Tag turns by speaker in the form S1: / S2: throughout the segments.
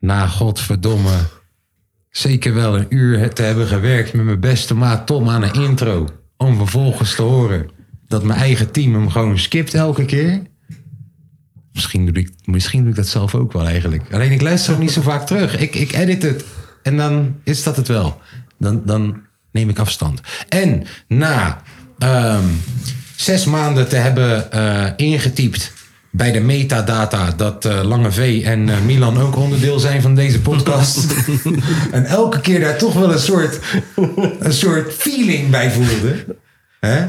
S1: Na godverdomme. Zeker wel een uur te hebben gewerkt met mijn beste maat Tom aan een intro. Om vervolgens te horen dat mijn eigen team hem gewoon skipt elke keer. Misschien doe ik, misschien doe ik dat zelf ook wel eigenlijk. Alleen ik luister ook niet zo vaak terug. Ik, ik edit het. En dan is dat het wel. Dan, dan neem ik afstand. En na ehm, zes maanden te hebben eh, ingetypt bij de metadata dat eh, Lange V en eh, Milan ook onderdeel zijn van deze podcast. en elke keer daar toch wel een soort, een soort feeling bij voelde. Hè?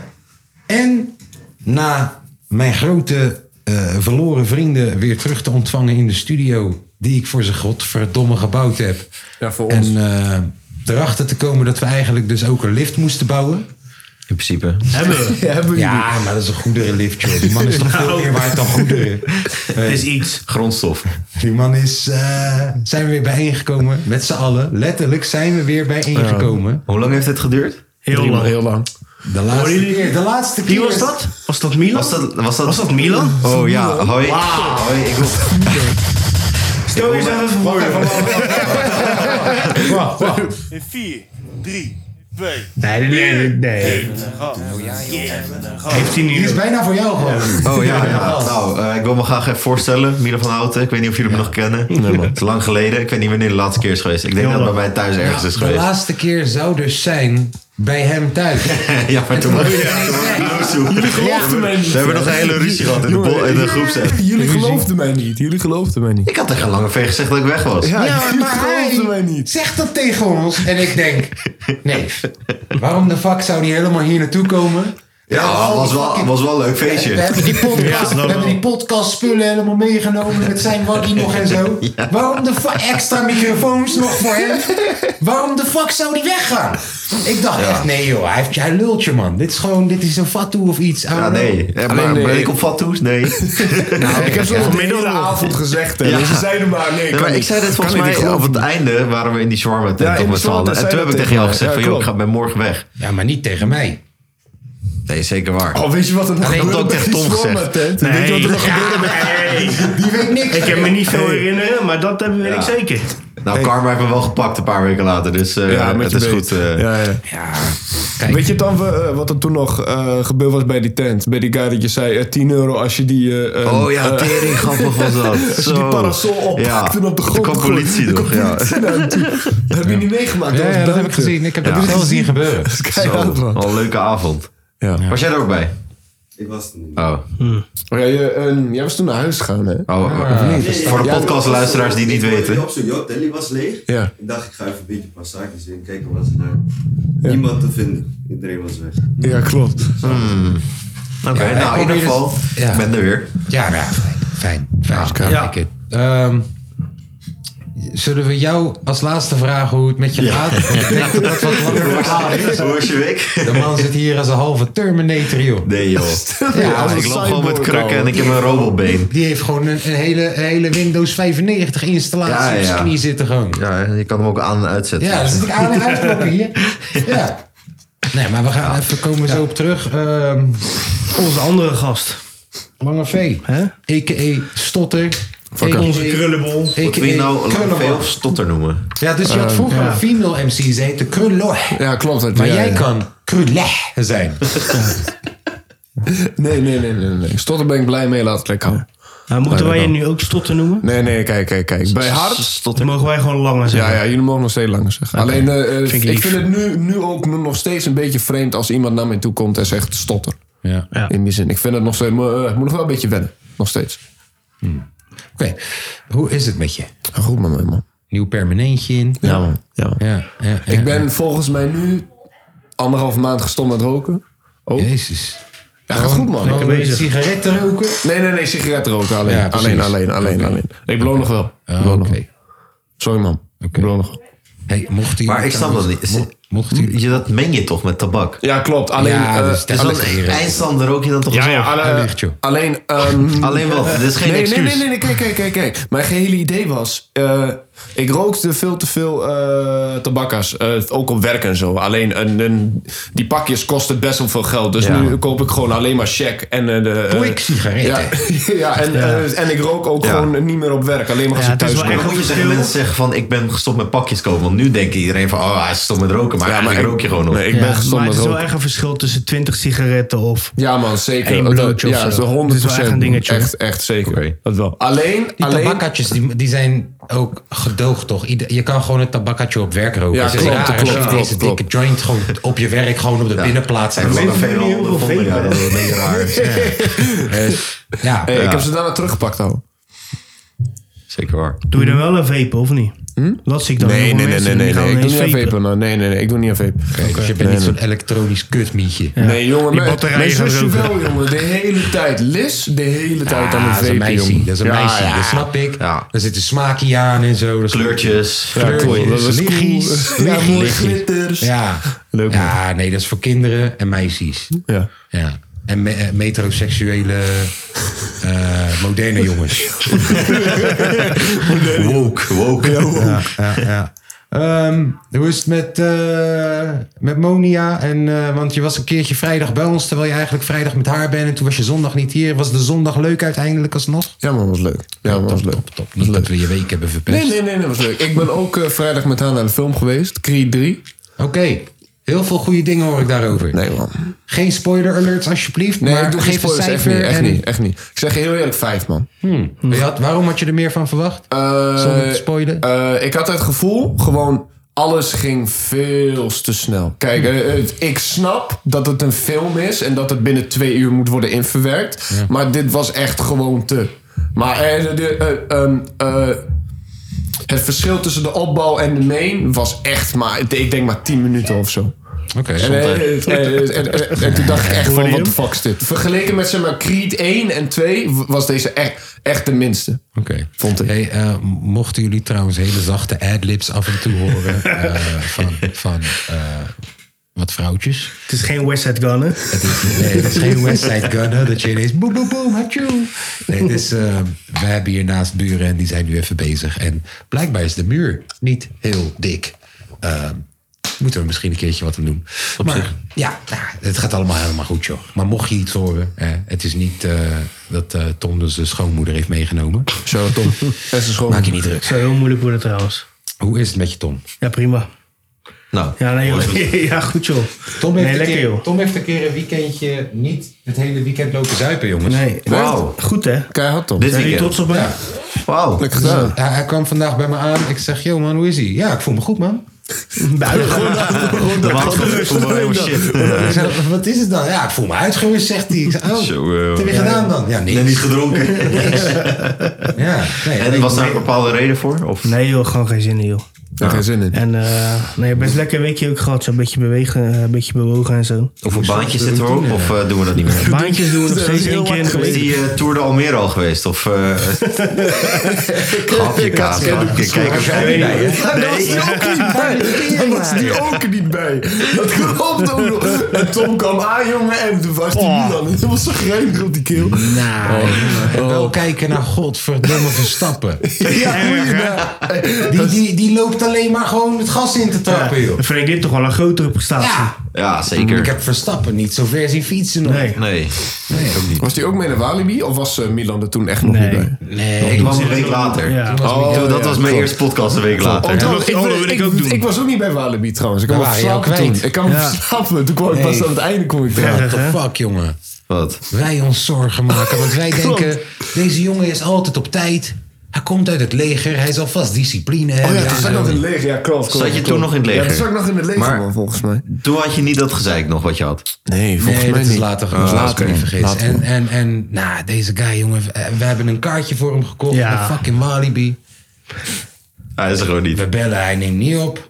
S1: En na mijn grote eh, verloren vrienden weer terug te ontvangen in de studio. Die ik voor ze godverdomme gebouwd heb.
S2: Ja, voor
S1: en
S2: ons.
S1: eh, erachter te komen dat we eigenlijk dus ook een lift moesten bouwen.
S3: In principe.
S2: Hebben we.
S1: Hebben ja, maar dat is een goedere lift, joh. Die man is toch veel meer waard dan goederen.
S2: Nou. Het is iets.
S3: Grondstof.
S1: Die man is... eh, zijn we weer bijeengekomen met z'n allen. Letterlijk zijn we weer bijeengekomen.
S3: Hoe lang heeft het geduurd?
S2: Heel
S1: Drie
S2: lang.
S1: man.
S2: Heel lang.
S1: De laatste
S2: Hoi.
S1: keer. De laatste keer.
S2: Wie was dat? Was dat Milan?
S3: Was dat, was dat,
S2: Was dat Milan?
S3: Oh ja, hoi.
S2: Wauw.
S3: Hoi, ik wil...
S2: Stel jezelf even voor.
S1: Wacht, wacht.
S4: 4, 3, 2,
S2: Nee, nee, nee. Heeft hij
S1: Die
S2: nu...
S1: is bijna voor jou gewoon.
S3: Oh ja, ja. nou, eh, ik wil me graag even voorstellen. Milan van Houten, ik weet niet of jullie me nog kennen. Het is lang geleden, ik weet niet wanneer de laatste keer is geweest. Ik denk dat het bij mij thuis ergens is
S1: De
S3: geweest.
S1: laatste keer zou dus zijn bij hem thuis.
S3: Ja, maar
S2: Oh,
S3: toen was toen was ik loos toe. We hebben nog een hele ruzie gehad in de, bol, in de groepsapp.
S2: Jullie
S1: geloofden
S2: mij niet. Jullie geloofden mij niet.
S3: Ik had tegen Lange V gezegd dat ik weg was.
S1: Ja, maar hij zegt dat tegen ons. En ik denk, nee, waarom de fuck zou die helemaal hier naartoe komen? oh,
S3: Ja, was wel, was wel een leuk
S1: We
S3: feestje.
S1: hebben die podcast, we hebben die podcast spullen helemaal meegenomen met zijn waggie nog en zo. Waarom de fuck extra microfoons nog voor hem? Waarom de fuck zou die weggaan? Ik dacht echt, nee joh, hij, heeft, hij lult je man. Dit is gewoon, dit is een fatu of iets. I don't
S3: Ja,
S1: know.
S3: nee. Eh, Maar
S2: nee.
S3: ben ik op Fatsoes? Nee.
S2: ik heb zo'n hele avond gezegd. hè.
S3: Ja.
S2: Ze zeiden maar,
S3: Ja,
S2: nee, kan
S3: Nou, maar ik
S2: niet.
S3: zei dit volgens
S2: Kan ik niet
S3: mij op
S2: geloven.
S3: het einde waren we in die shawarma tent
S2: Ja,
S3: toch
S2: in de
S3: met z'n
S2: shawarma
S3: allen.
S2: tent
S3: En toen
S2: zei
S3: heb ik
S2: dat
S3: tegen jou
S2: tegen
S3: gezegd
S2: mij.
S3: van joh,
S2: Ja,
S3: ik
S2: klopt.
S3: ga bij morgen weg.
S1: Ja, maar niet tegen mij.
S3: Nee, zeker waar.
S2: Oh, weet je wat er nog
S1: Alleen
S2: gebeurde
S3: dat ook
S2: bij
S3: tegen
S2: die
S3: Tom gezegd.
S2: shawarma-tent? Weet je wat er nog gebeurde bij-
S1: Die weet niks.
S5: Ik kan me niet veel herinneren, maar dat heb, weet
S3: Ja.
S5: ik zeker.
S3: Nou, Karma heeft me wel gepakt een paar weken later, dus eh,
S2: Ja, met
S3: het
S2: je
S3: is
S2: beet.
S3: goed. eh.
S2: Ja, ja.
S1: Kijk.
S2: Weet je dan eh, wat er toen nog eh, gebeurd was bij die tent? Bij die guy dat je zei eh, 10 euro als je die... eh, een-
S3: Oh ja,
S2: eh,
S3: tering grappig was dat.
S2: als je
S3: Zo.
S2: die parasol oppakt en op de
S3: Er
S2: grond
S3: kwam
S2: gooit.
S3: politie
S2: Er
S3: toch,
S2: kwam
S3: ja.
S2: politie naar hem toe. Dat heb je niet meegemaakt.
S1: Ja,
S2: was
S1: ja, dat heb ik
S2: buiten.
S1: gezien. Ik heb dat
S3: Ja.
S1: wel zien gebeuren.
S2: Keihard,
S3: Zo,
S2: man.
S3: Al een leuke avond.
S2: Ja.
S3: Was jij er ook bij? Ik was er niet.
S1: Hmm.
S2: Maar ja, je, eh, jij was toen naar huis gegaan, hè?
S3: Oh, oh, oh. voor de podcastluisteraars die niet weten.
S6: Op zo'n job, Telly was leeg.
S2: Ja.
S6: Ik dacht, ik ga even een beetje passages in, kijken wat ze daar. Niemand te vinden. Iedereen was weg.
S2: Ja, klopt.
S3: Hmm. Oké, nou in
S1: probeer
S3: ieder
S1: het-
S3: geval,
S1: ja.
S3: ik ben er weer.
S1: Ja, ja, fijn. Fijn. fijn.
S5: Ja.
S1: Lekker. Ehm, zullen we jou als laatste vragen hoe het met je gaat? Want ik denk dat dat wat langer verhaal is.
S3: Hoe was je week?
S1: De man zit hier als een halve Terminator, joh.
S3: Nee joh.
S1: Ja,
S3: ik loop gewoon met krukken en ik heb een robotbeen.
S1: Die heeft gewoon een, een hele, een hele Windows 95 installatie
S3: Ja,
S1: op zijn
S3: ja.
S1: knie zitten gewoon.
S3: Ja, je kan hem ook aan en uitzetten.
S1: Ja, dan zit ik aan en uitkloppen hier. Ja. Nee, maar we gaan even komen zo op terug. Ehm,
S5: Onze andere gast.
S1: Lange V.
S5: Hè?
S1: A.k.a. Stotter. a.k.a.
S5: Onze krullenbol.
S3: Moeten we je nou
S1: Krullenbol.
S3: veel of stotter noemen?
S1: Ja, dus je had vroeger een female MC, ze heette Krulloh.
S2: Ja, klopt. dat-
S1: Maar
S2: ja,
S1: jij
S2: ja.
S1: kan Krulleh zijn.
S2: Nee, nee, nee, nee. nee. Stotter ben ik blij mee, laat het lekker houden.
S5: Nou, moeten wij je nu ook stotter noemen?
S2: Nee, nee, kijk, kijk, kijk. Bij hard...
S5: Dan mogen wij gewoon langer zijn.
S2: Ja, ja, jullie mogen nog steeds langer zeggen. Alleen, eh, eh,
S5: Vind ik
S2: ik,
S5: lief.
S2: vind het nu, nu ook nog steeds een beetje vreemd als iemand naar mij toe komt en zegt stotter.
S1: Ja.
S5: Ja.
S2: In die zin. Ik vind het nog steeds, maar, eh, ik moet nog wel een beetje wennen. Nog steeds.
S1: Oké, hoe is het met je?
S2: Goed met mij, man.
S1: Nieuw permanentje in.
S2: Ja, man. Ja, man.
S1: Ja, ja, ja.
S2: Ik ben volgens mij nu anderhalf maand gestopt met roken.
S1: Jezus.
S2: Ja, gaat goed, man.
S1: Gewoon
S5: bezig.
S1: sigaretten roken.
S2: Nee, nee, nee, sigaretten roken alleen.
S1: Ja, precies.
S2: alleen, alleen, alleen, alleen. Ik beloof nog wel. Ik
S1: Ah,
S2: beloof nog
S1: Oké.
S2: wel. Sorry man.
S1: Oké.
S2: Lullig.
S1: Hey, mocht hij
S3: Maar ik snap dat niet.
S1: mo- Mocht hij
S3: Je, dat meng je toch met tabak?
S2: Ja, klopt. Alleen,
S1: Ja,
S2: eh,
S1: dat is- dat
S3: Dus
S1: is
S3: dan
S1: ligt hier, hè.
S3: eindstand rook je dan toch
S2: ja,
S3: zelf?
S2: alle-
S1: Hij ligt, joh.
S2: alleen ehm,
S3: Alleen wat? Dit is geen
S2: nee, nee,
S3: excuus.
S2: nee, nee, nee, kijk, kijk, kijk, kijk. Mijn gehele idee was, eh, ik rookte veel te veel eh tabakka's. Eh, ook op werk en zo. Alleen, een, een- die pakjes kosten best wel veel geld. Dus nu koop ik gewoon alleen maar check. En, eh, de, eh,
S1: Kwik
S2: ja,
S1: sigaretten.
S2: ja, en, eh, en ik rook ook
S3: Ja.
S2: gewoon niet meer op werk. Alleen maar als
S5: Ja,
S2: ik
S5: het is
S2: thuis
S5: wel
S2: kom.
S5: echt-
S3: Dan moet je tegen mensen zeggen van ik ben gestopt met pakjes kopen. Want nu denkt iedereen van oh hij is gestopt met roken. Maar ja, maar ik rook je gewoon nog.
S2: Nee, eh, ik ben gestopt
S5: maar
S2: met
S5: het is wel
S2: roken.
S5: echt een verschil tussen 20 sigaretten of...
S2: Ja man, zeker.
S5: Eén
S2: Dat-
S5: blootje of
S2: ja,
S5: zo.
S2: dat is 100%.
S5: Het is wel echt een dingetje, hoor.
S2: Echt, echt zeker. Dat wel. Alleen,
S1: Die
S2: alleen
S1: tabakkatjes die, die zijn ook gedoogd, toch? Ieder- je kan gewoon een tabakkatje op werk roken.
S2: Ja,
S1: Het is
S2: klopt,
S1: raar als
S2: klopt,
S1: je
S2: klopt,
S1: deze
S2: klopt.
S1: dikke joint gewoon op je werk, gewoon op de binnenplaats. En
S3: Lange
S1: gewoon-
S3: velen
S5: heel veel
S3: ondervonden, ja,
S5: velen.
S3: dat is een beetje raar.
S1: ja,
S2: Hey, eh, Ik heb ze daarna teruggepakt, al.
S3: Zeker waar.
S5: Doe je dan wel een vape of niet? Dat zie ik dan. heel
S2: Hm? Nee,
S5: veel
S2: nee, nee,
S5: mensen
S2: nee,
S5: die
S2: nee,
S5: gaan
S2: nee. Ik doe
S5: ineens
S2: niet aan
S5: vapen.
S2: vapen. nou. Nee, nee, nee. Ik doe niet aan vapen.
S1: dus je bent niet zo'n elektronisch kutmietje.
S2: Nee, jongen.
S5: Die
S2: mijn-
S5: batterijen
S2: mijn
S5: gaan
S2: zusje
S5: roken.
S2: wel, jongen. De hele tijd. Liz, de hele tijd aan
S1: Ah,
S2: het
S1: dat is een
S2: vapen,
S1: meisje,
S2: jongen.
S1: dat is een
S2: Ja,
S1: meisje,
S2: ja.
S1: dat snap ik.
S3: Ja.
S1: Daar zitten smaakje aan en zo. dat is-
S3: Kleurtjes.
S2: Ja, cool. Dat was
S1: Liggies,
S2: cool. Ja, mooie
S1: liggies.
S2: glitters.
S1: Ja.
S2: Leuk, man.
S1: ja, nee, dat is voor kinderen en meisjes.
S2: Ja.
S1: Ja. En me- eh, metroseksuele eh, moderne jongens.
S3: Woke. Woke.
S1: Ja, ja, ja. Ehm, hoe is het met, eh, met Monia? En, eh, want je was een keertje vrijdag bij ons, terwijl je eigenlijk vrijdag met haar bent. En toen was je zondag niet hier. Was de zondag leuk uiteindelijk alsnog?
S2: Ja, man, was leuk. Ja, man, was leuk.
S1: Top, niet dat we je week hebben verpest.
S2: Nee, nee, nee, dat was leuk. Ik ben ook eh, vrijdag met haar naar de film geweest. Creed 3.
S1: Oké, heel veel goede dingen hoor ik daarover.
S2: Nee, man.
S1: Geen spoiler alerts alsjeblieft.
S2: Nee,
S1: maar
S2: ik doe geen
S1: geef een
S2: spoilers. Echt
S1: cijfer
S2: niet, echt
S1: en-
S2: niet, echt niet. Ik zeg je heel eerlijk vijf, man.
S1: Je had- waarom had je er meer van verwacht?
S2: Eh,
S1: Zonder te spoilen?
S2: eh, ik had het gevoel, gewoon alles ging veel te snel. Kijk, eh, het- ik snap dat het een film is en dat het binnen twee uur moet worden inverwerkt. Maar dit was echt gewoon te. Maar eh, de- eh, ehm, eh, het verschil tussen de opbouw en de main was echt maar, ik denk maar 10 minuten of zo.
S1: Oké.
S2: En, eh, eh, eh, eh, eh, en toen dacht ik echt
S5: Hoorde
S2: van,
S5: je
S2: wat de
S5: hem?
S2: fuck is dit? Vergeleken met zeg maar, Creed 1 en 2 was deze echt, Nou, echt de minste.
S1: Oké.
S2: Vond ik.
S1: Hey, eh, mochten jullie trouwens hele zachte ad-libs af en toe horen eh, van, van eh, wat vrouwtjes?
S5: Het is geen West Side Gun, hè?
S1: Het is, nee, het is geen West Side Gun, hè, dat je ineens boem, boem, boem, hatsjoe. Nee, het is, eh, we hebben hier naast buren en die zijn nu even bezig. En blijkbaar is de muur niet heel dik. Ehm, moeten we misschien een keertje wat aan doen. maar ja, nou, het gaat allemaal helemaal goed, joh. Maar mocht je iets horen, hè, het is niet eh, dat eh, Tom dus zijn schoonmoeder heeft meegenomen.
S2: Zo, Tom. Best een schoon.
S1: Maak je niet druk.
S5: Zou heel moeilijk worden trouwens.
S1: Hoe is het met je Tom?
S5: Ja, prima.
S3: Nou.
S5: Ja, nee, joh. ja goed joh.
S1: Tom heeft,
S5: nee,
S1: een
S5: lekker
S1: keer,
S5: joh.
S1: Tom heeft een keer een weekendje niet het hele weekend lopen zuipen, jongens.
S5: Nee,
S3: Wauw.
S5: goed hè?
S2: Keihard, Tom.
S3: Dit
S5: Zijn jullie
S3: weekend.
S5: trots op mij?
S3: Wauw.
S2: Lekker gedaan.
S1: Hij, hij kwam vandaag bij me aan. Ik zeg, yo man, hoe is hij? Ja, ik voel me goed, man.
S3: De wacht Oh shit.
S1: Ik zeg, wat is het dan? Ja, ik voel me uitgerust, zegt hij. Ik zeg, oh,
S3: Zo,
S1: wat
S3: eh,
S1: heb je gedaan dan? Ja,
S3: En
S1: niks.
S3: niet gedronken.
S1: Ja, nee,
S3: En
S1: nee,
S3: was daar
S1: nee.
S3: een bepaalde reden voor? Of?
S5: Nee joh, gewoon geen zin in joh.
S2: Daar geen zin in.
S5: En eh nee, best lekker weekje ook gehad. Zo'n beetje bewegen, eh, een beetje bewogen en zo.
S3: Of een baantje zit erop? Of eh, doen we dat niet meer?
S5: Baantjes doen we nog steeds één keer in de
S3: Is
S5: week.
S3: die eh, Tour de Almere al geweest? Of eh grapje kaas, grapje. Kijk,
S1: Was jij er niet bij, hè?
S2: Daar was die ook niet bij. Daar was die ook niet bij. Dat klopt ook nog. En Tom kwam aan, jongen. En toen was die nu dan. Dat was zo grijnig op die keel.
S1: Nou, jongen, wel kijken naar godverdomme Verstappen.
S2: Ja, ja.
S1: Die, die, die loopt alleen maar gewoon het gas in te trappen, joh.
S5: Dan vind ik dit toch wel een grotere prestatie.
S1: Ja,
S3: Ja,
S1: ik
S3: zeker.
S1: heb Verstappen niet zo ver zien fietsen nog.
S5: Nee.
S3: Nee.
S2: Was die ook mee naar Walibi? Of was eh, Milan er toen echt nog
S5: Nee.
S2: niet bij?
S1: Nee,
S3: Ik kwam een week later.
S5: Ja.
S2: Oh,
S3: Toen- dat
S2: ja,
S3: was mijn
S2: klopt.
S3: eerste podcast een week
S2: Oh,
S3: later.
S2: trouwens, ik,
S5: Oh, dat
S2: was-
S5: wil ik
S2: ik-
S5: ook doen.
S2: ik was ook niet bij Walibi trouwens. Dus Ik
S1: Daar
S2: kwam op
S1: waren je al
S2: slapen
S1: kwijt.
S2: toen. Ik kwam op slapen. Toen kwam ik pas
S1: Nee.
S2: aan het einde. Kom ik eraan.
S1: What the fuck, jongen.
S3: Wat?
S1: Wij ons zorgen maken. Want wij denken, deze jongen is altijd op tijd. Hij komt uit het leger. Hij zal vast discipline
S2: Oh
S1: hebben.
S2: ja, toen zat ik nog in het leger. Ja, klopt. klopt,
S3: Zat je toen
S2: klopt.
S3: nog in het
S2: Ja,
S3: leger?
S2: toen zat ik nog in het leger,
S3: Maar-
S2: man, volgens mij.
S3: Toen had je niet dat gezeik nog wat je had.
S2: Nee,
S1: Nee, dat is later gebeurd.
S2: Ah,
S1: later,
S2: oké.
S1: niet vergeten.
S2: Later.
S1: En, en, en nou, deze guy, jongen. eh, We hebben een kaartje voor hem gekocht.
S5: Ja.
S1: naar Fucking Walibi.
S3: Hij is er gewoon niet.
S1: We bellen, hij neemt niet op.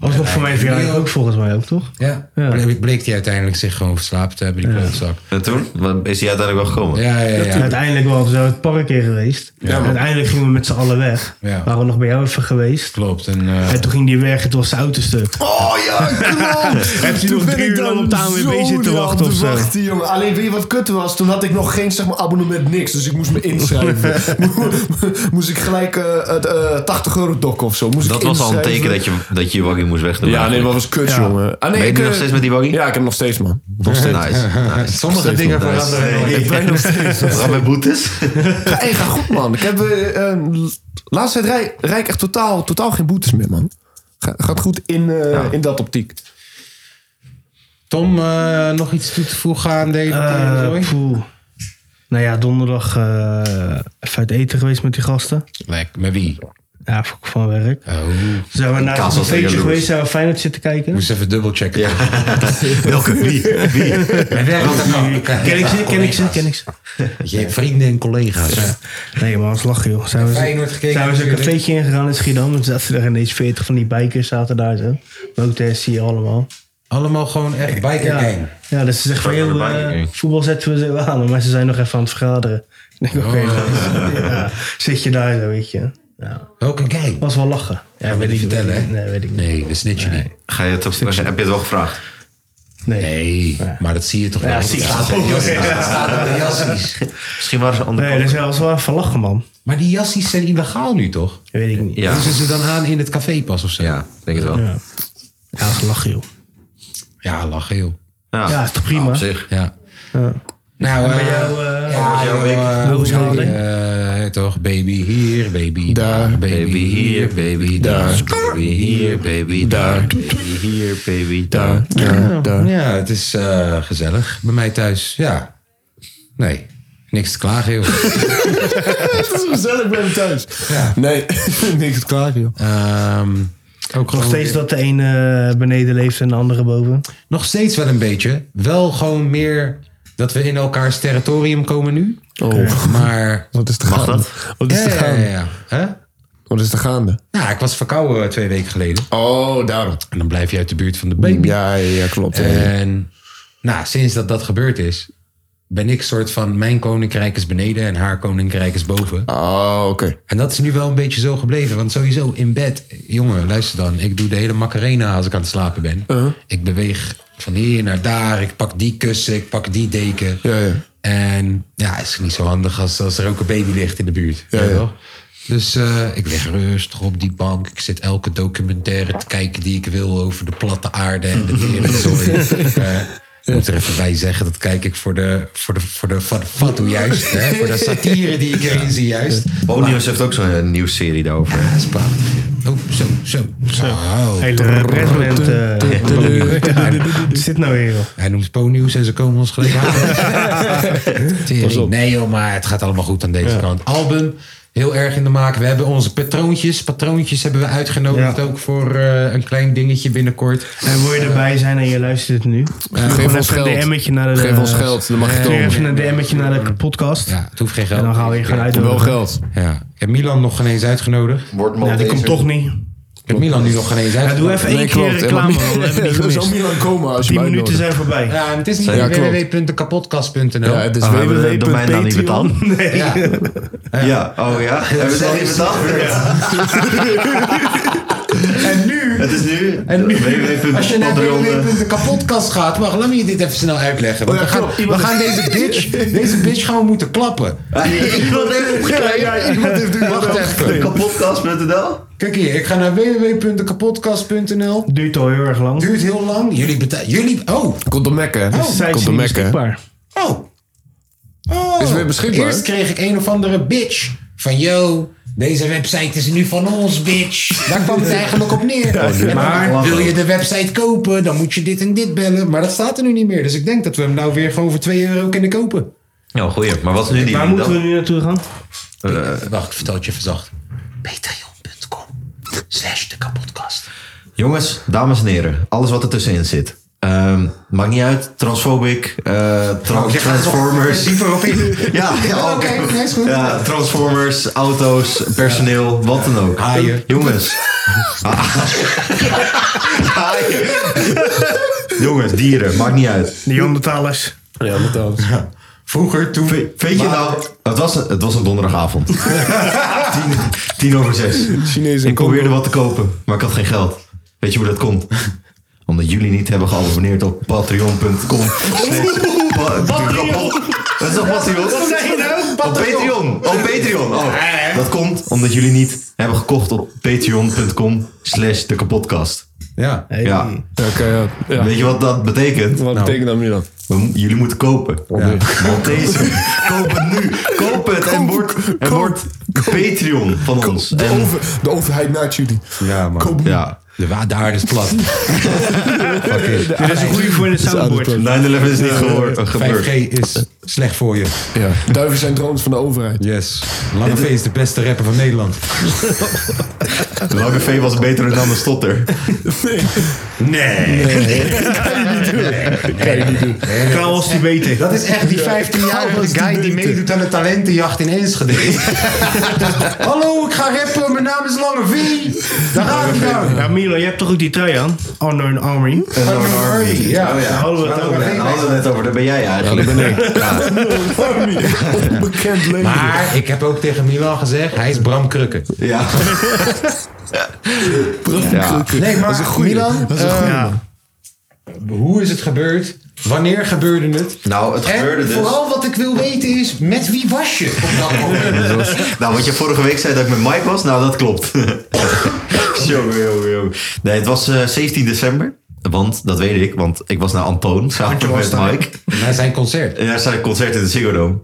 S5: Alsnog voor mijn verjaardag ook volgens mij ook, toch?
S1: Ja.
S5: Ja.
S1: Ble- Bleek hij uiteindelijk zich gewoon verslapen te hebben, die klootzak.
S3: En toen? Wat- Is hij uiteindelijk wel gekomen?
S1: Ja, ja, ja.
S5: Uiteindelijk wel, we zijn het park in geweest. En Uiteindelijk gingen we met z'n allen weg.
S1: Ja.
S5: Waren we nog bij jou even geweest.
S1: Klopt. En, eh,
S5: En toen ging die weg en toen was zijn auto stuk.
S2: Oh ja, klopt!
S5: Heeft hij
S2: Toen
S5: nog
S2: ben
S5: drie
S2: ik
S5: uur lang
S2: daar
S5: op de ANWB
S2: zo
S5: zitten
S2: lang
S5: wachten
S2: op
S5: of zo?
S2: wachten, jongen. Alleen weet je wat kut was? Toen had ik nog geen zeg maar, abonnement niks, dus ik moest me inschrijven. Mo- moest ik gelijk eh, het, eh, 80 euro dokken of zo. Moest
S3: Dat
S2: ik
S3: was al een
S2: inschrijven.
S3: teken dat je dat je je waggie moest wegdoen.
S2: Ja, nee,
S3: eigenlijk.
S2: dat was kut, jongen. Ah, nee,
S3: Ben je
S2: ik,
S3: nu
S2: eh,
S3: nog steeds met die waggie?
S2: Ja, ik heb hem nog steeds, man.
S3: nog steeds. Nice.
S1: sommige
S2: Steven
S1: dingen
S3: Dijs.
S1: veranderen. helemaal
S3: Nee.
S1: niet.
S2: Ik ben nog steeds.
S3: Wat met boetes?
S2: Ja, hey, ga goed, man. Ik heb eh, eh, laatste tijd rij, rij ik echt totaal, totaal geen boetes meer, man. Ga- gaat goed in, eh, in dat optiek.
S1: Tom, eh, nog iets toe te voegen aan deze
S5: Eh,
S1: zooi?
S5: poeh. nou ja, donderdag eh, even uit eten geweest met die gasten.
S1: Lek, met wie?
S5: Ja, van- van werk.
S1: Oh,
S5: Zijn we naar
S3: Kaas
S5: een
S3: was
S5: feestje
S3: jaloers.
S5: geweest, zijn we Feyenoord zitten kijken.
S1: moest even dubbelchecken.
S3: Ja. Welke? Wie? Wie?
S1: Mijn werk had dat ook.
S5: Ken ik ze, ken ik ze, ken ik ze.
S1: Je hebt vrienden en collega's. Ja.
S5: Nee, maar als lachen joh. Zijn we,
S1: Feyenoord gekeken
S5: zijn we zo'n
S1: natuurlijk.
S5: cafeetje ingegaan in Schiedam. En zaten er ineens 40 van die bikers zaten daar zo. Motors zie je allemaal.
S1: Allemaal gewoon echt biker
S5: Ja,
S1: gang.
S5: ja dus ze zeggen van,
S3: Feyenoord
S5: joh,
S3: biker
S5: eh,
S3: gang.
S5: voetbal zetten we zo aan. Maar ze zijn nog even aan het vergaderen. Ik denk, oké,
S1: Oh.
S5: nou, ja, zit je daar zo, weet je. Ja,
S1: Welke gang?
S5: was wel lachen. Ja,
S1: wil je
S5: ik
S1: vertellen, hè?
S5: niet. Nee, weet ik niet.
S1: Nee, dat snitch je niet.
S3: Ga je het op, heb je het wel gevraagd?
S5: Nee.
S1: Nee, maar dat zie je toch wel.
S5: Ja, zie je.
S1: Dat staat op de jassies. Dat staat op de jassies.
S3: Misschien waren ze andere
S5: Nee, dat is wel was wel even lachen, man.
S1: Maar die jassies zijn illegaal nu, toch?
S5: Weet ik niet. Ja,
S3: Ja.
S1: Doen ze ze dan aan in het café pas of zo?
S3: Ja, denk het wel. Ja,
S5: dat is lachen, joh.
S1: Ja, lachen joh.
S5: Ja, is toch prima?
S3: op zich.
S1: Ja. Nou, eh,
S5: jou, eh,
S1: ja,
S3: jouw
S1: joh,
S3: week?
S1: eh,
S5: Hoe was jouw
S1: sorry,
S5: week?
S1: eh, toch, baby hier, baby daar, baby hier, baby daar, baby hier, baby daar,
S3: Baby hier, baby daar.
S1: Ja, het is eh, gezellig bij mij thuis. Ja. Nee, niks te klagen, joh.
S2: Het is gezellig bij hem thuis. Nee, niks te klagen, joh.
S1: Ehm, ook
S5: Nog
S1: gewoon-
S5: steeds dat de ene eh, beneden leeft en de andere boven.
S1: Nog steeds wel een beetje. Wel gewoon meer dat we in elkaars territorium komen nu.
S2: Oh,
S1: Maar.
S2: wat is te
S3: Mag
S2: gaande? Wat is
S1: Ja,
S2: te
S1: ja, ja,
S2: gaande?
S1: ja. Hè?
S2: Wat is te gaande?
S1: Nou, ik was verkouden twee weken geleden.
S2: Oh, daarom.
S1: En dan blijf je uit de buurt van de baby.
S2: Ja, ja, klopt.
S1: En nou, sinds dat dat gebeurd is, ben ik soort van mijn koninkrijk is beneden en haar koninkrijk is boven.
S2: Oh, oké.
S1: En dat is nu wel een beetje zo gebleven. Want sowieso in bed, jongen, luister dan. Ik doe de hele Macarena als ik aan het slapen ben.
S2: Uh-huh.
S1: Ik beweeg van hier naar daar. Ik pak die kussen, ik pak die deken.
S2: Ja, ja.
S1: En ja, is niet zo handig als, als er ook een baby ligt in de buurt.
S2: Ja,
S1: weet je
S2: ja.
S1: wel? Dus eh, ik lig rustig op die bank. Ik zit elke documentaire te kijken die ik wil over de platte aarde en de wereldzooi. Eh, ik moet er even bij zeggen, dat kijk ik voor de, voor de, voor de, voor de fatu juist. Hè? Voor de satire die ik erin zie juist.
S3: Bonius heeft ook zo'n eh, nieuwsserie daarover.
S1: Dat is prachtig. Oh, zo, zo. Oh.
S5: Hele redland. Wat is dit nou weer, joh?
S1: Hij noemt Ponyus en ze komen ons gelijk aan. Tering. nee joh, maar het gaat allemaal goed aan deze kant. Album, heel erg in de maak. We hebben onze patroontjes. Patroontjes hebben we uitgenodigd
S5: Ja.
S1: ook voor eh, een klein dingetje binnenkort.
S5: En wil je erbij zijn en je luistert het nu?
S2: Geef ons
S5: even een
S2: geld.
S5: DM'tje naar de...
S2: Geef ons geld, dan mag je
S5: Stuur even
S2: komen.
S5: een DM'tje
S1: nou-
S5: naar de podcast.
S1: Ja, het hoeft geen geld.
S5: En dan gaan we je gaan
S2: Wel
S5: uitnodigen.
S2: geld.
S1: Ja. Ik heb Milan nog geen eens uitgenodigd.
S3: Wordt
S5: Ja, die komt toch niet.
S1: Ik heb Milan nu nog geen eens
S5: Ja, doe
S1: uitgenodigd.
S5: even één keer reclame, want we hebben die
S2: Er zou
S5: gemist.
S2: Milan komen als je
S5: Die
S2: mij
S5: minuten
S2: uitnodigt.
S5: zijn voorbij. Ah,
S1: Ja, en het is niet
S2: Ja, klopt.
S1: www.kapotkast.nl.
S2: Ja, het is
S3: Oh, hebben we de domein dan niet
S2: www.patreon.
S3: betaald?
S5: Nee.
S1: Ja.
S3: Ja, oh ja. Hebben we dat niet betaald?
S1: En nu...
S3: Het is nu.
S1: En Als je naar
S3: www.patreon.
S1: www.kapotkast gaat, wacht, laat me je dit even snel uitleggen. Want
S2: Oh ja,
S1: we gaan,
S2: klopt.
S1: we gaan deze bitch, deze bitch gaan we moeten klappen.
S3: Iemand heeft
S1: Wacht even.
S3: Kapotkast.nl?
S1: Kijk hier, ik ga naar www.kapotkast.nl.
S5: Duurt al heel erg lang.
S1: Duurt heel lang. Jullie betalen. Jullie. Oh,
S2: Komt door Mekken.
S1: Oh,
S5: Zij
S2: Komt
S5: is
S2: door
S5: niet
S2: Mekken.
S5: beschikbaar.
S1: oh. Oh.
S2: Is weer beschikbaar?
S1: Eerst kreeg ik een of andere bitch van yo. Deze website is nu van ons, bitch. Daar kwam het eigenlijk op neer. En maar wil je de website kopen, dan moet je dit en dit bellen. Maar dat staat er nu niet meer. Dus ik denk dat we hem nou weer gewoon voor 2 euro kunnen kopen.
S3: Ja, Oh, goeie. Maar wat is nu die
S5: Waar
S3: link
S5: moeten we
S3: dan?
S5: nu naartoe gaan?
S1: Eh,
S3: eh,
S1: Wacht, ik vertel het je verzacht. Patreon.com slash de kapotkast.
S3: Jongens, dames en heren. Alles wat er tussenin zit. Ehm, maakt niet uit. Transphobic.
S1: Oh,
S3: eh, tra- Transformers.
S1: Dieper op in.
S3: Ja, ja
S1: Oké, nee, is goed.
S3: Ja, Transformers, auto's, personeel, wat dan ook.
S1: Haaien.
S3: Jongens, Haaien. Jongens, dieren, maakt niet uit.
S5: Neandertalers.
S2: Ja, met alles.
S1: Vroeger, toen...
S3: Ve- Weet je nou, het was een, het was een donderdagavond. tien, tien over zes.
S2: Chinezen.
S3: Ik probeerde wat te kopen, maar ik had geen geld. Weet je hoe dat komt? Omdat jullie niet hebben geabonneerd op patreon.com. Pa- Wat is dat Patreon?
S5: nou?
S3: Op Patreon. Op Patreon. Oh, dat komt omdat jullie niet hebben gekocht op patreon.com slash de kapotkast.
S1: Ja.
S5: Hey.
S3: Ja.
S2: Ja, oké, ja. Ja.
S3: Weet je wat dat betekent?
S2: Wat betekent dat nu dan?
S3: We mo- jullie moeten kopen.
S1: Ja.
S3: Maltese. Koop het nu. Koop het en word, en word Patreon van ons.
S2: De,
S3: En,
S2: over- de overheid naakt jullie.
S1: Ja, man.
S2: Koop-
S3: ja.
S1: De wa- de aarde is plat. Fuck it.
S5: Dit is een goede voor in het soundboard.
S3: 9-11 is niet gehoor- gebeurd.
S1: 5G is slecht voor je.
S2: Ja. Duiven zijn drones van de overheid.
S1: Yes. Lange V is de beste rapper van Nederland.
S3: Lange V was beter dan de stotter.
S7: Nee.
S5: Klaar was die beter.
S1: Dat is echt die 15-jarige guy die meedoet aan de talentenjacht in Enschede. Hallo, ik ga rappen, mijn naam is Lange V. Daar gaat hij dan.
S5: Ja, Milo, je hebt toch ook die trui aan? Unknown Army.
S1: Ja,
S3: Oh ja.
S5: Daar hadden we het over.
S3: Daar hadden we het net over, daar ben jij eigenlijk.
S2: Onbekend leven.
S1: Maar ik heb ook tegen Milan gezegd, hij is Bram Krukken.
S3: Ja. Ja.
S1: Nee, maar Milan, eh,
S5: Ja.
S1: hoe is het gebeurd? Wanneer gebeurde het?
S3: Nou, het gebeurde
S1: En
S3: dus.
S1: vooral wat ik wil weten is, met wie was je op dat moment?
S3: Nou, wat je vorige week zei dat ik met Mike was, nou dat klopt. Jongen, jongen, jongen. Nee, het was eh, 17 december. Want, dat weet ik, want ik was naar Antoon samen met Mike.
S1: Na zijn concert.
S3: En daar zijn concert in de Ziggo Dome.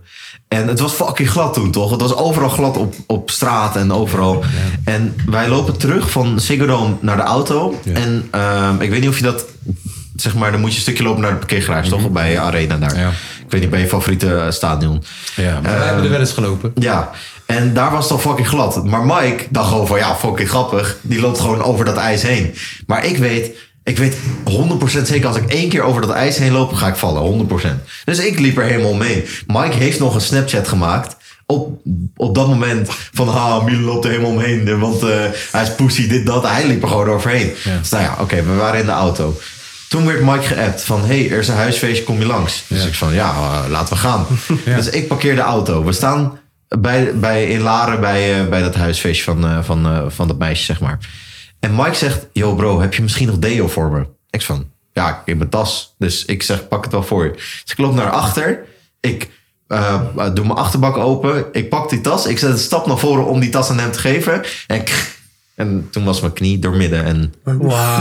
S3: En het was fucking glad toen, toch? Het was overal glad op, op straat en overal. En wij lopen terug van Ziggo Dome naar de auto. En ehm, ik weet niet of je dat... Zeg maar, dan moet je een stukje lopen naar de parkeergarage, toch? Bij Arena daar.
S1: Mhm. Ja.
S3: Ik weet niet, bij je favoriete eh, stadion.
S1: Ja, maar we hebben er wel eens gelopen.
S3: Ehm, Ja, en daar was het al fucking glad. Maar Mike dacht gewoon van, ja, fucking grappig. Die loopt gewoon over dat ijs heen. Maar ik weet, ik weet 100% zeker als ik één keer over dat ijs heen loop, ga ik vallen. 100%. Dus ik liep er helemaal mee. Mike heeft nog een Snapchat gemaakt. Op, op dat moment van, ha, Milan loopt er helemaal omheen. Want eh, hij is pussy, dit, dat. Hij liep er gewoon overheen. Dus nou ja, oké, we waren in de auto. Toen werd Mike geappt van, hey, er is een huisfeestje, kom je langs? Dus ik van, ja, eh, laten we gaan. Dus ik parkeer de auto. We staan bij, bij, in Laren bij, eh, bij dat huisfeestje van, eh, van, eh, van dat meisje, zeg maar. En Mike zegt, yo bro, heb je misschien nog deo voor me? Ik van, ja, in mijn tas. Dus ik zeg, pak het wel voor je. Dus ik loop naar achter. Ik eh, doe mijn achterbak open. Ik pak die tas. Ik zet een stap naar voren om die tas aan hem te geven. En, kr- en toen was mijn knie doormidden. En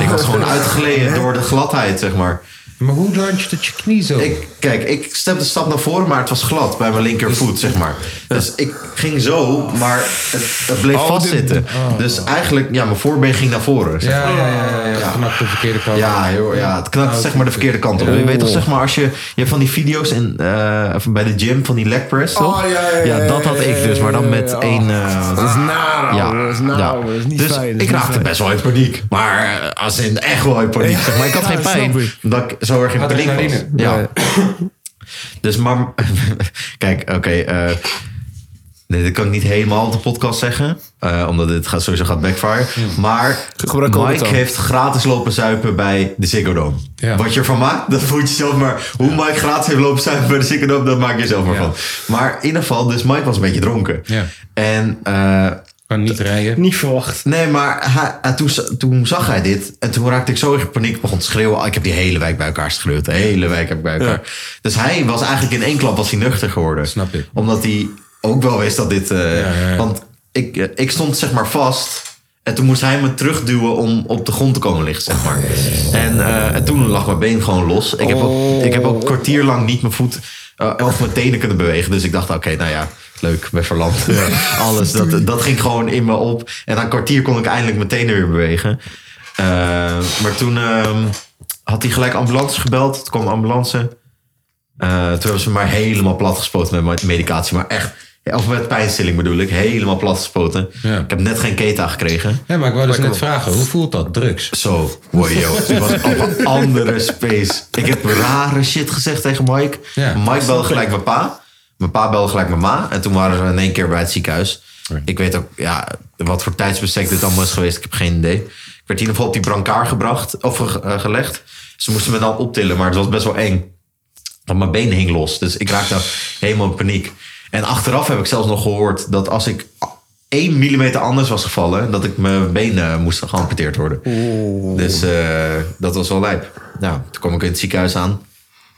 S3: ik was gewoon uitgeleden door de gladheid, zeg maar.
S1: Maar hoe launcht het je knie zo?
S3: Ik, kijk, ik stapte een stap naar voren, maar het was glad bij mijn linkervoet, zeg maar. Dus ik ging zo, maar het, het bleef vastzitten. Dus eigenlijk, ja, mijn voorbeen ging naar voren. zeg maar.
S1: Ja, ja, ja, ja, ja. Het knakt de verkeerde kant. Oh,
S3: Ja, joh, ja, het knakt zeg maar de verkeerde kant op. Je weet toch, zeg maar, als je, je hebt van die video's in, eh, van bij de gym van die leg press, toch?
S2: Oh, ja, ja, ja,
S3: dat had
S2: ja,
S3: ik dus, maar dan met
S2: ja, ja.
S3: één... eh,
S2: Dat is naar,
S3: ja,
S2: ouwe. Dat is naar,
S3: ja.
S2: ouwe. Dat is niet
S3: dus
S2: fijn. dat is
S3: ik
S2: niet
S3: raakte
S2: fijn.
S3: best wel in paniek. Maar eh, als in echt wel in paniek. zeg maar ik had
S2: Ja,
S3: geen
S2: dat
S3: pijn.
S2: snap ik.
S3: Dat ik zo erg in paniek was.
S1: Adrenaline.
S3: Ja. Dus maar... Kijk, oké. eh, nee, dat kan ik niet helemaal op de podcast zeggen. eh, omdat dit gaat, sowieso gaat backfire. Maar
S2: Hm. Gebruik
S3: Mike
S2: Albert dan.
S3: heeft gratis lopen zuipen bij de Ziggo Dome.
S1: Ja.
S3: Wat je ervan maakt, dat moet je zelf maar... Hoe Mike gratis heeft lopen zuipen bij de Ziggo Dome, dat maak je zelf maar
S1: Ja.
S3: van. Maar in ieder geval, dus Mike was een beetje dronken.
S1: Ja.
S3: En eh,
S1: Kan niet rijden.
S5: Niet verwacht.
S3: Nee, maar hij- hij- toen, za- toen zag hij dit. En toen raakte ik zo in paniek. begon te schreeuwen. Ik heb die hele wijk bij elkaar geschreeuwd. De hele wijk heb ik bij elkaar. Dus hij was eigenlijk in één klap was hij nuchter geworden.
S1: Snap ik.
S3: Omdat hij ook wel wist dat dit... eh,
S1: ja, ja.
S3: Want ik, eh, ik stond zeg maar vast... En toen moest hij me terugduwen om op de grond te komen liggen, zeg maar. En, eh, en toen lag mijn been gewoon los. Ik heb, ook, ik heb ook een kwartier lang niet mijn voet eh, of mijn tenen kunnen bewegen. Dus ik dacht, oké, nou ja, leuk, ben verlamd. Alles, dat, dat ging gewoon in me op. En na een kwartier kon ik eindelijk mijn tenen weer bewegen. Eh, maar toen ehm, had hij gelijk ambulance gebeld. Toen kwam de ambulance. Eh, toen hebben ze me maar helemaal plat gespoten met mijn medicatie. Maar echt, ja, of met pijnstilling bedoel ik. Helemaal plat gespoten.
S1: Ja.
S3: Ik heb net geen keta gekregen.
S1: Ja, maar ik wou dus net vragen, hoe voelt dat? Drugs.
S3: Zo, wow, yo. Ik was op een andere space. Ik heb rare shit gezegd tegen Mike.
S1: Ja.
S3: Mike belde gelijk mijn pa. Mijn pa belde gelijk mijn ma. En toen waren we in één keer bij het ziekenhuis. Ik weet ook ja, wat voor tijdsbestek dit allemaal is geweest. Ik heb geen idee. Ik werd in ieder geval op die brancard gebracht, of ge- eh, gelegd. Ze moesten me dan optillen, maar het was best wel eng. Want mijn been hing los. Dus ik raakte helemaal in paniek. En achteraf heb ik zelfs nog gehoord dat als ik 1 millimeter anders was gevallen, dat ik mijn benen moest geamputeerd worden. Dus eh, dat was wel lijp. Nou, toen kwam ik in het ziekenhuis aan.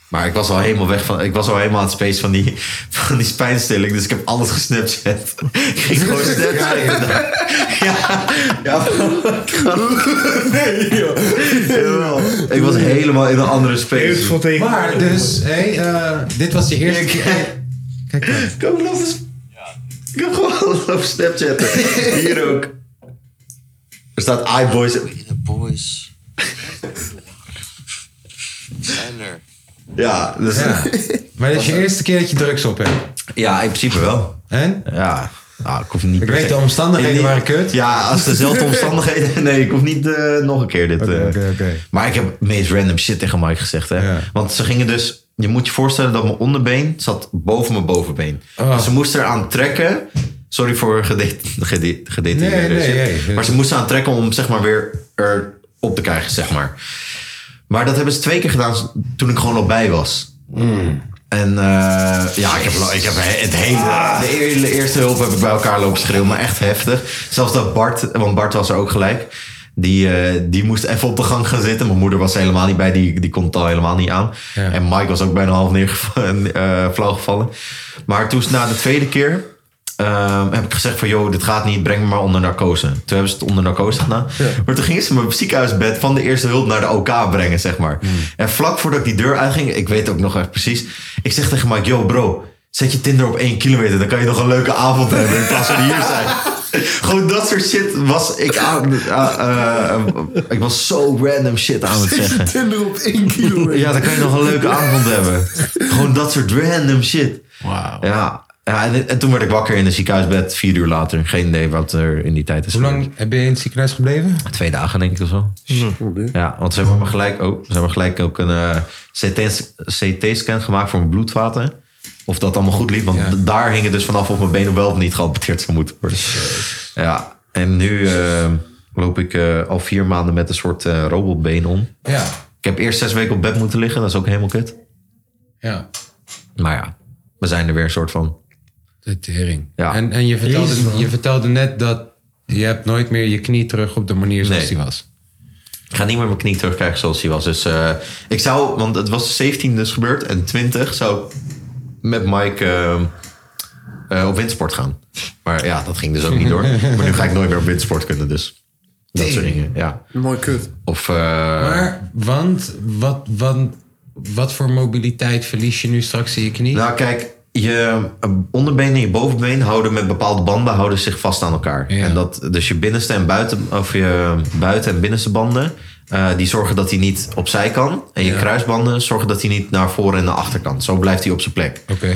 S3: Maar ik was al helemaal weg van. Ik was al helemaal aan het space van die, van die spijnstilling. Dus ik heb alles gesnapchat. Ik ging gewoon snapchatten. Ja, ja. Nee, joh. Jawel. Ik was helemaal in een andere space.
S5: Beautiful thing.
S1: Maar dus, hé, eh, dit was je eerste keer.
S3: Ik heb gewoon lopen- Ik heb gewoon lopen snapchatten. Hier ook. Er staat iBoys.
S8: De boys. Zijn er.
S3: Ja, dus, ja.
S1: Ja. Maar dit is je eerste keer dat je drugs op hebt.
S3: in principe wel.
S1: En?
S3: Ja. Nou, ik hoef niet
S1: Ik
S3: per
S1: weet
S3: se-
S1: de omstandigheden
S3: In die-
S1: waren kut.
S3: Ja, als dezelfde omstandigheden. Nee, ik hoef niet eh, nog een keer dit. eh.
S1: Oké, oké, oké.
S3: Maar ik heb het meest random shit tegen Mike gezegd. Hè?
S1: Ja.
S3: Want ze gingen dus. Je moet je voorstellen dat mijn onderbeen zat boven mijn bovenbeen.
S1: Ah.
S3: Dus ze moesten eraan trekken. Sorry voor gede- gede- gedetailleerde
S1: Nee, nee,
S3: shit.
S1: nee.
S3: Maar ze moesten aan trekken om zeg maar weer erop te krijgen, zeg maar. Maar dat hebben ze twee keer gedaan toen ik gewoon al bij was. En eh, ja, ik heb, lo- ik heb he- het hele, de hele eerste hulp heb ik bij elkaar lopen schreeuwen, maar echt heftig. Zelfs dat Bart, want Bart was er ook gelijk. Die, eh, die moest even op de gang gaan zitten. Mijn moeder was er helemaal niet bij, die, die kon het al helemaal niet aan.
S1: Ja.
S3: En Mike was ook bijna half neergevallen, eh flauwgevallen. Maar toen, na de tweede keer, ehm, heb ik gezegd van... joh, dit gaat niet, breng me maar onder narcose. Toen hebben ze het onder narcose gedaan. Maar toen gingen ze me op ziekenhuisbed van de eerste hulp naar de OK brengen, zeg maar.
S1: Hmm.
S3: En vlak voordat ik die deur uitging, ik weet ook nog echt precies... ik zeg tegen Mike, yo bro, zet je Tinder op één kilometer... dan kan je nog een leuke avond hebben in plaats van hier zijn. Gewoon dat soort shit was ik aan... ah, eh, ik was zo random shit aan het zeggen.
S2: Tinder op 1 kilometer.
S3: Ja, dan kan je nog een leuke avond hebben. Gewoon dat soort random shit. Wauw. Ja, ja en, en toen werd ik wakker in een ziekenhuisbed vier uur later. Geen idee wat er in die tijd is.
S1: Hoe lang heb je in het ziekenhuis gebleven?
S3: gebeurd. Twee dagen denk ik of zo. Ja, want ze hebben me gelijk, ook, ze hebben gelijk ook een eh, CT CT-scan gemaakt voor mijn bloedvaten. Of dat allemaal goed liep, want
S1: Ja.
S3: d- daar hing het dus vanaf of mijn benen wel of niet geamputeerd zou moeten worden. Ja, en nu eh, loop ik eh, al vier maanden met een soort eh, robotbeen om.
S1: Ja.
S3: Ik heb eerst zes weken op bed moeten liggen, dat is ook helemaal kut.
S1: Ja.
S3: Maar ja, we zijn er weer een soort van.
S1: De tering.
S3: Ja.
S1: En, en je, vertelde, je vertelde net dat je hebt nooit meer je knie terug op de manier zoals
S3: Nee.
S1: die was.
S3: Ik ga niet meer mijn knie terugkrijgen zoals die was. Dus eh, ik zou, want het was 17 dus gebeurd en 20 zou ik met Mike eh, eh, op windsport gaan. Maar ja, dat ging dus ook niet door. Maar nu ga ik nooit meer op windsport kunnen, dus dat soort dingen. Ja.
S2: Mooi kut.
S3: Of eh,
S1: Maar, want, wat, want, wat voor mobiliteit verlies je nu straks in je knie?
S3: Nou, kijk, je onderbeen en je bovenbeen houden met bepaalde banden houden zich vast aan elkaar.
S1: Ja.
S3: En dat, dus je binnenste en buiten, of je buiten en binnenste banden, eh, die zorgen dat hij niet opzij kan. En je
S1: Ja.
S3: kruisbanden zorgen dat hij niet naar voren en naar achter kan. Zo blijft hij op zijn plek.
S1: Oké.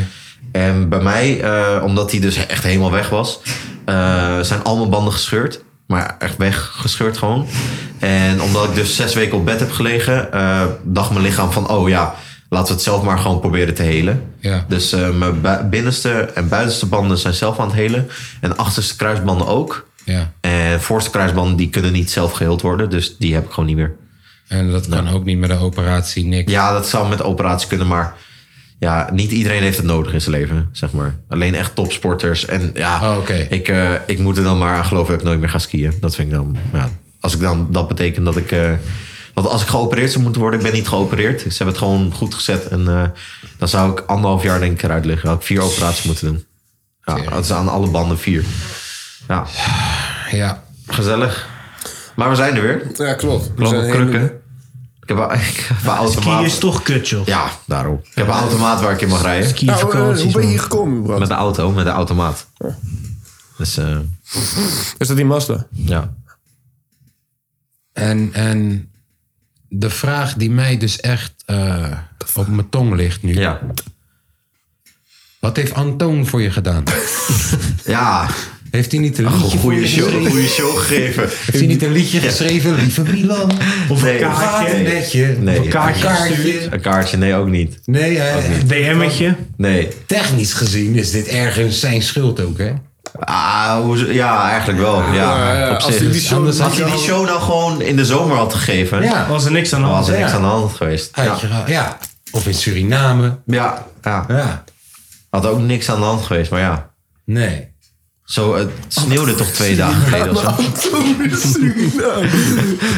S3: En bij mij, eh, omdat hij dus echt helemaal weg was, eh, zijn al mijn banden gescheurd. Maar echt weggescheurd gewoon. En omdat ik dus zes weken op bed heb gelegen, eh, dacht mijn lichaam van, oh ja, laten we het zelf maar gewoon proberen te helen.
S1: Ja.
S3: Dus eh, mijn bu- binnenste en buitenste banden zijn zelf aan het helen. En achterste kruisbanden ook.
S1: Ja.
S3: En Eh, voorste kruisbanden, die kunnen niet zelf geheeld worden. Dus die heb ik gewoon niet meer.
S1: En dat kan ook niet met de operatie, niks.
S3: Ja, dat zou met operatie kunnen, maar ja, niet iedereen heeft het nodig in zijn leven, zeg maar. Alleen echt topsporters. En ja,
S1: Oh, oké.
S3: ik, eh, ik moet er dan maar aan geloven dat ik nooit meer ga skiën. Dat vind ik dan, ja, als ik dan, dat betekent dat ik, eh, want als ik geopereerd zou moeten worden, ik ben niet geopereerd. Ze hebben het gewoon goed gezet en eh, dan zou ik anderhalf jaar denk ik eruit liggen. Had ik vier operaties moeten doen. Ja, dat is aan alle banden vier. Ja,
S1: Ja.
S3: gezellig. Maar we zijn er weer.
S2: Ja, klopt. We
S3: Lopen
S2: zijn helemaal-
S3: krukken. Ik heb, ik heb een
S8: Skiën
S3: automaat.
S8: is toch kut, joh.
S3: Ja, daarom. Ik heb een automaat waar ik in mag rijden.
S2: Nou, eh,
S8: Skivakanties,
S2: hoe ben
S8: man.
S2: je hier gekomen, bro?
S3: Met de auto, met de automaat. Dus eh,
S2: Is dat die Mazda?
S3: ja.
S1: En, en de vraag die mij dus echt eh, op mijn tong ligt nu.
S3: ja.
S1: Wat heeft Antoon voor je gedaan?
S3: Ja,
S1: Heeft hij niet een liedje, voor je
S3: goede show,
S1: geschreven?
S3: goede show gegeven.
S1: Heeft hij niet een liedje geschreven? Lieve Milan.
S3: Of een
S1: Een netje.
S3: Nee.
S1: Een kaartje.
S3: Nee. Een kaartje, nee, ook niet.
S1: Nee, hij,
S8: DM'tje.
S3: Nee.
S1: technisch gezien is dit ergens zijn schuld ook, hè?
S3: Ah, hoe- ja, eigenlijk wel. Ja,
S2: Ja, ja,
S3: op
S2: als
S3: zich.
S2: hij die show-
S3: Anders had hij die show nou gewoon in de zomer had gegeven,
S1: Ja.
S3: was er niks aan de hand, was er niks aan de hand geweest. Ja.
S1: Uitje- ja. Of in Suriname.
S3: Ja, ja.
S1: Ja.
S3: Had ook niks aan de hand geweest, maar ja.
S1: Nee.
S3: Zo, het sneeuwde toch twee dagen geleden of zo?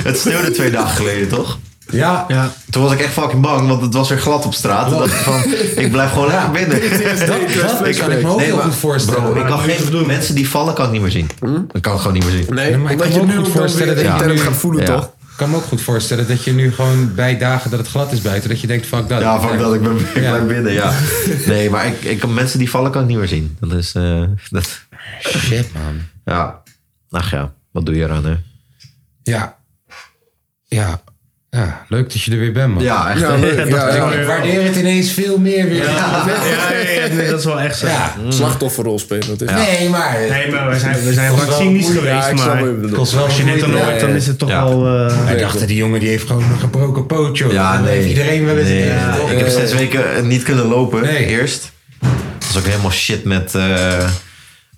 S3: Het sneeuwde twee dagen geleden, toch?
S1: Ja.
S3: ja. Toen was ik echt fucking bang, want het was weer glad op straat. Toen dacht ik van, ik blijf gewoon lekker binnen.
S1: dat kan ik me ook heel
S3: maar-
S1: goed voorstellen.
S3: Bro, ik kan geen mensen die vallen, kan ik niet meer zien. Dat kan ik gewoon niet meer zien.
S2: Nee,
S1: Hm? maar ik
S2: omdat
S1: kan me
S2: je
S1: ook
S2: nu
S1: goed
S2: ook dan
S1: voorstellen
S2: weer
S1: dat je
S2: intern
S1: nu-
S2: gaat voelen,
S3: Ja.
S2: toch?
S1: Ik kan me ook goed voorstellen dat je nu gewoon bij dagen dat het glad is buiten, dat je denkt, fuck dat.
S3: Ja, fuck dat, ik ben, ik
S1: Ja.
S3: ben binnen, ja. Nee, maar ik, ik kan mensen die vallen, kan ik niet meer zien. Dat is, eh, dat,
S1: Shit, man.
S3: ja. Ach ja, wat doe je eraan, hè?
S1: Ja. Ja. Ja, leuk dat je er weer bent, man.
S3: Ja, echt.
S2: Ja,
S3: hè?
S2: leuk. Ja, ja.
S1: Ik waardeer het ineens veel meer weer. Ja.
S5: Ja, ja, ja, nee, dat is wel echt zo.
S2: Mm. Slachtofferrol spelen. Dat is
S1: Nee, maar...
S5: Nee, maar we zijn, we zijn
S1: Kost wel
S5: vaccinisch
S1: moeite,
S5: geweest,
S2: ja, ik snap
S5: maar
S2: wat je bedoelt.
S1: kost wel
S5: als je
S1: wat
S5: dit dan
S1: moeite.
S5: hoort, dan is het toch
S3: Ja.
S5: al... eh,
S1: Hij dacht, die jongen die heeft gewoon een gebroken poot, joh.
S3: Ja,
S1: Dat
S3: nee.
S1: heeft iedereen wel eens. eh,
S3: Nee,
S1: Ja, toch?
S3: Ik heb zes weken eh, niet kunnen lopen,
S1: Nee.
S3: eerst. Dat was ook helemaal shit met... eh,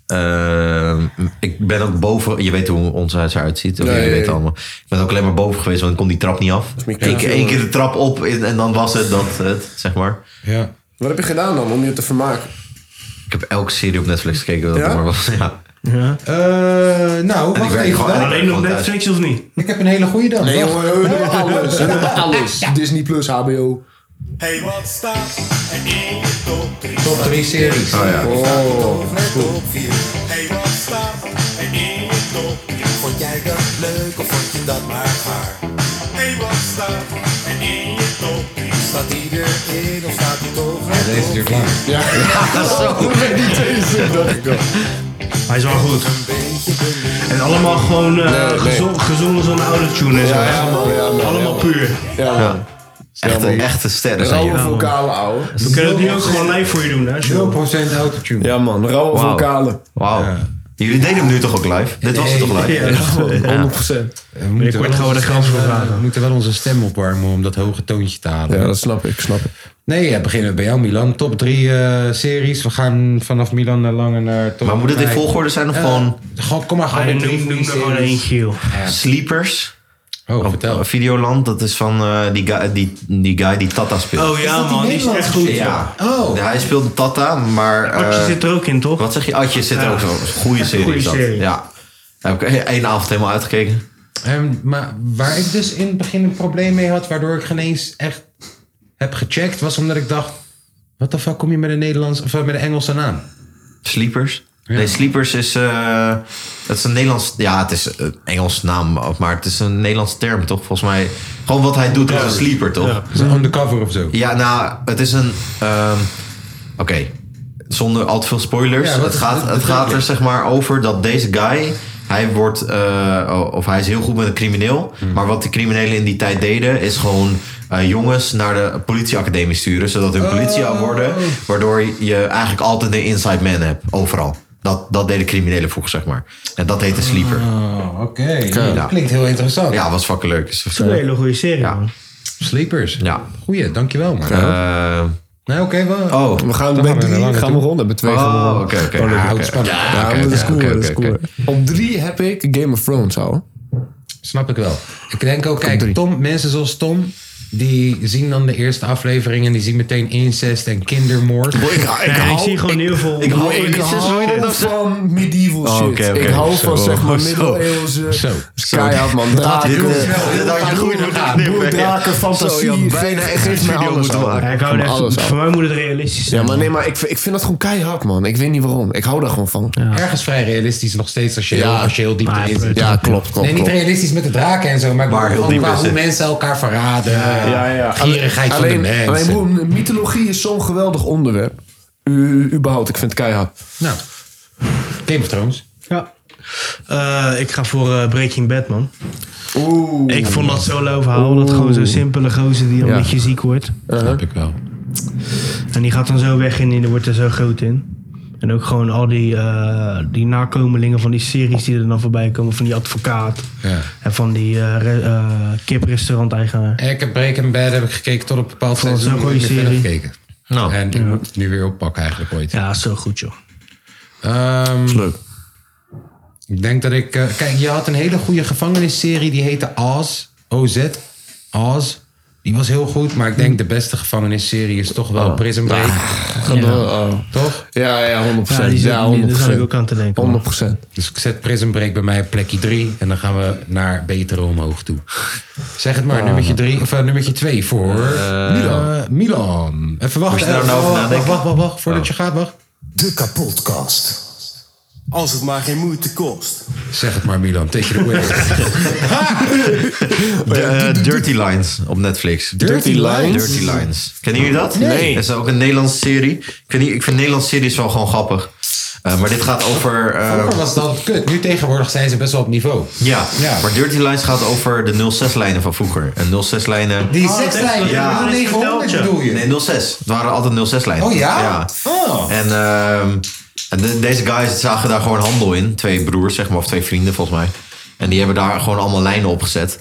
S3: eh, ik ben ook boven... Je weet hoe ons huis eruit ziet. of
S2: Ja,
S3: jullie
S2: ja, ja.
S3: weten allemaal. Ik ben ook alleen maar boven geweest, want ik kon die trap niet af.
S2: mijn
S3: Eén
S2: kut,
S3: keer- één keer de trap op en en dan was het dat, het, zeg maar.
S1: Ja.
S2: Wat heb je gedaan dan om je te vermaken?
S3: Ik heb elke serie op Netflix gekeken. Dat
S2: Ja?
S3: het maar was. Ja.
S1: Eh, nou,
S3: ik
S1: wacht
S3: werk
S1: even.
S3: gewoon-
S1: dan.
S5: Alleen op
S3: Gewoon
S5: Netflix of niet?
S1: Ik heb een hele goede dan.
S2: Nee,
S1: Wacht.
S2: jongen, we doen alles. we doen alles. Disney Plus, HBO.
S4: Hey, wat staat er in je top 3?
S1: Top drie series.
S3: Oh, ja.
S2: Oh.
S4: Of top 4? Hey, wat staat er in je top 3? Vond jij dat leuk of vond je dat maar gaar? Hey, wat staat er in je top 3? Staat die erin of staat die toch
S1: Deze duurt lang.
S2: Oh,
S5: Oh. Hij is wel goed. En allemaal gewoon eh, gezo- gezongen zo'n oude tune en zo. hè?
S2: ja, man, ja, man,
S5: allemaal
S2: ja, man.
S5: puur.
S2: Ja, man.
S3: Echte, echte sterren zijn
S2: Rauwe
S3: jullie.
S2: vocalen, ouwe.
S5: We kunnen het nu ook gewoon live voor je doen, hè? als je wil.
S1: 0% autotune.
S2: Ja, man. Rauwe
S3: Wauw.
S2: vocalen.
S3: Wauw. Jullie deden hem nu toch ook live? Dit was het toch live?
S5: Ja,
S2: Ja, 100%.
S1: Eh, We moeten
S5: word
S1: wel
S5: gewoon
S1: onze
S5: de grens
S1: stem,
S5: voor
S1: eh,
S5: vragen.
S1: We moeten wel onze stem opwarmen om dat hoge toontje te halen.
S2: Ja, dat snap ik, snap ik.
S1: Nee, ja, beginnen we bij jou, Milan. Top 3 series. We gaan vanaf Milan naar Lange naar... Top
S3: Maar moet het in
S1: vijf.
S3: volgorde zijn of
S1: Eh,
S3: gewoon
S1: Gewoon, kom maar
S5: Ah,
S1: gewoon
S5: dan
S1: met drie
S5: noem, noem er
S1: series.
S5: gewoon eentje, joh.
S3: Sleepers?
S1: Oh,
S3: Op
S1: vertel.
S3: eh, Videoland, dat is van eh, die, guy, die, die guy die Tata speelt.
S5: Oh ja,
S1: dat die
S5: man, die is echt goed.
S3: ja.
S1: Oh.
S3: Hij speelde Tata, maar... eh,
S5: Artje zit er ook in, toch?
S3: Wat zeg je? Adje zit er
S5: Ja.
S3: ook zo. Goeie serie.
S5: goeie
S3: is dat.
S5: serie.
S3: Ja. Daar heb ik één avond helemaal uitgekeken.
S1: Ehm, maar waar ik dus in het begin een probleem mee had, waardoor ik geen eens echt heb gecheckt, was omdat ik dacht: wat de fuck kom je met een Nederlands of eh, met een Engelse naam?
S3: Sleepers? Nee, Sleepers is... eh, het is een Nederlands... Ja, het is een Engels naam, maar het is een Nederlands term, toch? Volgens mij... Gewoon wat hij doet als een sleeper, toch? Ja,
S1: Is een undercover of zo?
S3: nou, het is een... ehm, Oké, zonder al te veel spoilers.
S1: Ja, wat
S3: het
S1: is-
S3: gaat,
S1: dat-
S3: het
S1: dat-
S3: gaat er zeg maar over dat deze guy... Hij wordt... eh, of hij is heel goed met een crimineel.
S2: Hmm.
S3: Maar wat de criminelen in die tijd deden... is gewoon eh, jongens naar de politieacademie sturen... zodat hun
S1: Oh.
S3: politie worden. Waardoor je eigenlijk altijd een inside man hebt. Overal. Dat, dat deden criminelen vroeger, zeg maar. En dat heette Sleeper.
S2: Ah,
S1: Oh, oké.
S3: Ja.
S1: Dat klinkt heel interessant.
S3: Ja, was fucking leuk. Dus,
S5: Dat is een hele goede serie, man.
S1: Sleepers.
S3: Ja.
S1: Goeie, dankjewel man.
S3: eh,
S1: Nee, oké, wel.
S3: oh,
S2: We
S1: Dan
S2: gaan bij
S1: gaan we naar
S2: drie,
S1: Lange
S2: gaan we
S1: toe.
S2: ronden. Bij twee gaan we
S3: Oh,
S2: ronden.
S3: oké, oké.
S1: Oh, leuk,
S3: Ah,
S1: houdt
S3: oké.
S1: spannend.
S3: Ja,
S2: Ja,
S3: oké,
S2: maar dat is
S3: ja,
S2: cool,
S3: oké,
S2: dat is
S3: oké,
S2: cool.
S3: oké.
S2: Op drie heb ik Game of Thrones, ouwe.
S1: Snap ik wel. Ik denk ook, kijk,
S2: drie.
S1: Tom, mensen zoals Tom, die zien dan de eerste aflevering en die zien meteen incest en kindermoord.
S5: Nee, ik zie gewoon heel veel...
S3: Ik hou Oh,
S2: Ik hou van medieval
S1: Oh,
S2: shit.
S3: oké, oké.
S2: Ik hou van
S3: Zo.
S2: zeg maar
S3: Zo.
S2: middeleeuwse...
S1: Zo.
S2: Skyhard man,
S3: Dit,
S2: draken.
S3: eh, dit had je goed moeten knippen.
S2: Boer, draken,
S3: Zo, je
S2: fantasie,
S3: had
S2: bijna
S3: bijna echt
S2: geef
S3: een
S2: mij
S3: video
S2: alles
S3: moeten
S2: ouwe.
S3: maken.
S5: Ja, ik hou er
S2: Van alles,
S5: echt...
S2: ouwe.
S5: Voor mij moet het realistisch zijn.
S2: Ja, maar nee, maar ik, ik vind dat gewoon keihard, man. Ik weet niet waarom. Ik hou daar gewoon van. Ja,
S1: Ergens vrij realistisch nog steeds als je, heel,
S2: Ja.
S1: als je heel diep
S5: Maar
S1: erin zit.
S2: klopt, klopt,
S1: Nee, niet
S2: klopt.
S1: realistisch met de draken en zo, maar,
S3: Maar heel
S1: gewoon
S3: diep
S1: qua
S3: is
S1: hoe
S3: het.
S1: mensen elkaar verraden.
S2: Ja, ja.
S1: Gierigheid
S2: alleen,
S1: van de mens.
S2: Alleen, broer, mythologie is zo'n geweldig onderwerp. U, überhaupt, ik vind het keihard.
S1: Nou, Game of Thrones.
S5: Ja. Eh, ik ga voor eh, Breaking Bad, man.
S2: Oeh.
S5: Ik vond dat zo verhaal. Dat gewoon zo'n simpele gozer die al
S2: Ja.
S5: een beetje ziek wordt.
S1: Snap ik wel.
S5: En die gaat dan zo weg in en die wordt er zo groot in. En ook gewoon al die, eh, die nakomelingen van die series die er dan voorbij komen. Van die advocaat.
S1: Ja.
S5: En van die eh, re- eh, kiprestaurant-eigenaar.
S1: Ik heb Breaking Bad heb ik gekeken tot op een bepaald
S5: Vond het
S1: seizoen.
S5: Oh, zo'n goede
S1: heb ik niet meer
S5: serie.
S1: verder gekeken.
S3: Nou,
S1: En ik moet het nu weer oppakken eigenlijk ooit.
S5: Ja, zo goed joh.
S1: Ehm,
S2: Leuk.
S1: Ik denk dat ik... eh, kijk, je had een hele goede gevangenisserie. Die heette Oz. OZ. Oz. Die was heel goed. Maar ik
S5: Hm.
S1: denk de beste gevangenisserie is toch
S2: Oh.
S1: wel Prison Break.
S2: Ah,
S1: Toch?
S2: Ja, ja, 100%.
S5: Ja, die zat
S2: Ja,
S5: ik niet- daar zat
S2: 100%.
S5: ik ook aan te denken. man.
S2: 100%.
S1: Dus ik zet Prison Break bij mij op plekje 3. En dan gaan we naar betere omhoog toe. Zeg het maar,
S3: Oh,
S1: nummertje 3 of eh, nummertje 2 voor Milan. Eh, Milan. Even wachten.
S3: Eh, Moest je daar
S1: eh,
S3: nou over
S1: wacht, wacht,
S3: nadenken? Oh.
S1: wacht, wacht, wacht, Voordat je gaat, wacht.
S4: De kapotkast. Als het maar geen moeite kost.
S1: Zeg het maar, Milan. Take it away.
S3: Eh, Dirty Lines op Netflix.
S1: Dirty Lines?
S3: Dirty Lines. Kennen jullie dat?
S1: Nee.
S3: Dat is ook een Nederlandse serie. Ik, weet niet, ik vind Nederlandse series wel gewoon grappig. Eh, maar dit gaat over... eh,
S1: Vroeger was dat kut. Nu tegenwoordig zijn ze best wel op niveau.
S3: ja.
S1: Ja.
S3: maar Dirty Lines gaat over de 06-lijnen van vroeger. En 06-lijnen...
S1: Die sekslijnen,
S3: ja.
S1: ja. 900 bedoel je?
S3: Nee, 06. Het waren altijd 06-lijnen.
S1: Oh ja? Oh.
S3: En ehm, en de- deze guys zagen daar gewoon handel in. Twee broers, zeg maar, of twee vrienden volgens mij. En die hebben daar gewoon allemaal lijnen opgezet.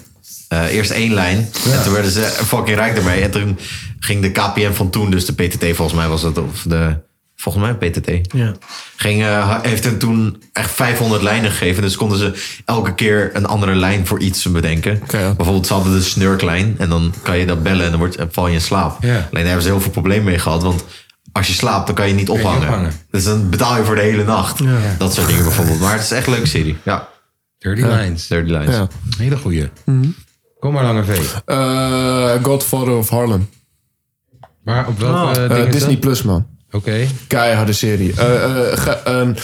S3: Eh, eerst één lijn. En toen werden ze fucking rijk ermee. En toen ging de KPM van toen, dus de PTT volgens mij was dat. Of de, volgens mij PTT.
S5: Ja.
S3: Ging, eh, heeft hen toen echt 500 lijnen gegeven. Dus konden ze elke keer een andere lijn voor iets bedenken.
S2: ja.
S3: Bijvoorbeeld ze hadden de snurklijn. En dan kan je dat bellen en dan wordt, eh, val je in slaap.
S1: Ja.
S3: Alleen daar hebben ze heel veel problemen mee gehad. Want als je slaapt, dan kan je niet
S1: je
S3: ophangen.
S1: ophangen.
S3: Dus dan betaal je voor de hele nacht. Dat soort dingen bijvoorbeeld. Maar het is echt een leuke serie. Ja,
S1: Dirty Lines.
S3: Dirty Lines.
S2: Ja.
S1: Hele goeie. Kom maar, Lange V.
S2: Mhm. Eh, Godfather of Harlem.
S1: Maar op welke
S3: Oh.
S1: eh,
S2: Eh,
S1: ding is
S2: Disney
S1: dat?
S2: Plus, man.
S1: Oké.
S2: Keiharde serie. Eh, eh, ga- een-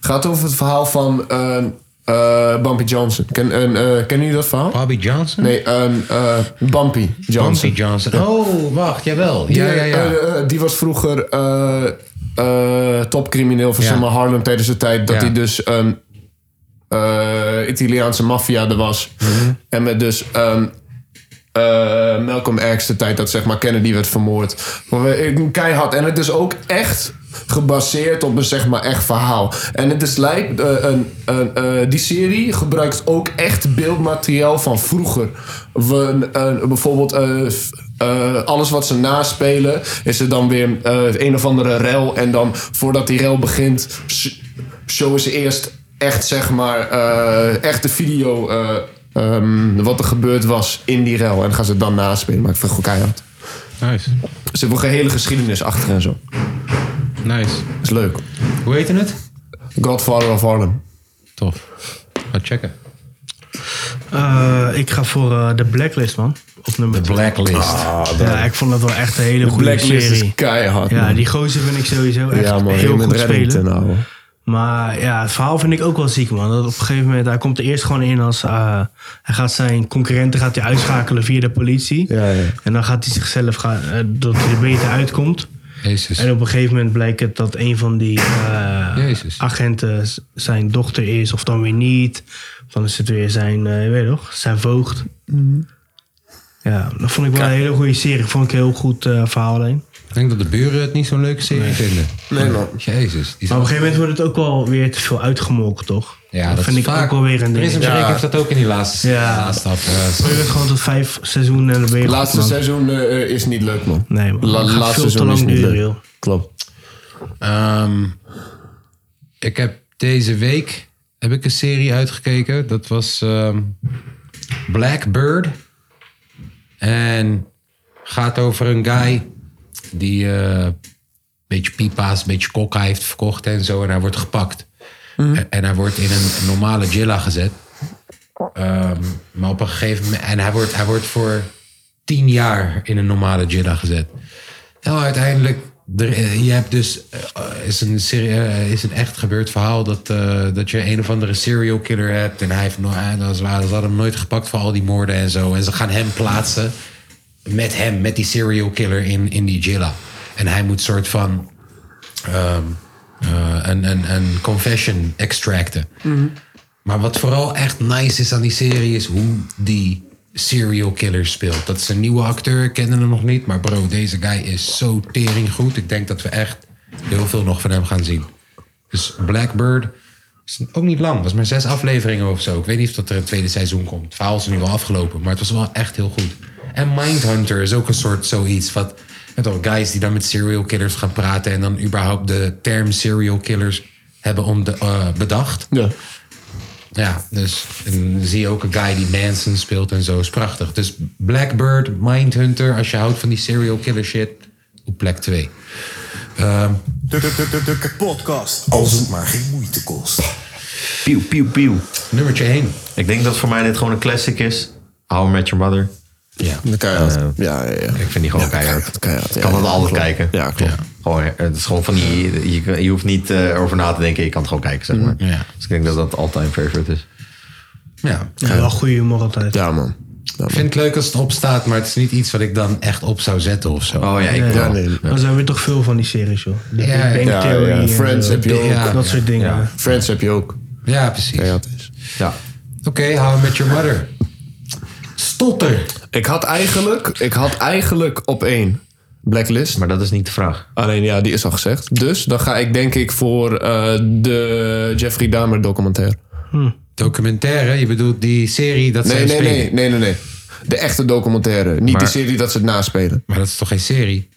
S2: gaat over het verhaal van een eh, Bumpy Johnson. Ken, een, eh, kennen jullie dat verhaal?
S1: Bobby Johnson?
S2: Nee, een eh, Bumpy Johnson.
S1: Bumpy Johnson. Oh, wacht. Jawel.
S2: Die,
S1: Ja, ja, ja.
S2: eh, eh, die was vroeger eh, eh, topcrimineel van
S1: Ja.
S2: zeg maar Harlem tijdens de tijd dat
S1: Ja.
S2: hij dus een eh, Italiaanse maffia er was.
S1: Mhm.
S2: En met dus ehm, eh, Malcolm X, de tijd dat zeg maar Kennedy werd vermoord. Maar we- ik- Keihard. En het is ook echt gebaseerd op een zeg maar echt verhaal. En het is lijkt, eh, een, een, eh, die serie gebruikt ook echt beeldmateriaal van vroeger. We, een- bijvoorbeeld eh, f- eh, alles wat ze naspelen is er dan weer eh, een of andere rel. En dan voordat die rel begint sh- showen ze eerst echt zeg maar eh, echt de video... eh, Ehm, wat er gebeurd was in die rel. En dan gaan ze het dan naspelen. Maar ik vind het gewoon keihard.
S1: Nice.
S2: Er zit wel een hele geschiedenis achter en zo.
S1: Nice.
S2: is leuk.
S1: Hoe heette het?
S2: Godfather of Harlem.
S1: Tof. Ga checken.
S5: Eh, ik ga voor eh de Blacklist, man. Op nummer twee.
S1: Blacklist.
S5: Ja, ik vond dat wel echt een hele goede
S2: Ah, Blacklist
S5: serie.
S2: is keihard.
S5: Ja,
S2: man.
S5: die gozer vind ik sowieso echt
S2: ja, man,
S5: heel
S2: je bent
S5: goed
S2: redding nou.
S5: spelen.
S2: ten ouwe.
S5: Maar ja, het verhaal vind ik ook wel ziek, man. Dat op een gegeven moment, hij komt er eerst gewoon in als... eh, hij gaat zijn concurrenten gaat hij uitschakelen via de politie.
S2: Ja, ja.
S5: En dan gaat hij zichzelf gaan, eh, dat hij er beter uitkomt.
S1: Jezus.
S5: En op een gegeven moment blijkt het dat een van die eh,
S1: Jezus.
S5: agenten z- zijn dochter is, of dan weer niet. Of Dan is het weer zijn, eh, weet je nog, zijn voogd. Ja, dat vond ik wel een hele goede serie. Vond ik een heel goed eh, verhaal alleen.
S1: Ik denk dat de buren het niet zo'n leuke serie vinden.
S2: Nee, man.
S1: Jezus. Die
S5: Maar op een gegeven moment wordt het ook wel weer te veel uitgemolken, toch?
S1: ja, dat,
S5: vind
S1: is
S5: ik
S1: vaak-
S5: ook wel weer een
S1: Prison
S5: ding.
S1: Break
S5: Ja.
S1: heeft dat ook in die laatste,
S5: Ja.
S1: laatste af. eh,
S5: Je bent gewoon tot vijf seizoenen en dan ben je
S2: Het laatste
S5: goed, man.
S2: seizoen eh, eh, is niet leuk, man.
S5: Nee, man.
S2: La-
S5: Het gaat
S2: laatste
S5: veel te
S2: seizoen
S5: lang
S2: is niet
S5: duren,
S2: leuk.
S5: joh.
S2: Klopt.
S1: Ehm, ik heb deze week heb ik een serie uitgekeken. Dat was ehm, Blackbird. En gaat over een guy die eh, een beetje pipa's, een beetje kokka heeft verkocht en zo. En hij wordt gepakt. En, en hij wordt in een normale jilla gezet. Ehm, maar op een gegeven moment... En hij wordt, hij wordt voor tien jaar in een normale jilla gezet. Nou, uiteindelijk, er, eh, je hebt dus, eh, eh, is, een serie, eh, is een echt gebeurd verhaal dat, eh, dat je een of andere serial killer hebt. En hij heeft eh, nooit, ze hadden hem nooit gepakt voor al die moorden en zo. En ze gaan hem plaatsen met hem, met die serial killer in, in die jilla. En hij moet soort van ehm, eh, een, een, een confession extracten. Maar wat vooral echt nice is aan die serie is hoe die serial killer speelt. Dat is een nieuwe acteur, ik kende hem nog niet. Maar bro, deze guy is zo tering goed. Ik denk dat we echt heel veel nog van hem gaan zien. Dus Blackbird is ook niet lang. was maar zes afleveringen of zo. Ik weet niet of dat er een tweede seizoen komt. Het verhaal is nu wel afgelopen, maar het was wel echt heel goed. En Mindhunter is ook een soort zoiets. Wat, en toch, guys die dan met serial killers gaan praten... en dan überhaupt de term serial killers hebben om de, eh, bedacht.
S2: Ja.
S1: Ja, dus en dan zie je ook een guy die Manson speelt en zo. Is prachtig. Dus Blackbird, Mindhunter, als je houdt van die serial killer shit, op plek Ehm, 2.
S4: De, de, de, de, de podcast. Als het maar geen moeite kost.
S3: Pieuw, pieuw, pieuw.
S1: Nummertje 1.
S3: Ik denk dat voor mij dit gewoon een classic is. How I Met Your Mother.
S1: Ja.
S2: De keihard. ja, ja, ja.
S3: Ik vind die gewoon keihard.
S2: keihard, ja,
S3: kan het
S2: ja,
S3: altijd
S2: klopt.
S3: kijken.
S2: Ja, klopt.
S3: Gewoon, eh, het is gewoon van die, je, je hoeft niet eh, over na te denken. Je kan het gewoon kijken, zeg maar.
S1: Mhm. Ja.
S3: Dus ik denk dat dat all-time favorite is.
S1: ja.
S5: Ja, wel goede humor altijd.
S2: Ja, man. Ja,
S1: Ik
S2: man.
S1: vind het leuk als het opstaat, maar het is niet iets wat ik dan echt op zou zetten of zo.
S3: Oh ja, ik
S5: Ja,
S3: wel.
S2: nee.
S5: Dan zijn we toch veel van die series, joh. De
S1: Ja,
S5: Big Bang
S2: ja,
S5: Theory
S2: ja.
S5: en
S2: Friends
S5: zo.
S2: heb je ook.
S1: Ja.
S5: dat soort dingen. Ja.
S2: Friends heb je ook.
S1: Ja, precies.
S2: Keihard is.
S3: Ja.
S1: Oké, How I Met Your Mother. Stotter.
S2: Ik had eigenlijk, ik had eigenlijk op één blacklist.
S3: Maar dat is niet de vraag.
S2: Alleen ja, die is al gezegd. Dus dan ga ik denk ik voor eh, de Jeffrey Dahmer documentaire.
S3: Hm.
S1: Documentaire, je bedoelt die serie dat
S2: Nee,
S1: zij
S2: nee,
S1: spelen.
S2: nee, nee, nee, nee. De echte documentaire. Niet
S3: Maar-
S2: de serie dat ze het naspelen. Hm?
S1: Maar dat is toch geen serie?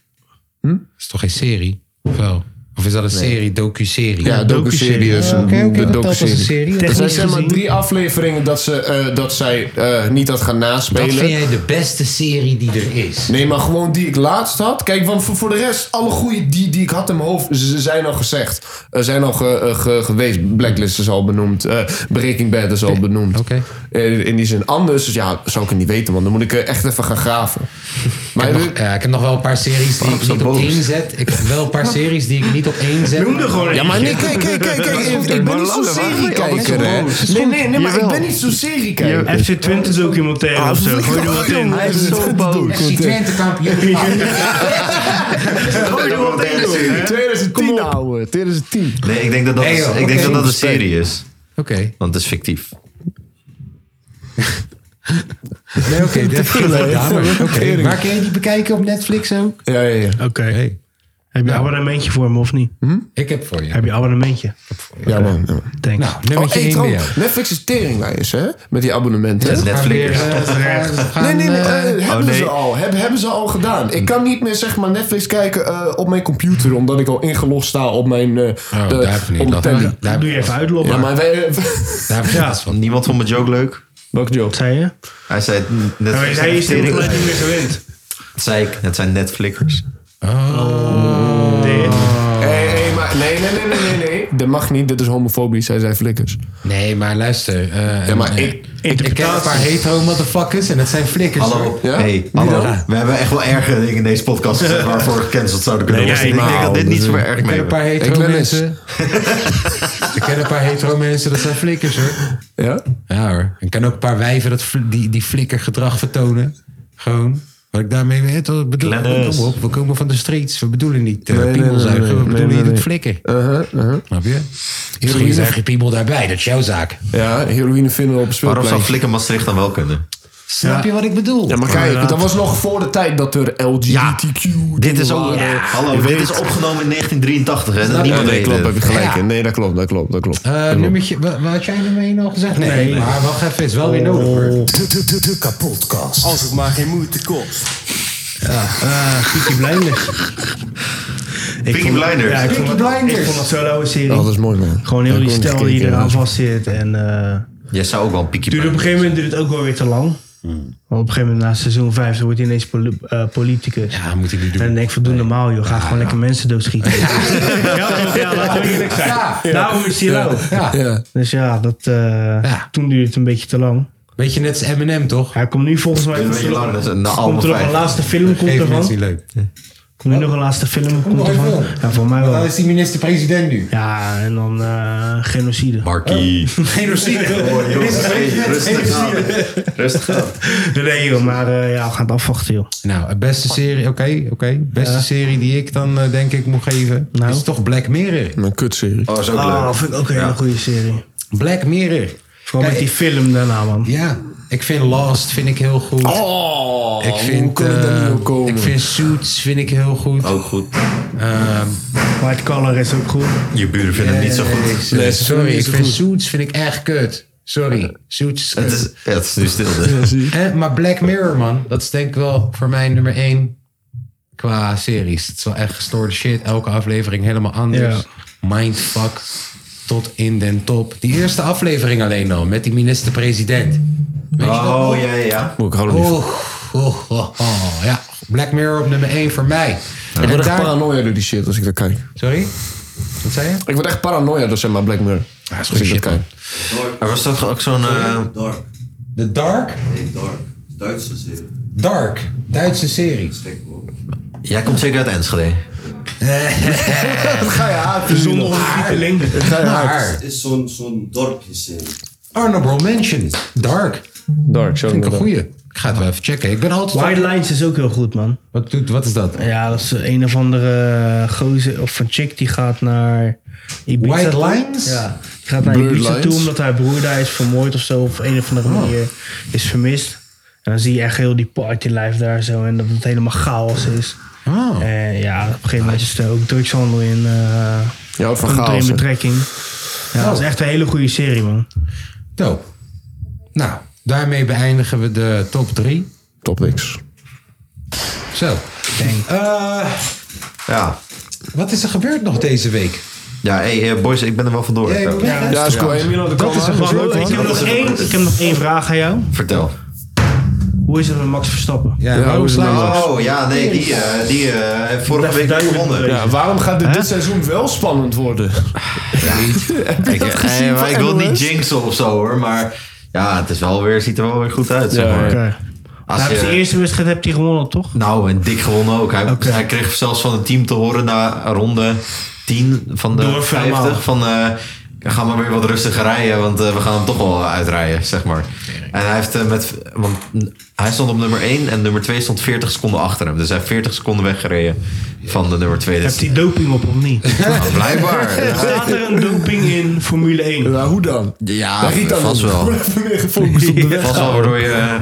S1: Dat is toch geen serie? Of wel? Of is dat een serie, docu-serie?
S2: Ja, docu-serie. dus een- de docu-serie.
S5: Technisch
S2: Er zijn zeg maar
S5: gezien-
S2: drie afleveringen dat, ze, eh, dat zij eh, niet dat gaan
S1: Dat
S2: naspelen.
S1: vind jij de beste serie die er is?
S2: Nee, maar gewoon die ik laatst had. Kijk, want voor, voor de rest, alle goede die, die ik had in mijn hoofd, ze zijn al gezegd. Er zijn al ge- eh, ge- geweest. Blacklist is al benoemd. eh, Breaking Bad is al benoemd.
S1: Oké.
S2: Eh, in die zin anders. Dus ja, zou ik het niet weten, want dan moet ik eh, echt even gaan graven. Maar
S1: Ik heb, nog, ja, ik heb nog wel een paar series die ik niet op één zet. Ik heb wel een paar series die ik niet op één zet.
S5: Noem er gewoon
S2: Ja,
S5: één.
S2: maar nee, kijk, kijk, kijk, kijk. Ik, ik ben niet zo'n seriekijker, hè. Nee, nee, nee, maar ik ben niet zo'n seriekijker.
S5: FC Twente documentaire
S2: Ah,
S5: of zo. Gooi er wat in.
S2: Hij is zo boos.
S1: Twente kampioen.
S2: 2010, ouwe. 2010.
S3: Nee, ik denk dat dat,
S1: Nee,
S3: is-
S1: joh,
S3: ik denk
S1: oké.
S3: dat, dat een serie is.
S1: Oké.
S3: Want het is fictief.
S1: Nee, oké. dat ja, maar, oké. maar kun je die bekijken op Netflix ook?
S2: Ja, ja, ja. Hm?
S5: Oké. Heb je een abonnementje voor me of niet?
S1: Ik heb voor je.
S5: Heb je een abonnementje?
S2: Ja, man. Ja, man.
S5: Thanks.
S1: Nou, nummertje één
S2: Oh, hey,
S1: bij
S2: trouwens,
S1: jou.
S2: Netflix is teringwijs, hè? Met die abonnementen.
S3: Het is
S1: Gaan weer,
S3: Netflix.
S1: eh, gaan,
S2: Nee, nee, nee. eh,
S1: eh,
S2: hebben,
S3: oh, nee.
S2: Ze al, heb, hebben ze al gedaan. Ik kan niet meer zeg maar Netflix kijken eh, op mijn computer, omdat ik al ingelogd sta op mijn. eh
S1: Oh,
S2: de-
S1: daar heb je niet
S2: op mijn
S1: last van.
S2: tablet.
S1: Daar heb
S5: Doe je
S1: je-
S5: even uitloggen.
S2: Ja, maar wij.
S1: daar heb je last van.
S3: Niemand vond mijn joke leuk.
S2: Welke joke?
S5: Wat zei je?
S3: Hij zei, Netflix
S5: Hij
S3: is
S5: is hij
S3: een serie.
S5: is de compleet niet meer gewend.
S3: Dat zei ik. Het zijn Netflixers.
S2: Oh.
S1: Oh.
S2: Hey, hey, maar nee, nee, nee, nee, nee, nee. Dat mag niet, dit is homofobisch, zij zijn flikkers.
S1: Nee, maar luister. eh,
S2: Ja, maar
S1: eh,
S2: ik.
S1: ik, ik ken een paar hetero motherfuckers en dat zijn flikkers.
S3: Hallo.
S1: hoor.
S2: Ja?
S3: Hey,
S2: Wie
S3: hallo.
S2: dan?
S3: We hebben echt wel erger dingen in deze podcast gezet waarvoor gecanceld zouden kunnen worden. ik denk dat dit niet Dus, eh, zo erg
S1: Ik ken
S3: mee.
S1: een paar
S2: Ik
S1: hetero
S2: ben
S1: mensen. ik ken een paar hetero mensen, dat zijn flikkers hoor.
S2: Ja?
S1: Ja hoor. Ik ken ook een paar wijven dat, fl- die, die flikkergedrag vertonen. Gewoon. Wat ik daarmee weet, wat bedoel
S3: Glennis.
S1: Kom op, we komen van de streets. We bedoelen niet eh
S2: Nee, nee, nee,
S1: piemelzuigen,
S2: nee,
S1: we
S2: nee,
S1: bedoelen
S2: nee,
S1: hier het
S2: nee.
S1: flikken.
S2: Uh-huh, uh-huh.
S1: Snap je? Misschien is er geen piemel daarbij, dat is jouw zaak.
S2: Ja, heroïne vinden we op
S3: Waarom
S2: een
S3: zou
S2: speelplein.
S3: Flikken Maastricht dan wel kunnen?
S1: Snap je wat ik bedoel?
S2: Ja, maar kijk, dat was nog voor de tijd dat er LGBTQ.
S3: Dit is al.
S2: waren.
S3: Hallo, dit is opgenomen in 1983. Hè? Dat
S2: Ja,
S3: niemand
S2: nee,
S3: weet
S2: klopt,
S3: het.
S2: heb je gelijk.
S1: Ja.
S2: in. Nee, dat klopt, dat klopt, dat klopt.
S1: Eh, nummertje, wa- wat had jij nummer 1 al gezegd? Nee, maar wacht even, is wel weer nodig hoor.
S4: De, de, de, de kapotkast. Als het maar geen moeite kost.
S5: eh, Peaky Blinders.
S3: Peaky Blinders.
S5: Ja, ik vond het-
S1: Blinders.
S5: Ik vond het zo'n oude serie.
S2: Oh, dat is mooi, man.
S5: Gewoon heel
S2: Ik
S5: die
S2: kon niet
S5: stijl die
S2: kijken,
S5: eraan
S2: ja.
S5: vast zit. En eh,
S3: Jij zou ook wel een piekje
S5: duurde op een gegeven moment duurt het ook wel weer te lang. Maar op een gegeven moment na seizoen 5 wordt hij ineens poli- eh, politicus.
S1: Ja, moet ik niet
S5: En dan
S1: doen.
S5: denk ik van doe normaal joh, ga gewoon lekker mensen doodschieten. ja, ja, laten we eerlijk zijn. Daarom is hij lauw.
S1: Ja,
S2: Ja.
S5: Dus ja, dat, eh,
S1: Ja.
S5: toen duurde het een beetje te lang.
S1: weet je, net als Eminem toch?
S5: Hij komt nu volgens mij...
S3: Een beetje lang, dat is een- nou,
S5: komt er nog
S3: allemaal vijf.
S5: een laatste film
S1: Even
S5: komt
S1: mensen
S5: ervan.
S1: niet leuk.
S5: Komt er nog een laatste film komt
S1: nog een
S5: ervan.
S1: film.
S5: Ja, voor mij wel.
S1: die minister-president nu.
S5: Ja, en dan eh, genocide.
S1: Oh.
S3: Markie.
S1: Genocide.
S3: Rustig aan.
S1: Nou.
S3: Rustig aan.
S5: Nee joh, maar eh, ja, we gaan het afwachten joh.
S1: Nou, eh, beste serie, oké, oké. Beste serie die ik dan eh, denk ik moet geven,
S5: Nou.
S1: is toch Black Mirror.
S2: Een kutserie.
S3: Oh, is ook
S5: Ah,
S3: leuk.
S5: vind ik ook een hele goede serie.
S1: Black Mirror.
S5: Vooral
S1: Kijk,
S5: met die film daarna man.
S1: Ja, ik vind Lost vind ik heel goed.
S2: Oh,
S1: ik vind,
S2: hoe kon ik daar
S1: eh,
S2: niet op komen?
S1: Ik vind Suits vind ik heel goed.
S3: Ook goed.
S1: Ehm,
S5: White Collar is ook goed.
S3: Je buren vinden het niet zo
S1: nee,
S3: goed.
S1: sorry,
S2: niet
S1: ik
S2: zo
S1: vind
S2: goed.
S1: Suits vind ik echt kut. Sorry, Suits is
S3: Het
S1: kut.
S3: is, ja, het is nu stil.
S1: Eh, maar Black Mirror, man, dat is denk ik wel voor mij nummer één qua series. Het is wel echt gestoorde shit. Elke aflevering helemaal anders. Mindfuck. tot in den top. Die eerste aflevering alleen al, met die minister-president. Weet je dat nog?
S3: Oh, ja, ja, ja.
S2: Moet ik gewoon
S1: Oh, oh, oh, oh, ja. Black Mirror op nummer 1 voor mij.
S2: Ik word
S1: En
S2: echt
S1: daar-
S2: paranoia door die shit als ik dat kijk.
S1: Sorry? Wat zei je?
S2: Ik word echt paranoia door zeg maar Black Mirror. Ja,
S1: is goed shit,
S3: Er was toch ook zo'n... eh,
S6: Dark.
S1: The Dark?
S6: Nee, Dark. Duitse serie.
S1: Dark. Duitse serie.
S6: Gek hoor.
S3: jij komt zeker uit Enschede.
S2: Ga je haten.
S1: Ah.
S5: Zonder ondertiteling.
S1: Maar
S6: Het is zo'n zo'n dorpjeserie.
S1: Honorable Mention. Dark.
S2: Dark, zo
S1: Vind ik een goeie. Ik ga het wel even checken. Ik ben altijd...
S5: White Lines is ook heel goed, man.
S1: Wat, doet, wat is dat?
S5: Ja, dat is een of andere gozer of een chick die gaat naar Ibiza.
S1: White
S5: toe.
S1: Lines?
S5: Ja, die gaat naar
S2: Blurred
S5: Ibiza toe
S2: Lines?
S5: omdat haar broer daar is vermoord of zo. Of een of andere
S1: Oh.
S5: manier is vermist. En dan zie je echt heel die partylife daar zo. En dat het helemaal chaos is.
S1: Oh.
S5: En ja, op een gegeven moment is er ook drugshandel in, eh,
S2: Ja, wat van
S5: komt er in
S2: chaos. hè.
S5: betrekking. Ja, dat
S1: Oh.
S5: is echt een hele goede serie, man.
S1: Dope. Nou, daarmee beëindigen we de top 3.
S2: Top niks.
S1: Zo. Eh,
S3: Ja.
S1: wat is er gebeurd nog deze week?
S3: Ja, hé, eh, boys, ik ben er wel vandoor.
S1: Jij,
S3: door.
S1: Rebecca?
S2: Ja, is cool. Emilio, dat
S1: is een
S5: Bro,
S1: gesloten
S5: ik, heb nog één, ik heb nog één vraag aan jou.
S3: Vertel.
S5: Hoe is het met Max Verstappen?
S1: Ja,
S2: hoe
S1: waarom
S2: is het
S1: slaan
S2: nou?
S1: we?
S3: Oh, ja, nee, die, eh, die eh, heeft vorige week niet gewonnen.
S5: eh,
S2: Ja, waarom gaat dit, dit seizoen wel spannend worden?
S3: Ik, eh, maar ik wil niet jinxen of zo hoor, maar ja, het is wel weer, ziet er wel weer goed uit. Zeg
S2: Ja,
S3: maar.
S5: Oké.
S3: Als
S5: Nou, heb je de
S3: je-
S5: eerste wedstrijd hebt hij gewonnen, toch?
S3: nou, en dik gewonnen ook. Hij, hij kreeg zelfs van het team te horen na ronde 10 van de
S5: Door
S3: 50
S5: Fermaal.
S3: van eh, ga maar weer wat rustiger rijden, want eh, we gaan hem toch wel uitrijden, zeg maar. En hij heeft eh, met, want hij stond op nummer 1 en nummer 2 stond 40 seconden achter hem. Dus hij heeft 40 seconden weggereden van de nummer 2.
S5: Hebt
S3: Dus
S5: hij doping op of niet?
S3: nou, blijkbaar.
S5: Staat er een doping in Formule 1?
S2: Ja, hoe dan?
S3: Ja,
S2: Giet dan
S3: vast
S2: op.
S3: wel.
S2: Even meer gefocust op de weg.
S3: Vast wel waardoor je, eh,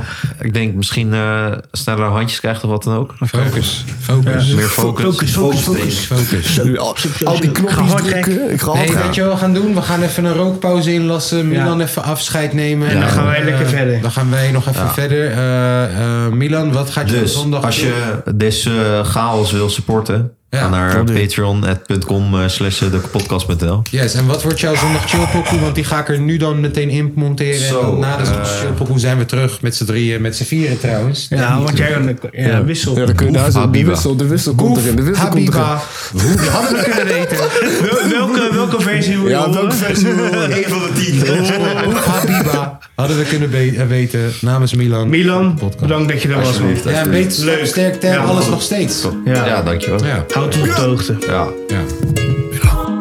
S3: ik denk, misschien eh, sneller handjes krijgt of wat dan ook.
S1: Focus. Focus.
S3: Meer focus.
S5: Focus, focus,
S3: focus.
S5: focus.
S1: Focus.
S2: Al, al die knopjes
S5: Gehad,
S2: drukken. Ik ga hard
S1: Nee,
S2: gaan.
S1: weet je wat we gaan doen? We gaan even een rookpauze inlassen. Milan even afscheid nemen. En
S5: dan gaan wij
S1: eh,
S5: lekker verder.
S1: Dan gaan wij nog even verder. Eh, eh, Milan, wat gaat je
S3: Dus
S1: zondag
S3: als
S1: doen?
S3: je deze eh, chaos wil supporten,
S1: Ja,
S3: ga naar patreon.com eh, slash dekpodcast.nl.
S1: Yes, en wat wordt jouw zondag chillpokoe? Want die ga ik er nu dan meteen in monteren.
S3: Zo,
S1: en dan na de zondag
S3: eh.
S1: chillpokoe zijn we terug met z'n drieën, met z'n vieren trouwens. eh,
S5: Ja, want jij een ja, wissel.
S2: Ja, dan kun je daar zo. De
S3: Habiba.
S2: wissel, de wissel komt
S1: Boef,
S2: erin. De wissel komt erin.
S1: Habiba. Hoe hadden we kunnen weten?
S5: Wel- welke, welke versie wil je
S2: Ja, welke
S5: horen?
S2: versie wil je?
S3: Eén van de tien.
S1: Boef, Habiba. Hadden we kunnen be- eh, weten namens Milan.
S5: Milan,
S1: Podcast.
S5: bedankt dat je er was, man.
S1: Ja, beter,
S5: Leuk.
S1: sterk, ter,
S5: Ja,
S1: alles
S5: goed.
S1: nog steeds.
S5: Ja.
S3: Ja, dankjewel.
S1: Ja,
S5: Houd ons op de hoogte.
S3: Ja.
S1: ja.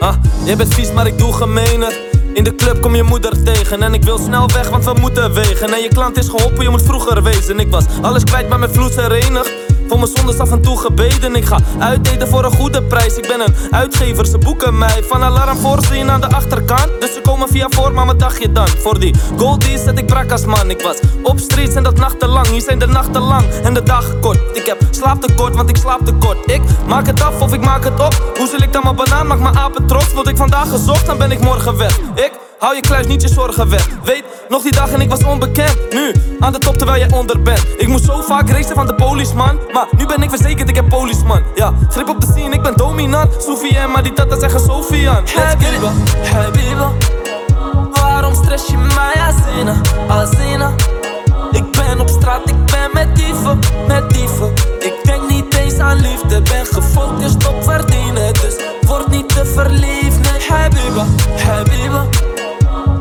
S9: Ah, je bent vies, maar ik doe gemeener. In de club kom je moeder tegen en ik wil snel weg, want we moeten wegen. En je klant is geholpen, je moet vroeger wezen. Ik was alles kwijt, maar mijn vloed herenigd. Voor mijn zondes af en toe gebeden. Ik ga uitdaten voor een goede prijs. Ik ben een uitgever, ze boeken mij. Van alarm voorzien aan de achterkant. Dus ze komen via voor, maar wat dacht je dan? Voor die goldies zet ik brak als man. Ik was op streets en dat nachtenlang. Hier zijn de nachten lang en de dagen kort. Ik heb slaaptekort, want ik slaap tekort. Ik maak het af of ik maak het op. Hoe zal ik dan mijn banaan? Maak mijn apen trots. Word ik vandaag gezocht, dan ben ik morgen weg. Ik hou je kluis niet je zorgen weg. Weet nog die dag en ik was onbekend. Nu aan de top terwijl jij onder bent. Ik moest zo vaak racen van de policeman. Maar nu ben ik verzekerd, ik heb policeman. Ja, grip op de scene, ik ben dominant. Sofian, maar die tata zeggen Sofian. Habiba, Habiba. Waarom stress je mij, Azina, Azina? Ik ben op straat, ik ben met dieven, met dieven. Ik denk niet eens aan liefde, ben gefocust op verdienen. Dus word niet te verliefd, nee. Habiba, Habiba.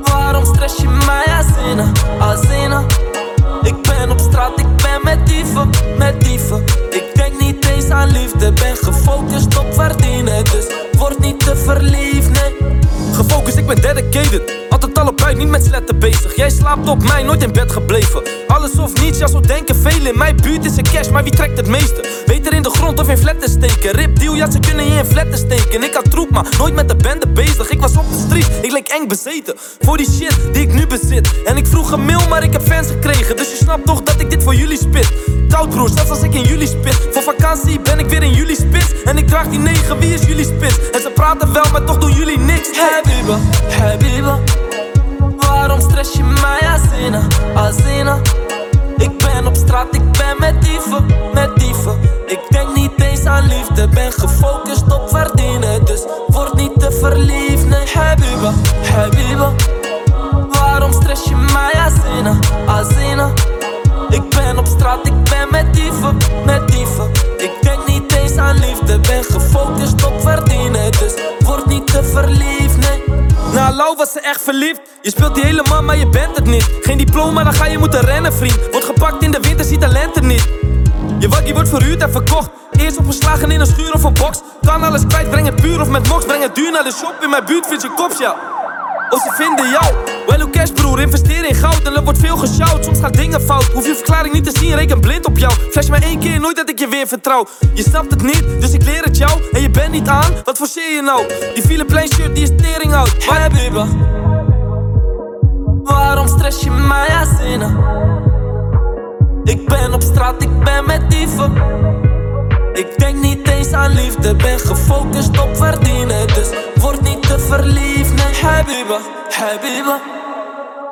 S9: Waarom stress je mij, Azina, Azina? Ik ben op straat, ik ben met dieven, met dieven. Ik denk niet eens aan liefde, ben gefocust op verdienen. Dus word niet te verliefd, nee. Gefocust, ik ben dedicated. Altijd al op buik, niet met sletten bezig. Jij slaapt op mij, nooit in bed gebleven. Alles of niets, ja, zo denken velen. In mijn buurt is een cash, maar wie trekt het meeste? Beter in de grond of in flatten steken. Rip deal, ja, ze kunnen je in flatten steken. Ik had troep, maar nooit met de bende bezig. Ik was op de street, ik leek eng bezeten. Voor die shit die ik nu bezit. En ik vroeg een mail, maar ik heb fans gekregen. Dus je snapt toch dat ik dit voor jullie spit. Koud broer, zelfs als ik in jullie spit. Voor vakantie ben ik weer in jullie spits. En ik draag die negen, wie is jullie spits? En ze praten wel, maar toch doen jullie niks. Habiba, Habiba. Waarom Oh, stress je mij, Azina, Azina? Ik ben op straat, ik ben met dieven, met dieven. ben gefocust op verdienen Dus word niet te verliefd, nee Habiba, Habiba Waarom stress je mij, Azina, Azina Ik ben op straat, ik ben met dieven, met dieven Ik denk niet eens aan liefde, ben gefocust op verdienen Dus word niet te verliefd, nee na Lau was ze echt verliefd Je speelt die helemaal, maar je bent het niet Geen diploma, dan ga je moeten rennen, vriend Wordt gepakt in de winter, ziet talenten niet je wakkie wordt verhuurd en verkocht. Eerst opgeslagen in een schuur of een box. Kan alles kwijt, breng het puur of met mox. Breng het duur naar de shop, in mijn buurt vind je kops, ja. Of Oh, ze vinden jou. Well, who cash broer, investeer in goud en er wordt veel gesjouwd. Soms gaan dingen fout, hoef je verklaring niet te zien, reken blind op jou. Flash maar één keer, nooit dat ik je weer vertrouw. Je snapt het niet, dus ik leer het jou. En je bent niet aan, wat forceer je nou? Die Philip Lane shirt, die is tering oud. Maar Habiba, waarom stress je mij aan ik ben op straat, ik ben met dieven. Ik denk niet eens aan liefde, ben gefocust op verdienen. Dus word niet te verliefd, nee, Habiba, Habiba.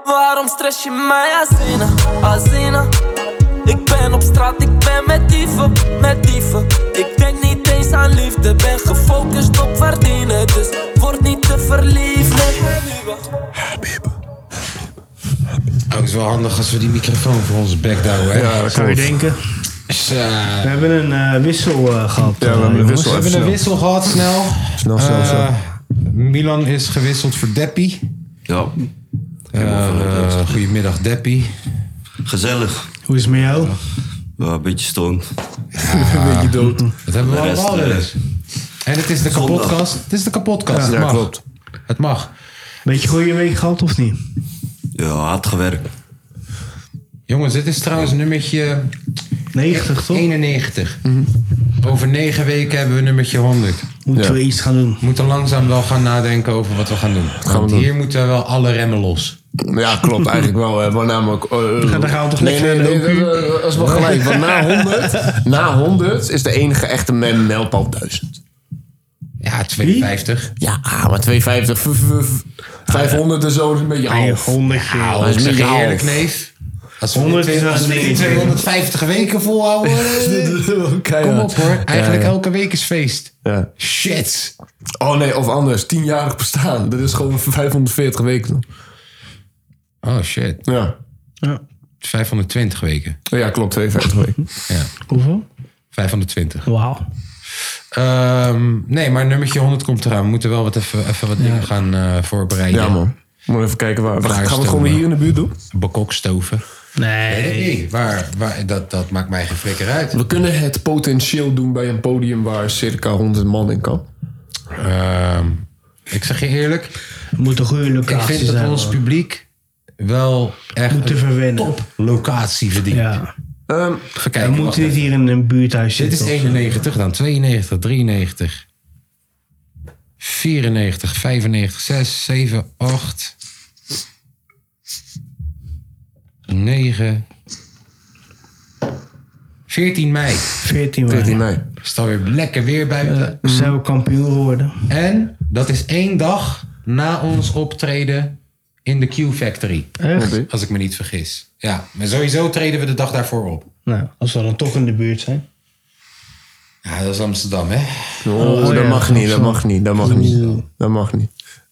S9: Waarom stress je mij, Azina, Azina? Ik ben op straat, ik ben met dieven, met dieven. Ik denk niet eens aan liefde, ben gefocust op verdienen. Dus word niet te verliefd, nee, Habiba.
S1: Oh, het is wel handig als we die microfoon voor onze bek houden. Hè?
S5: Ja, dat zou je denken. We hebben een eh, wissel eh, gehad.
S1: Dus, Ja, we hebben een
S5: jongens.
S1: wissel, We even hebben een snel. wissel gehad, snel.
S2: Snel, snel,
S1: Eh,
S2: snel.
S1: Milan is gewisseld voor Deppie.
S6: Ja.
S1: goedemiddag, Deppie.
S6: Gezellig.
S5: Hoe is het met jou?
S6: Ja, een beetje stoned.
S1: Een beetje dood. Dat hebben we
S6: De rest,
S1: allemaal wel
S6: eh,
S1: eens. En het is de
S6: zondag.
S1: kapotkast. Het is de kapotkast.
S6: Ja,
S1: het
S6: ja,
S1: mag.
S6: klopt.
S1: Het mag.
S5: Beetje goede week gehad of niet?
S6: Ja, hard gewerkt.
S1: Jongens, dit is trouwens nummertje...
S5: 90, toch?
S1: 91.
S2: Mhm.
S1: Over negen weken hebben we nummertje 100.
S5: Moeten we iets gaan doen?
S1: moeten langzaam wel gaan nadenken over wat we gaan doen.
S2: we
S1: Want
S2: doen.
S1: hier moeten we wel alle remmen los.
S2: Ja, klopt. Eigenlijk wel. hè. Want namelijk... eh,
S5: Ja, daar gaan we toch
S2: nee,
S5: niks
S2: nee,
S5: mee
S2: nee,
S5: doen?
S2: dat- Eh, dat- dat is wel gelijk. Want na 100, na 100 is de enige echte men- mijlpaal 1000.
S1: Ja, 250.
S2: Ja, ah, maar 250, v- v- v- 500 en zo is een beetje half.
S5: 100
S2: Ja,
S1: Nou, ik zeg je
S2: half.
S1: eerlijk, neef. Als we
S5: 100
S1: dit-
S5: is
S1: als we
S5: een
S1: dit
S5: dingetje.
S1: 250 weken volhouden. Kom op hoor. Eigenlijk elke week is feest.
S2: Ja.
S1: Shit.
S2: Oh nee, of anders. 10-jarig bestaan. Dat is gewoon 540 weken.
S1: Oh shit.
S2: Ja,
S5: Ja.
S1: 520 weken.
S2: ja klopt. 52 weken.
S5: Hoeveel?
S1: 520.
S5: Wauw.
S1: Ehm, nee, maar nummertje 100 komt eraan. We moeten wel wat even, even wat dingen gaan eh, voorbereiden.
S2: Ja, man. Moet even kijken waar.
S1: Daar
S2: gaan we het
S1: stomen.
S2: gewoon weer hier in de buurt doen?
S1: Bakokstoven.
S5: Nee.
S1: nou. Nee, waar, waar, dat, dat maakt mij geen flikker uit.
S2: We kunnen het potentieel doen bij een podium waar circa 100 man in kan.
S1: Ehm, ik zeg je eerlijk,
S5: Het moet een goede
S1: ik
S5: locatie
S1: vind dat
S5: zijn.
S1: ons
S5: man.
S1: publiek wel echt
S5: Moet te
S1: een
S5: verwennen.
S1: top locatie verdient.
S5: Ja.
S2: Ehm,
S1: Even
S5: Dan
S1: kijken,
S5: moet
S1: wacht
S5: dit
S1: even.
S5: hier in een buurthuis
S1: dit
S5: zitten.
S1: is
S5: of zo.
S1: 91 dan, 92, 93, 94, 95, 6, 7, 8, 9, 14 mei.
S5: 14 mei.
S2: 14 mei.
S1: Is alweer lekker weer buiten.
S5: We Eh, Zijn we kampioen geworden?
S1: En dat is één dag na ons optreden in de Q Factory.
S5: Echt?
S1: Als ik me niet vergis. Ja, maar sowieso treden we de dag daarvoor op.
S5: Nou, als we dan toch in de buurt zijn.
S1: Ja, dat is Amsterdam, hè?
S2: Oh,
S5: ja,
S2: dat mag niet, dat
S5: zo.
S2: mag niet, dat mag niet. Dat mag niet.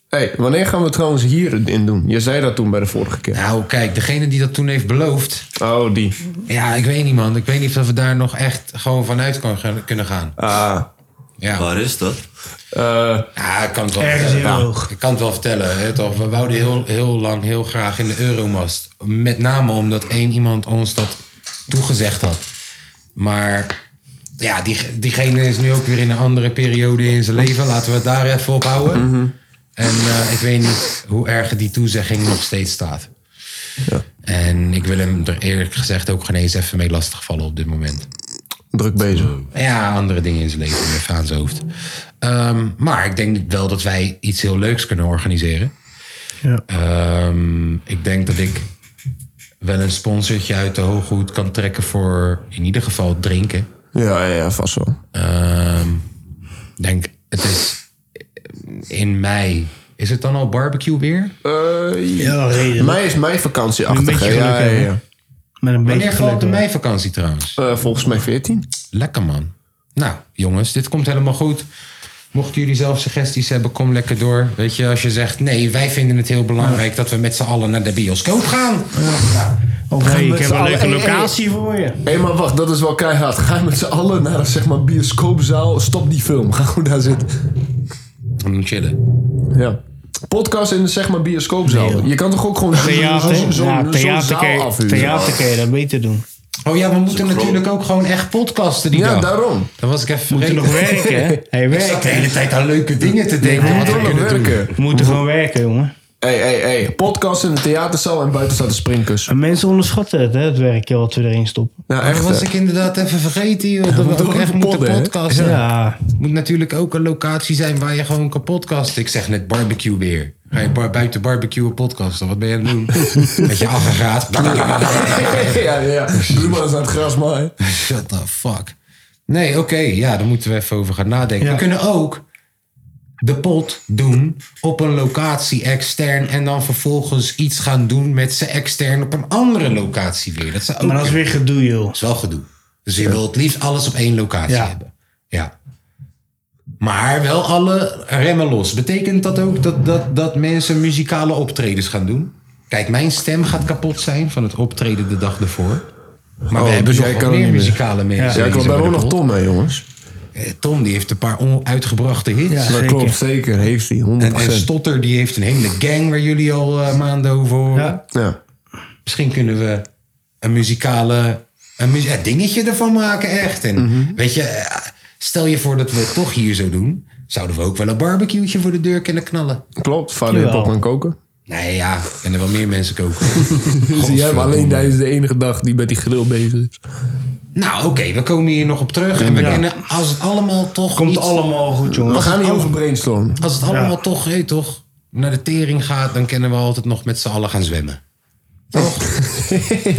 S2: hey, wanneer gaan we trouwens hierin doen? Je zei dat toen bij de vorige keer.
S1: Nou, kijk, degene die dat toen heeft beloofd.
S2: Oh, die.
S1: Ja, ik weet niet, man. Ik weet niet of we daar nog echt gewoon vanuit kan- gaan- kunnen gaan.
S2: Ah.
S1: Ja,
S6: Waar is dat?
S2: eh,
S1: ja ik kan het wel
S5: Ergens
S1: vertellen.
S5: heel
S1: Ja,
S5: hoog.
S1: Ik kan het wel vertellen. Hè, toch? We wouden heel, heel lang heel graag in de Euromast. Met name omdat één iemand ons dat toegezegd had. Maar ja, die, diegene is nu ook weer in een andere periode in zijn leven. Laten we het daar even op houden. En eh, ik weet niet hoe erg die toezegging nog steeds staat. En ik wil hem er eerlijk gezegd ook geen eens even mee lastigvallen op dit moment.
S2: druk bezig.
S1: Ja, andere dingen in zijn leven, even aan zijn hoofd. Ehm, maar ik denk wel dat wij iets heel leuks kunnen organiseren.
S5: Ja.
S1: Ehm, ik denk dat ik wel een sponsortje uit de hooghoed kan trekken voor in ieder geval drinken.
S2: Ja, ja, ja, vast wel.
S1: Ehm, ik denk, het is in mei. Is het dan al barbecue weer?
S2: Eh, ja.
S5: Ja, reden.
S2: Mei is mijn
S5: Een
S2: vakantieachtig.
S5: beetje
S2: hè? Ja, ja,
S5: geluk
S2: ja.
S5: hebben. Met een beetje
S1: Wanneer valt
S5: geluk.
S1: de
S5: wel.
S1: meivakantie trouwens?
S2: Eh, volgens mij 14.
S1: Lekker man. Nou, jongens, dit komt helemaal goed. Mochten jullie zelf suggesties hebben, kom lekker door. Weet je, als je zegt, nee, wij vinden het heel belangrijk dat we met z'n allen naar de bioscoop gaan. Nou,
S5: Of
S2: Ga je
S5: hey, ik
S2: met
S5: heb
S2: z'n
S5: een leuke
S2: allen- hey, hey.
S5: locatie voor je.
S2: Hé, maar wacht, dat is wel keihard. Ga je met z'n allen naar een zeg maar, bioscoopzaal. Stop die film. Ga goed daar zitten.
S1: Om chillen.
S2: Ja. Podcast in de zeg maar bioscoopzaal. je kan toch ook gewoon zo'n
S5: Theater,
S2: zo, zo,
S5: ja,
S2: zo'n
S5: theater,
S2: zaal
S5: kun je,
S2: afhuren?
S5: theater kun je dat beter doen.
S1: Oh ja, we moeten natuurlijk ook gewoon echt podcasten die
S2: Ja,
S1: dag.
S2: daarom.
S1: Dan was ik even
S5: Moeten nog
S1: vergeten.
S5: werken, hè? Hey,
S1: Ik zat de
S5: werken.
S1: hele tijd aan leuke dingen te denken. wat
S2: Je moet
S1: we
S2: ook nog
S1: kunnen doen.
S2: werken.
S5: We moeten gewoon werken, jongen.
S2: Hé, hé, hé. Podcast in de theaterzaal en buiten staat een springkus.
S5: En mensen onderschatten het, hè, het werkje wat we erin stoppen.
S2: Nou,
S1: Dat
S2: echt.
S1: was
S2: hè.
S1: ik inderdaad even vergeten, joh. Dat
S2: moeten
S1: we ook
S2: ook
S1: echt
S2: een
S1: moeten
S2: pod, hè?
S1: podcasten.
S5: Ja,
S1: moet natuurlijk ook een locatie zijn waar je gewoon kan podcasten. Ik zeg net barbecue weer. Ga je bar- buiten barbecuen podcasten? Wat ben je aan het doen? Met je aggregaat.
S2: ja, ja. Doe maar eens aan het gras maaien.
S1: Shut the fuck. Nee, oké. ja, daar moeten we even over gaan nadenken.
S5: Ja.
S1: We kunnen ook de pot doen op een locatie extern. En dan vervolgens iets gaan doen met ze extern op een andere locatie weer. Dat zou ook
S5: maar dat is
S1: kunnen.
S5: weer gedoe, joh.
S1: Dat is wel gedoe. Dus je wil het liefst alles op één locatie
S5: Ja.
S1: hebben. Ja. Maar wel alle remmen los. Betekent dat ook dat, dat, dat mensen muzikale optredens gaan doen? Kijk, mijn stem gaat kapot zijn van het optreden de dag ervoor. Maar
S2: Oh,
S1: we hebben
S2: dus
S1: nog
S2: jij
S1: wel
S2: kan ook
S1: meer
S2: niet meer.
S1: muzikale mensen.
S2: Ja, ik
S1: die
S2: wil
S1: zo
S2: daar ook
S1: worden
S2: nog
S1: kapot.
S2: Tom mee, jongens.
S1: Eh, Tom die heeft een paar onuitgebrachte hits.
S5: Ja.
S2: Dat
S5: Zeker.
S2: klopt, zeker. Heeft hij, 100%.
S1: En, en Stotter die heeft een hele gang waar jullie al eh, maanden over horen.
S5: Ja.
S2: ja.
S1: Misschien kunnen we een muzikale een mu- ja, dingetje ervan maken, echt. En
S2: Mhm.
S1: weet je, eh, stel je voor dat we het toch hier zo doen, zouden we ook wel een barbecueetje voor de deur kunnen knallen.
S2: Klopt, vader
S5: Jawel.
S2: pop en koken.
S1: Nee, ja, en er wel meer mensen koken.
S2: Zie jij maar alleen tijdens de enige dag die met die grill bezig is.
S1: Nou, oké, we komen hier nog op terug. En we kunnen, als het allemaal toch.
S5: Komt
S1: iets-
S5: allemaal goed, jongen.
S2: We gaan niet over brainstormen.
S1: Als het allemaal toch, hé, toch, naar de tering gaat, dan kunnen we altijd nog met z'n allen gaan zwemmen.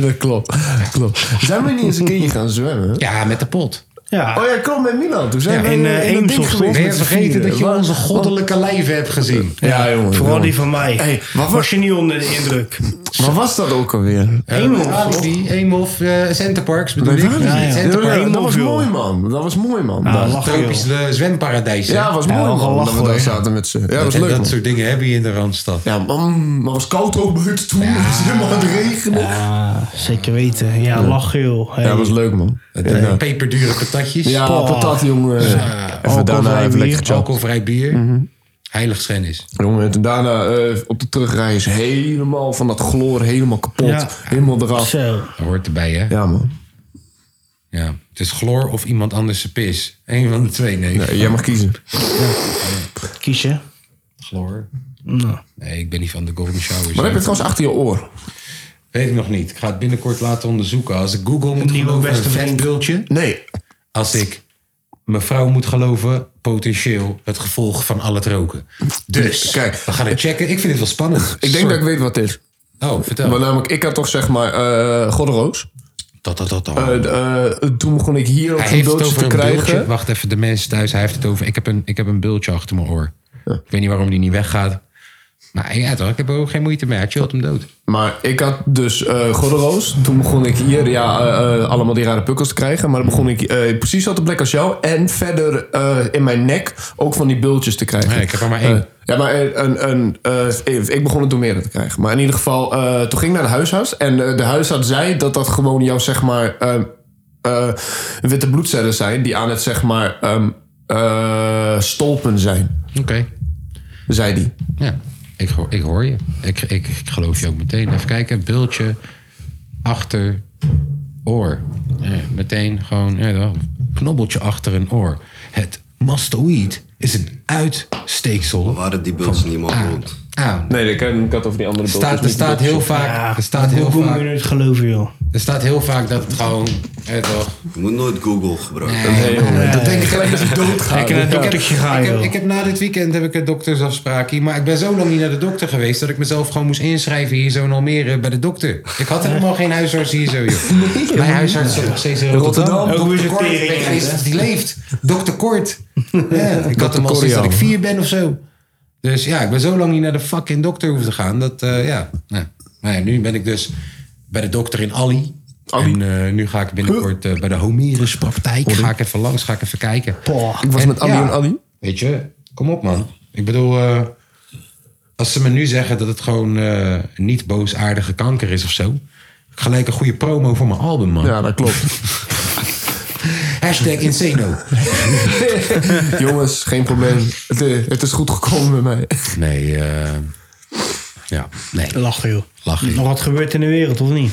S2: dat klopt. klopt. Zijn we niet eens een keertje gaan zwemmen?
S1: Ja, met de pot.
S2: Oh
S5: Ja,
S2: ja, klopt met Milan. Toen zijn
S1: Ah. Ja,
S2: we
S5: in, eh,
S2: in,
S5: Eems
S2: dat ding
S5: of zo.
S2: geweest
S1: Ben je
S2: met z'n
S1: vergeten
S2: vieren.
S1: dat je
S2: Waar- Oh.
S1: onze goddelijke lijven hebt gezien?
S2: Ja, jongen.
S5: vooral
S2: jongen.
S5: die van mij.
S2: Hey, wat
S5: was je niet onder de indruk?
S2: Wat was dat ook alweer?
S5: Eemhof,
S1: Alibi, Eemhof, eh Centerparks bedoel
S2: Weet
S1: ik.
S2: je?
S1: Ja,
S5: ja.
S1: Centerpark.
S2: dat was
S5: joh.
S2: mooi, man. Dat was mooi, man.
S5: Ah,
S2: Dat-
S5: lach, joh.
S1: Tropisch eh, zwemparadijs. hè?
S2: Ja, was mooi,
S5: Ja, wel
S2: man.
S5: gelachen,
S2: Dat we daar
S5: hoor.
S2: zaten met z'n... Ja, dat was
S1: en
S2: leuk,
S1: dat
S2: man.
S1: soort dingen heb je in de Randstad.
S2: Ja, man, maar was koud ook buiten toen. Het is helemaal aan het regenen. Ja,
S5: Ah, zeker weten. Ja, lach joh. Hey.
S2: dat was leuk, man.
S1: Eh, Peperdure patatjes.
S2: Ja,
S5: Pah.
S2: patat, jongen. even daarna
S5: alcoholvrij
S2: even
S5: bier,
S2: lekker gechapt.
S1: Alcoholvrij bier. Heilig schennis.
S2: Jongen, en toen daarna eh, op de terugrij is helemaal van dat gloor helemaal kapot.
S5: Ja.
S2: Helemaal eraf.
S5: Zo.
S1: Dat hoort erbij, hè? Ja.
S2: Ja, man.
S1: Het is chloor of iemand anders zijn pis. Eén van de twee, nee.
S2: Ja, jij mag kiezen.
S5: Kies je?
S1: Chloor.
S5: Nou.
S1: Nee, ik ben niet van de golden showers.
S2: Maar heb je het trouwens achter je oor?
S1: Weet ik nog niet. Ik ga het binnenkort laten onderzoeken. Als ik Google moet
S5: nieuwe
S1: geloven, een
S5: beste vriend.
S1: fanbultje.
S2: Nee.
S1: als ik mijn vrouw moet geloven, potentieel het gevolg van al het roken. Dus,
S2: Kijk.
S1: we gaan het checken. Ik vind het wel spannend.
S2: Ik denk dat ik weet wat het is.
S1: Oh, vertel.
S2: Maar namelijk, ik had toch zeg maar eh Godderoos.
S1: dat, dat, dat, dat.
S2: Eh, eh, toen begon ik hier ook
S1: Oh. hij
S2: zo'n
S1: heeft het
S2: doodje
S1: over
S2: te
S1: een bultje.
S2: krijgen.
S1: Wacht even, de mensen thuis. Hij heeft het over, ik heb een, ik heb een bultje achter mijn oor. Ik weet niet waarom die niet weggaat. Maar ja toch, ik heb er ook geen moeite mee. Hij chillt hem dood.
S2: Maar ik had dus eh Godderoos. Toen begon ik hier ja, eh, eh, allemaal die rare pukkels te krijgen. Maar dan begon ik eh, precies op de plek als jou. En verder eh, in mijn nek ook van die bultjes te krijgen.
S1: Nee, ik heb er maar één.
S2: Eh, ja, maar een, een, een, eh, ik begon het door meerdere te krijgen. Maar in ieder geval, eh, toen ging ik naar de huisarts. En eh, de huisarts zei dat dat gewoon jouw, zeg maar, eh, eh, witte bloedcellen zijn. Die aan het, zeg maar, ehm, eh, stolpen zijn,
S1: Oké,
S2: zei die.
S1: ja. Ik hoor, ik hoor je. Ik, ik, ik geloof je ook meteen. Even kijken, bultje achter oor. Ja, meteen gewoon ja, wel, knobbeltje achter een oor. Het mastoïd is een uitsteeksel.
S6: Waren die bulten niet meer rond?
S1: Ah,
S2: Nee, ik, had over die andere
S1: staat, er staat heel vaak, er staat heel
S5: Hoe moet
S1: vaak,
S5: je het geloven, joh?
S1: er staat heel vaak dat het gewoon, ja, toch.
S6: Je moet nooit Google gebruiken.
S2: Dat denk ik gelijk als ik doodga.
S5: Ik heb een
S1: Ik heb,
S5: doktertje gaan,
S1: ik, heb,
S5: joh.
S1: ik heb na dit weekend heb ik een doktersafspraak hier. Maar ik ben zo lang niet naar de dokter geweest dat ik mezelf gewoon moest inschrijven hier zo in Almere bij de dokter. Ik had helemaal geen huisarts hier zo, joh. Mijn huisarts zat nog steeds in Rotterdam.
S2: Rotterdam.
S5: Ook weer
S1: Dokter
S5: zo'n
S1: Kort, ik
S5: tering,
S1: weet niet eens
S5: hè?
S1: of die leeft. Dokter Kort. Ja, ik had hem al
S2: Kort,
S1: sinds
S2: ja.
S1: dat ik vier ben of zo. Dus ja, ik ben zo lang niet naar de fucking dokter hoeven te gaan. Dat, eh, ja. Nou, nou ja, nu ben ik dus bij de dokter in Ali. En eh, nu ga ik binnenkort eh, bij de Homeruspraktijk. Ga ik even langs, ga ik even kijken.
S2: Ik was met Ali en Ali.
S1: Weet je, kom op man. Ik bedoel, eh, als ze me nu zeggen dat het gewoon eh, niet boosaardige kanker is of zo. Gelijk een goede promo voor mijn album man. Ja,
S2: dat klopt.
S1: Hashtag Inseno.
S2: Jongens, geen probleem. Het, eh, het is goed gekomen bij mij.
S1: Nee, ja, nee.
S5: Lachen joh.
S1: Lachen.
S5: Nog wat gebeurt in de wereld of niet?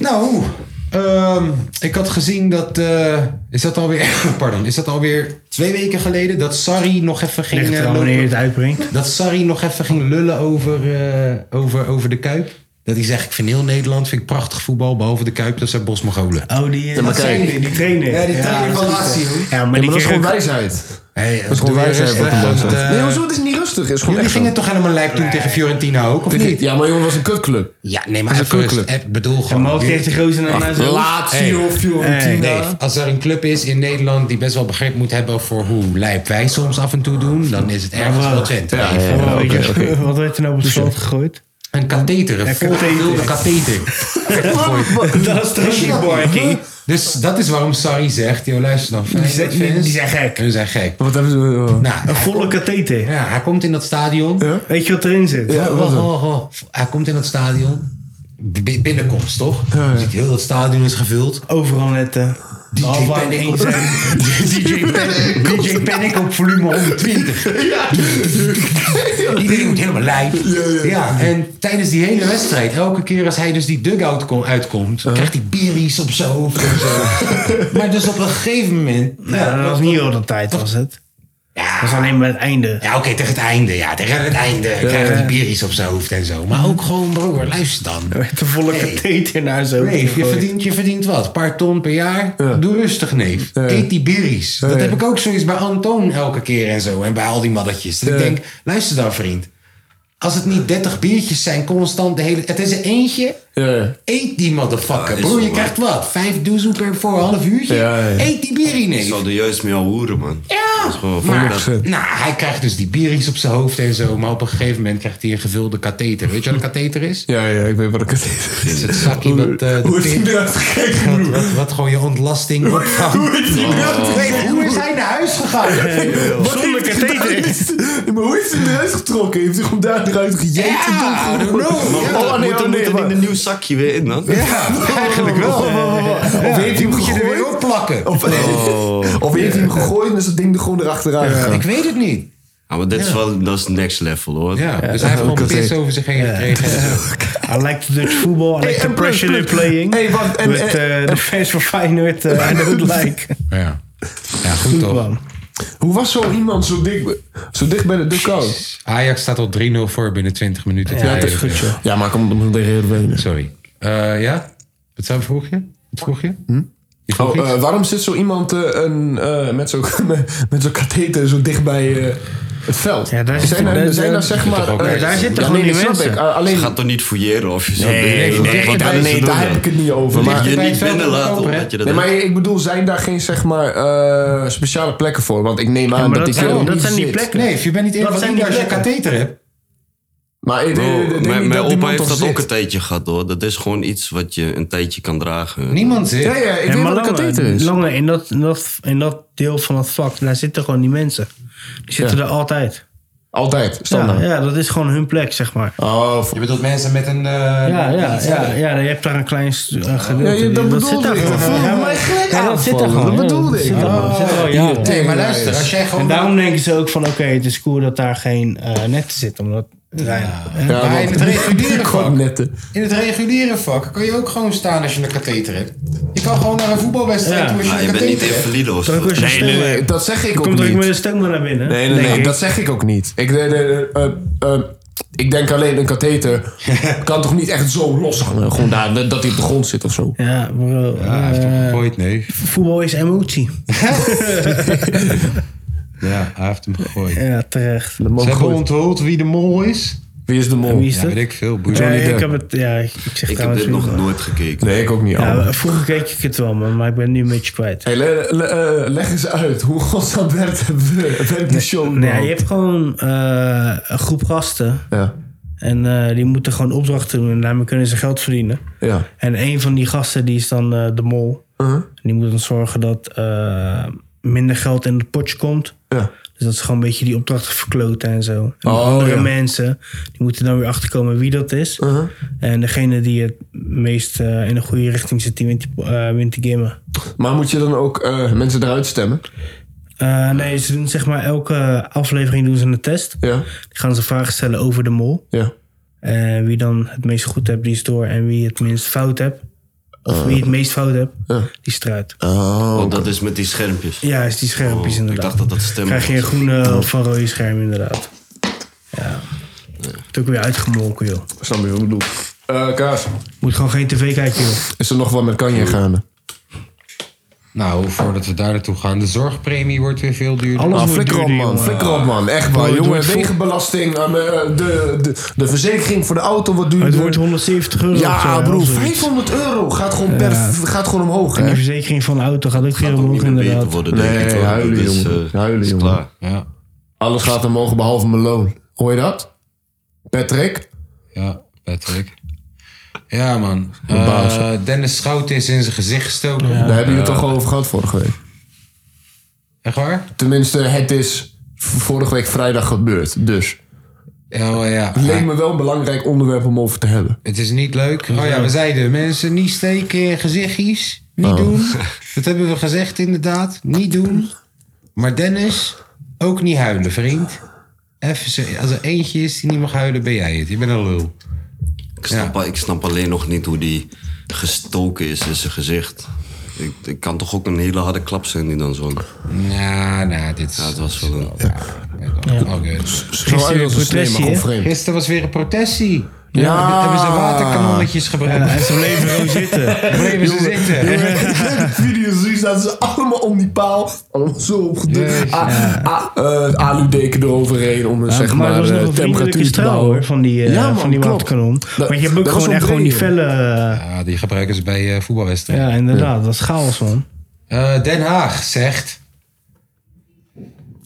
S1: Nou, ehm, ik had gezien dat. eh, is dat alweer. Pardon, is dat alweer twee weken geleden dat Sarri nog even ging.
S5: Ligt
S1: eh,
S5: er aan
S1: lopen-
S5: wanneer je het uitbrengt.
S1: Dat Sarri nog even ging lullen over, eh, over, over de Kuip. Dat hij zegt, ik vind heel Nederland, vind ik prachtig voetbal, behalve de Kuip, dat zijn Bosmogolen.
S5: Oh, die, eh, Ja, maar dat kijk. zijn die, die trainer. Ja, die trainer van Lazio. Ja, maar die
S2: dat is
S5: kerel-
S2: gewoon wijsheid.
S1: Hey,
S2: dat is gewoon
S1: doe je
S2: wijsheid wat
S1: rustig,
S2: de man
S1: want,
S2: zegt.
S1: eh,
S2: nee, hoezo? Het is niet rustig. Het is gewoon
S1: Jullie
S2: echt zo.
S1: gingen toch helemaal lijp toen tegen Fiorentina ook, of
S2: Tegen-
S1: niet?
S2: Ja, maar jongen, het was een kutclub.
S1: Ja, nee, maar
S2: Dat is een
S1: even,
S2: kutclub.
S1: eh, bedoel gewoon...
S5: maar ook
S1: jullie-
S5: tegen die gozer naar-
S1: Ach,
S5: naar zo'n-
S2: Lazio,
S1: Hey.
S2: Fiorentina.
S1: Hey. Nee, als er een club is in Nederland die best wel begrip moet hebben voor hoe lijp wij soms af en toe doen, dan is het ergens wel Twente.
S5: Ja, weet je, Wat werd er nou op
S1: Dus,
S5: het
S1: eh,
S5: veld gegooid?
S1: Een katheter, een
S5: Ja,
S1: volgevulde katheter.
S5: Dat is trashy boy.
S1: Dus dat is waarom Sarri zegt, joh, luister dan.
S5: Die zijn- die- die zijn
S1: gek. Die zijn gek.
S2: Wat hebben ze... eh,
S1: Nou,
S5: Een volle katheter.
S1: Ja, hij komt in dat stadion.
S5: Weet je wat erin zit?
S1: Oh, oh, oh. Hij komt in dat stadion. B- binnenkomst, toch? Ziet heel dat stadion is gevuld.
S5: Overal net... eh,
S1: DJ
S5: halfweg
S1: Panic
S5: één
S1: op
S5: zijn.
S1: DJ Panic- DJ Panic op volume 120. Iedereen moet helemaal lijp. Ja, en tijdens die hele wedstrijd, elke keer als hij dus die dugout kom, uitkomt, krijgt hij berries op zijn hoofd en zo. maar dus op een gegeven moment.
S5: Ja, dat was niet heel de tijd, was het?
S1: Ja.
S5: Dat was alleen maar het einde.
S1: Ja, oké, tegen het einde. Ja, Mhm. tegen het einde krijgen die berries op zijn hoofd en zo. Maar ook gewoon, broer, luister dan.
S5: Met de volle katheter naar zo.
S1: Nee, je verdient, je verdient wat? Een paar ton per jaar? Doe rustig, neef. Eet die berries. Dat
S2: Ja.
S1: heb ik ook zoiets bij Antoon elke keer en zo. En bij al die maddatjes. Dat ik
S2: Ja.
S1: denk, luister dan, vriend. Als het niet 30 biertjes zijn constant de hele... Het is er eentje.
S2: Ja.
S1: Eet die motherfucker.
S6: Ja, is
S1: Broer, je
S6: wel
S1: krijgt wat? Vijf doezoe per voor een half uurtje?
S2: Ja, ja.
S1: Eet die berrie,
S6: Ik
S1: neef.
S6: zal er juist mee al hoeren, man. Dat is gewoon
S1: Maar,
S6: dat-
S1: nou, hij krijgt dus die bieries op zijn hoofd en zo. Maar op een gegeven moment krijgt hij een gevulde katheter. Weet je wat een katheter is?
S2: Ja, ja, ik weet wat ik het is.
S1: Het is het zakje wat, eh, de
S2: Hoe is
S1: pin-
S2: die eruit gekeken,
S1: wat,
S2: broer?
S1: wat, wat gewoon je ontlasting opvangt. Oh.
S2: Hoe is die eruit
S1: Nee, hoe is hij naar huis gegaan?
S2: Zonder katheter. Maar hoe is hij eruit getrokken? Heeft hij gewoon daar eruit gejeten?
S1: Ja, I
S2: toch?
S1: don't know. Ja,
S2: Oh, nee,
S6: moet
S2: oh,
S6: er
S2: nee.
S6: moet er
S2: maar-
S6: in een nieuw zakje weer in, man.
S1: ja, eigenlijk wel.
S2: Of heeft hij hem
S1: Moet je er weer
S2: gegooid?
S1: op plakken?
S2: Of,
S6: Oh.
S2: of heeft hij hem gegooid en is dat ding er gewoon erachteraan gegaan?
S1: Ik weet het niet.
S6: Ja, maar dit is wel, dat is next level, hoor.
S1: Ja, dus hij heeft gewoon pis over zich heen gekregen. en zo.
S5: Oh, I like the Dutch football. I like the
S2: en plus,
S5: pressure they're
S2: plus.
S5: playing.
S2: Hey, wacht, en-
S5: With
S2: en-
S5: eh, the fans van Feyenoord, eh, I don't like.
S1: Ja. ja, goed toch.
S5: Man.
S2: Hoe was zo iemand zo dik, zo dicht bij de dugout?
S1: Ajax staat al 3-0 voor binnen 20 minuten.
S5: Ja, dat is goed, joh.
S2: Ja, maar ik kom om tegen heel weinig.
S1: Sorry. Eh, ja? Wat zou vroeg je? Wat vroeg je? Je vroeg
S2: Oh,
S1: iets?
S2: eh, waarom zit zo iemand eh, een, eh, met zo'n met, met zo'n katheter zo dicht bij eh, het veld?
S5: Ja, daar zit-
S2: zijn er,
S5: daar-
S2: zijn er
S5: daar-
S2: zeg maar...
S1: ook-
S2: eh,
S1: Nee,
S5: daar zitten
S2: ja,
S5: gewoon die
S2: nee, dat snap
S5: mensen.
S2: ik. Eh, alleen,
S6: Je gaat toch niet fouilleren of je zo...
S1: nee, nee,
S6: wat
S1: nee,
S6: willen ze
S2: nee,
S6: doen
S2: daar
S6: dan?
S2: heb ik het niet
S6: Dat
S2: over. Maar,
S6: je
S1: bij het
S6: niet
S1: veld
S6: binnen laat
S1: open, hè?
S6: omdat je dat
S2: nee, maar
S6: doet.
S2: ik bedoel, zijn daar geen zeg maar eh, speciale plekken voor? Want ik neem aan
S5: maar
S2: dat,
S5: dat
S2: die
S5: zijn-
S2: film
S5: dat
S2: niet
S5: zijn die
S2: zit.
S5: plekken.
S1: Nee, je bent niet
S5: Dat zijn
S1: in
S5: die
S1: als je een
S5: plekken.
S1: katheter hebt.
S2: Maar ik,
S6: Bro,
S2: ik denk niet
S6: mijn mijn
S2: dat die
S6: opa
S2: man
S6: heeft
S2: toch
S6: dat ook een
S2: zit.
S6: tijdje gehad, hoor. Dat is gewoon iets wat je een tijdje kan dragen.
S1: Niemand zit.
S2: Ja, ja, ik
S5: Ja,
S2: weet
S5: maar
S2: wat een katheter
S5: lange,
S2: is.
S5: lange in, dat, in, dat, in dat deel van het vak, daar zitten gewoon die mensen. Die zitten
S2: Ja.
S5: er altijd.
S2: Altijd,
S5: Ja,
S2: standaard.
S5: ja, dat is gewoon hun plek, zeg maar.
S2: Oh, f-
S1: Je bedoelt mensen met een... eh,
S5: Ja, ja, ja, ja, je hebt daar een klein stu- een
S2: ja,
S5: gedeelte.
S2: je- dat
S5: zit
S2: bedoelde
S5: daar
S2: ik.
S5: gewoon.
S2: Dat voelde
S5: Ja, maar-
S2: mij gelijk
S5: ja, dat zit er
S2: aanvallen.
S5: gewoon.
S2: Dat
S5: ja,
S2: bedoelde
S5: dat
S2: ik.
S5: zit er gewoon. Dat zit er wel hier.
S1: Nee, maar luister, als jij gewoon...
S5: En daarom denken ze ook van, oké, het is cool dat daar geen eh netten zitten. Omdat er zijn-
S2: Ja,
S1: Maar in
S2: want-
S1: het reguliere vak,
S2: Gewoon netten.
S1: in het reguliere vak kan je ook gewoon staan als je een katheter hebt. Je kan gewoon naar een voetbalwedstrijd
S5: Ja. Ah,
S1: toe als je
S6: Ja,
S1: een
S6: je bent niet
S1: katheter hebt.
S6: invalide of
S5: Kan
S6: zo.
S5: ook als je
S6: Nee,
S5: sneller-
S2: Nee, dat zeg ik ook
S5: Komt er ook
S2: niet.
S5: met een stengel naar binnen.
S2: Nee, nee,
S5: denk
S2: nee,
S5: ik.
S2: dat zeg ik ook niet. Ik, eh, eh, eh, eh, ik denk alleen een katheter kan toch niet echt zo loshangen? Gewoon daar, dat dat hij op de grond zit of zo.
S5: Ja, bro. eh,
S1: gegooid, nee.
S5: voetbal is emotie.
S1: Ja, hij heeft hem gegooid.
S5: Ja, terecht.
S2: Dat mag gewoon.
S1: onthuld wie de mol is.
S2: Wie is de mol?
S5: Wie is dat?
S1: ik veel.
S5: Ja,
S1: boeien.
S5: ik
S2: Depp.
S5: heb het, ja, ik zeg
S6: Ik heb
S5: trouwens
S6: dit nog
S5: weer-
S6: nooit gekeken.
S2: Nee, ik ook niet.
S5: Ja,
S2: Al.
S5: vroeger keek ik het wel, man, maar ik ben nu een beetje kwijt.
S2: Hey, le- le- eh, leg eens uit. Hoe godsnaam werkt, werkt die show?
S5: Nee,
S2: überhaupt?
S5: je hebt gewoon eh, een groep gasten
S2: ja.
S5: En eh, die moeten gewoon opdrachten doen en daarmee kunnen ze geld verdienen.
S2: Ja.
S5: En een van die gasten die is dan eh, de mol.
S2: Uh-huh.
S5: Die moet dan zorgen dat eh, minder geld in het potje komt. Dus dat ze gewoon een beetje die opdrachten verkloten en zo. En
S2: Oh,
S5: andere
S2: ja.
S5: mensen die moeten dan weer achterkomen wie dat is.
S2: Uh-huh.
S5: En degene die het meest eh, in de goede richting zit, die wint die, eh, wint die game.
S2: Maar moet je dan ook eh, mensen eruit stemmen?
S5: Eh, nee, ze doen zeg maar elke aflevering doen ze een test.
S2: Ja.
S5: Die gaan ze vragen stellen over de mol.
S2: Ja.
S5: En wie dan het meest goed hebt, die is door. En wie het minst fout hebt, of
S2: Eh.
S5: wie het meest fout hebt, die is eruit.
S6: Oh, dat is met die schermpjes.
S5: Ja, is die schermpjes
S6: Oh,
S5: inderdaad.
S6: Ik dacht dat dat stemmen
S5: Krijg je een groene of een rode scherm inderdaad. Ja. Het ook weer uitgemolken, joh.
S2: Snap je wat ik bedoel? Eh, kaas.
S5: Moet gewoon geen tv kijken, joh.
S2: Is er nog wat met Kanye gaande?
S1: Nou, voordat we daar naartoe gaan. De zorgpremie wordt weer veel duurder.
S2: Alles ah, flikker op, man. Flikker op, man. Echt waar, jongen. Wegenbelasting, eh, de, de, de verzekering voor de auto wordt duurder.
S5: Het wordt 170 euro of zo,
S2: Ja,
S5: hè,
S2: bro.
S5: of zoiets.
S2: 500 euro gaat gewoon, per,
S5: Ja.
S2: gaat gewoon omhoog,
S5: En
S2: hè?
S5: die verzekering van de auto gaat ook weer omhoog, inderdaad.
S2: nee, huilen,
S6: dus,
S2: jongen.
S6: eh,
S2: huilen, jongen. eh, Alles gaat omhoog behalve mijn loon. Hoor je dat? Patrick?
S1: Ja, Patrick. Ja, man.
S2: Mijn baas.
S1: Eh, Dennis Schout is in zijn gezicht gestoken.
S2: Daar hebben jullie
S1: Eh,
S2: het toch over gehad vorige week?
S1: Echt waar?
S2: Tenminste, het is v- vorige week vrijdag gebeurd, dus.
S1: Ja, wel, ja.
S2: Het leek me wel een belangrijk onderwerp om over te hebben.
S1: Het is niet leuk. Oh ja, we zeiden mensen niet steken in gezichtjes. Niet
S2: Oh.
S1: doen. Dat hebben we gezegd inderdaad. Niet doen. Maar Dennis, ook niet huilen, vriend. Even, zo- als er eentje is die niet mag huilen, ben jij het. Je bent een lul.
S6: Ik snap, al- ik snap alleen nog niet hoe die gestoken is in zijn gezicht. Ik, ik kan toch ook een hele harde klap zijn die dan zo...
S1: Nou, nou, dit is...
S6: Ja, het was wel een...
S1: Gisteren weer een protestie, hè?
S2: vreemd.
S1: Gisteren was weer een protestie.
S2: Ja.
S1: Ja, hebben ze waterkanonnetjes gebruikt.
S2: Ja, en ze
S5: bleven gewoon zitten.
S1: Bleven ze zitten.
S2: video's zien staan ze allemaal om die paal. Allemaal zo opgedukt. A- a- Ah, eh, Aludeken eroverheen om eh,
S5: Ja,
S2: zeg
S5: maar
S2: maar,
S5: het was nog
S2: eh,
S5: een vriendelijke
S2: temperatuur te
S5: straal
S2: houden.
S5: hoor, van die, eh,
S2: Ja, man,
S5: van die
S2: klopt.
S5: waterkanon.
S2: Nou, Dat-
S5: Want je hebt ook
S2: dat
S5: gewoon
S2: was
S5: echt gewoon die felle...
S1: Ja, die gebruiken ze bij eh, voetbalwedstrijden.
S5: Ja, inderdaad. Dat is chaos, man.
S1: Eh, Den Haag zegt...